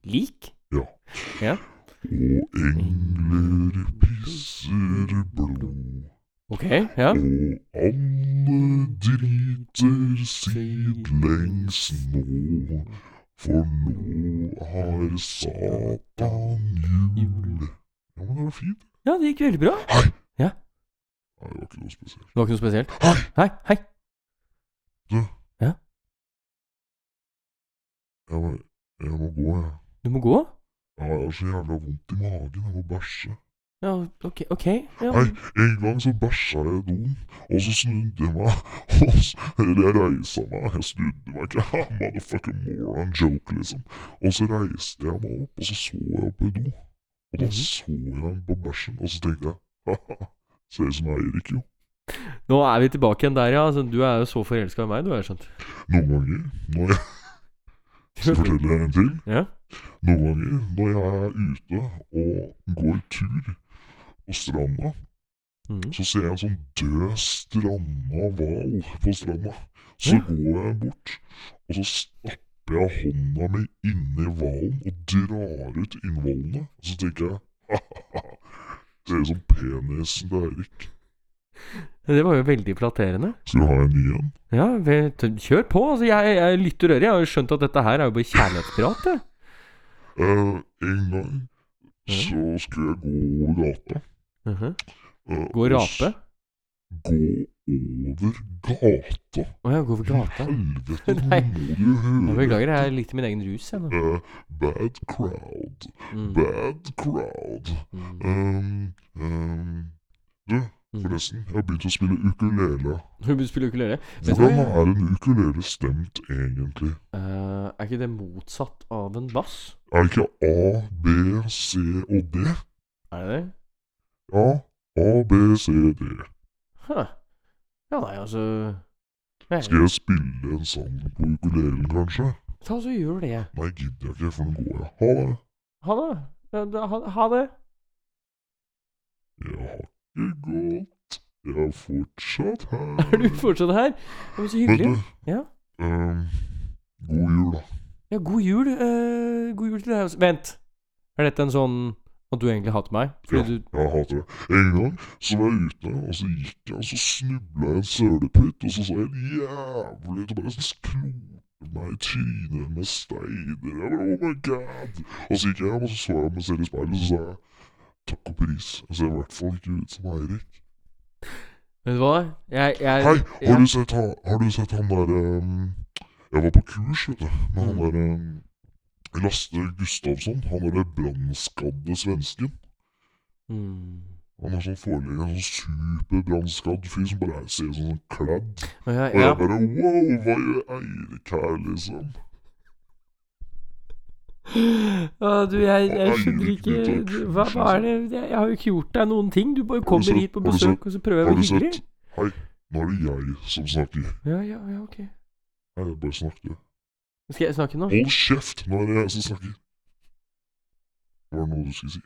[SPEAKER 3] Lik?
[SPEAKER 9] og engler pisser blod,
[SPEAKER 3] Ok, ja.
[SPEAKER 9] og alle driter sidelengs nå, for nå har Satan jul. Ja, men det var fint.
[SPEAKER 3] Ja, det gikk veldig bra.
[SPEAKER 9] Nei, det var ikke noe spesielt.
[SPEAKER 3] Det var ikke noe spesielt.
[SPEAKER 9] Hei!
[SPEAKER 3] Hei, hei.
[SPEAKER 9] Jeg må, jeg må gå, jeg.
[SPEAKER 3] Du må gå?
[SPEAKER 9] Ja, jeg har så jævla vondt i magen. Jeg må bæsje.
[SPEAKER 3] Ja, ok. ok. Ja.
[SPEAKER 9] Nei, en gang så bæsja jeg i doen, og så snudde jeg meg. og s- Eller jeg reisa meg. Jeg snudde meg ikke. Ha, Motherfucking moron joke, liksom. Og så reiste jeg meg opp, og så så jeg opp i do. Og da så jeg den på bæsjen, og så tenkte jeg ha-ha, ser ut som Eirik, jo.
[SPEAKER 3] Nå er vi tilbake igjen der, ja. Altså, du er jo så forelska i meg, du, har jeg skjønt.
[SPEAKER 9] Noen ganger når jeg Skal jeg fortelle deg en til?
[SPEAKER 3] Ja.
[SPEAKER 9] Noen ganger når jeg er ute og går tur på stranda,
[SPEAKER 3] Mhm.
[SPEAKER 9] så ser jeg en sånn død stranda hval på stranda. Så går jeg bort, og så stapper jeg hånda mi inni hvalen og drar ut innvollene. Og så tenker jeg ha-ha-ha, ser ut som penisen til Eirik.
[SPEAKER 3] Det var jo veldig flatterende.
[SPEAKER 9] Skal du ha en ny en?
[SPEAKER 3] Ja, vel, t- kjør på. Altså, jeg, jeg lytter øret. Jeg har jo skjønt at dette her er jo bare kjærlighetsprat. jeg.
[SPEAKER 9] Eh, en gang så skulle jeg gå over gata.
[SPEAKER 3] Mhm.
[SPEAKER 9] eh,
[SPEAKER 3] Gå og
[SPEAKER 9] og s-
[SPEAKER 3] rape.
[SPEAKER 9] Gå over gata.
[SPEAKER 3] Å ja, gå over gata.
[SPEAKER 9] Helvete, nå
[SPEAKER 3] Nei.
[SPEAKER 9] må du
[SPEAKER 3] Jeg
[SPEAKER 9] høre.
[SPEAKER 3] beklager, jeg likte min egen rus, jeg nå.
[SPEAKER 9] Eh, bad crowd.
[SPEAKER 3] Mm.
[SPEAKER 9] Bad crowd.
[SPEAKER 3] Mm.
[SPEAKER 9] Um, um, Ehm, du, Forresten, jeg har begynt å spille ukulele.
[SPEAKER 3] Hun spiller ukulele. Vet du hva?
[SPEAKER 9] Hvordan er en ukulele stemt egentlig?
[SPEAKER 3] Eh, er ikke det motsatt av en bass?
[SPEAKER 9] Er ikke A, B, C og D?
[SPEAKER 3] Er det det?
[SPEAKER 9] Ja, A, B, C, D.
[SPEAKER 3] Huh. Ja, nei, altså nei.
[SPEAKER 9] Skal jeg spille en sang på ukulelen, kanskje?
[SPEAKER 3] Ta og så gjør det.
[SPEAKER 9] Nei, gidder jeg ikke, for nå går jeg. Ha det.
[SPEAKER 3] Ha det. Ja, da- Ha, ha det.
[SPEAKER 9] Jeg har ikke gått. Jeg er fortsatt her.
[SPEAKER 3] Er du fortsatt her? Ja, men så
[SPEAKER 9] Vet
[SPEAKER 3] hyggelig.
[SPEAKER 9] du,
[SPEAKER 3] Ja.
[SPEAKER 9] ehm, god jul, da.
[SPEAKER 3] Ja, god jul. eh, god jul til deg også. Vent. Er dette en sånn at du egentlig hater meg? Fordi du
[SPEAKER 9] Jeg hater det. En gang så var jeg ute, og så gikk jeg, og så snubla jeg en sølepytt, og så sa jeg en jævlig til bare klote meg i trynet med steiner. Jeg bare, oh my god! Og så gikk jeg hjem, og så så jeg meg selv i speilet, og så sa jeg takk og pris. Jeg ser i hvert fall ikke ut som Eirik.
[SPEAKER 3] Vet du hva? Jeg, jeg
[SPEAKER 9] Hei,
[SPEAKER 3] ja.
[SPEAKER 9] har du sett, ha, har du sett han derre Jeg var på kurs, vet du, med han derre Laste Gustavsson, han derre brannskadde svensken.
[SPEAKER 3] Mm.
[SPEAKER 9] Han er sånn forelegger, en sånn superbrannskadd fyr som bare er- ser ut som en kladd.
[SPEAKER 3] Ja, ja,
[SPEAKER 9] Og jeg
[SPEAKER 3] ja.
[SPEAKER 9] bare wow, hva gjør Eirik her, liksom?
[SPEAKER 3] Å, du, jeg, jeg
[SPEAKER 9] Hva er
[SPEAKER 3] skjønner
[SPEAKER 9] det du
[SPEAKER 3] ikke
[SPEAKER 9] tar?
[SPEAKER 3] du, hva, hva er det Jeg jeg har jo ikke gjort deg noen ting. Du bare
[SPEAKER 9] du
[SPEAKER 3] kommer
[SPEAKER 9] sett-
[SPEAKER 3] hit på
[SPEAKER 9] har du sett-
[SPEAKER 3] besøk, og så prøver jeg å
[SPEAKER 9] Har du
[SPEAKER 3] være
[SPEAKER 9] sett?
[SPEAKER 3] hyggelig.
[SPEAKER 9] Hei, nå er det jeg som snakker.
[SPEAKER 3] Ja, ja, ja, ok.
[SPEAKER 9] Nei, jeg bare snakker.
[SPEAKER 3] Skal jeg snakke nå?
[SPEAKER 9] Hold kjeft, nå er det jeg som snakker. Var det noe du skulle si?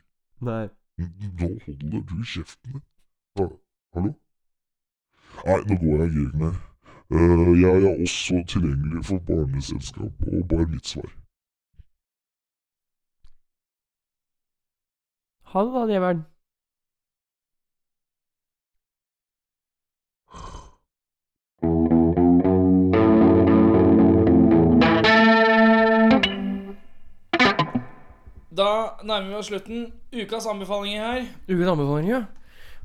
[SPEAKER 3] Nei.
[SPEAKER 9] Nå holder du kjeften din. Ha, hallo? Nei, nå går jeg ikke mer. Eh, jeg er også tilgjengelig for barneselskap og bar mitzvar.
[SPEAKER 3] Ha det, da, djevelen.
[SPEAKER 2] Da nærmer vi oss slutten. Ukas anbefalinger her.
[SPEAKER 3] Ukens anbefaling, ja.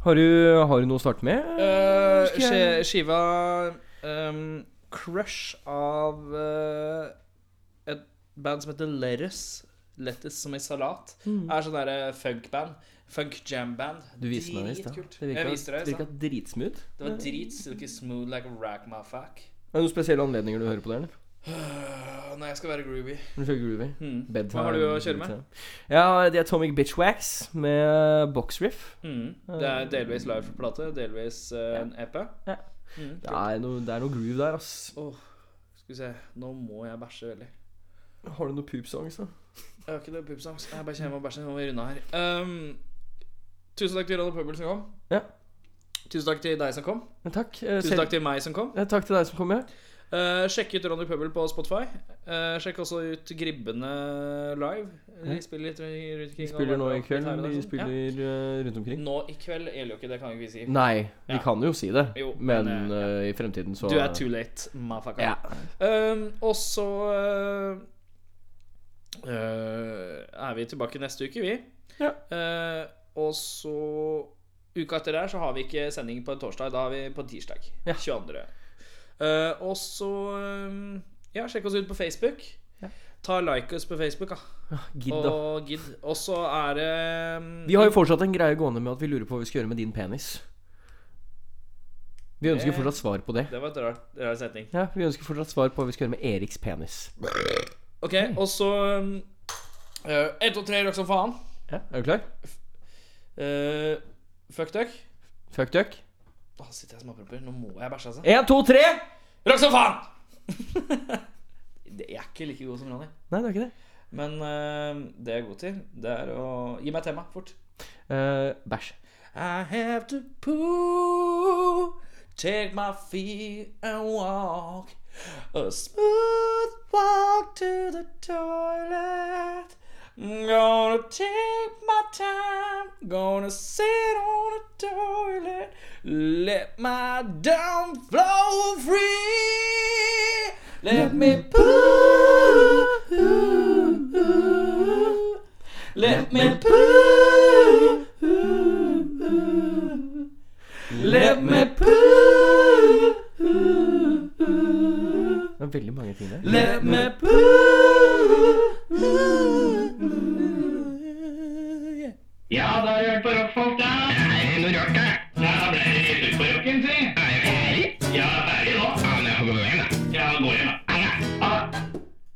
[SPEAKER 3] Har du, har du noe å starte med?
[SPEAKER 2] Eh,
[SPEAKER 3] Skal jeg-
[SPEAKER 2] ski- skiva ehm, Crush av eh, et band som heter Lettuce. Lettuce som i salat.
[SPEAKER 3] Mm.
[SPEAKER 2] Er sånn derre funkband. Funk jam-band.
[SPEAKER 3] Du viste meg det i stad.
[SPEAKER 2] Dritkult.
[SPEAKER 3] Det virka,
[SPEAKER 2] Jeg viste
[SPEAKER 3] det
[SPEAKER 2] deg i
[SPEAKER 3] virka
[SPEAKER 2] stad.
[SPEAKER 3] dritsmooth.
[SPEAKER 2] Det var drit silky smooth like a rack my fuck.
[SPEAKER 3] Er det noen spesielle anledninger du hører på det? eller?
[SPEAKER 2] Øh, Nei, jeg skal være groovy.
[SPEAKER 3] Når du kjører groovy?
[SPEAKER 2] Hmm.
[SPEAKER 3] Bedtime,
[SPEAKER 2] Hva har du å kjøre med?
[SPEAKER 3] bedtime. Ja, det er Atomic Bitchwax med boxriff.
[SPEAKER 2] Mm. Det er delvis live for plate, delvis eh, en EP.
[SPEAKER 3] Ja.
[SPEAKER 2] Mm.
[SPEAKER 3] Det er noe, det er noe groove der, ass.
[SPEAKER 2] Åh, skal vi se. Nå må jeg bæsje veldig.
[SPEAKER 3] Har du noen poop-songs, da?
[SPEAKER 2] Jeg har ikke det pupsangst. Jeg bare kommer og bæsjer. Nå må vi runde her. Ehm, tusen takk til Radio Pøbel som kom.
[SPEAKER 3] Ja.
[SPEAKER 2] Tusen takk til deg som kom.
[SPEAKER 3] Men takk. eh,
[SPEAKER 2] Tusen
[SPEAKER 3] selv-
[SPEAKER 2] takk til meg som kom.
[SPEAKER 3] Ja, takk til deg som kom, ja.
[SPEAKER 2] Eh, sjekk ut Ronny Pøbel på Spotify. Eh, sjekk også ut Gribbene live. De
[SPEAKER 3] Ja.
[SPEAKER 2] spiller litt rundt
[SPEAKER 3] De
[SPEAKER 2] omkring.
[SPEAKER 3] spiller
[SPEAKER 2] og
[SPEAKER 3] nå i
[SPEAKER 2] lager litt her og
[SPEAKER 3] kveld.
[SPEAKER 2] der og
[SPEAKER 3] De
[SPEAKER 2] sånn. Ja.
[SPEAKER 3] spiller eh, rundt omkring.
[SPEAKER 2] Nå i kveld gjelder jo ikke, det kan jo ikke vi si.
[SPEAKER 3] Nei, vi
[SPEAKER 2] Ja.
[SPEAKER 3] kan jo si det,
[SPEAKER 2] Jo,
[SPEAKER 3] men
[SPEAKER 2] men,
[SPEAKER 3] eh, i fremtiden så
[SPEAKER 2] Du er too late, motherfucker.
[SPEAKER 3] Ja.
[SPEAKER 2] Ehm, og så eh, eh, er vi tilbake neste uke, vi.
[SPEAKER 3] Ja.
[SPEAKER 2] Eh, og så Uka etter der så har vi ikke sending på en torsdag. Da har vi på tirsdag.
[SPEAKER 3] Ja.
[SPEAKER 2] 22. Eh, og så eh, Ja, sjekk oss ut på Facebook.
[SPEAKER 3] Ja.
[SPEAKER 2] Ta like oss på Facebook, da.
[SPEAKER 3] Gidd, da.
[SPEAKER 2] Og gidd. Og så er det
[SPEAKER 3] Vi har jo fortsatt en greie gående med at vi lurer på hva vi skal gjøre med din penis. Vi ønsker
[SPEAKER 2] Det-
[SPEAKER 3] fortsatt svar på det.
[SPEAKER 2] Det var et rart, rar setning.
[SPEAKER 3] Ja, Vi ønsker fortsatt svar på hva vi skal gjøre med Eriks penis.
[SPEAKER 2] Ok, og så eh, Ett og tre rock som faen.
[SPEAKER 3] Ja, Er du klar?
[SPEAKER 2] Eh, fuck duck.
[SPEAKER 3] Fuck duck.
[SPEAKER 2] Å, sitter jeg og småpromper. Nå må jeg bæsje, altså.
[SPEAKER 3] Én, to, tre!
[SPEAKER 2] Rock som faen! Det- jeg er ikke like god som Ronny.
[SPEAKER 3] Nei, det er ikke det.
[SPEAKER 2] Men eh, det jeg er god til, det er å Gi meg tema, fort.
[SPEAKER 3] Eh, bæsj.
[SPEAKER 2] I have to poo Take my feet and walk A smooth walk to the toilet Gonna take my time Gonna sit on the toilet Let my down flow free Let me poo Let me poo Let me poo.
[SPEAKER 3] Det er veldig mange ting der.
[SPEAKER 2] Let me poo.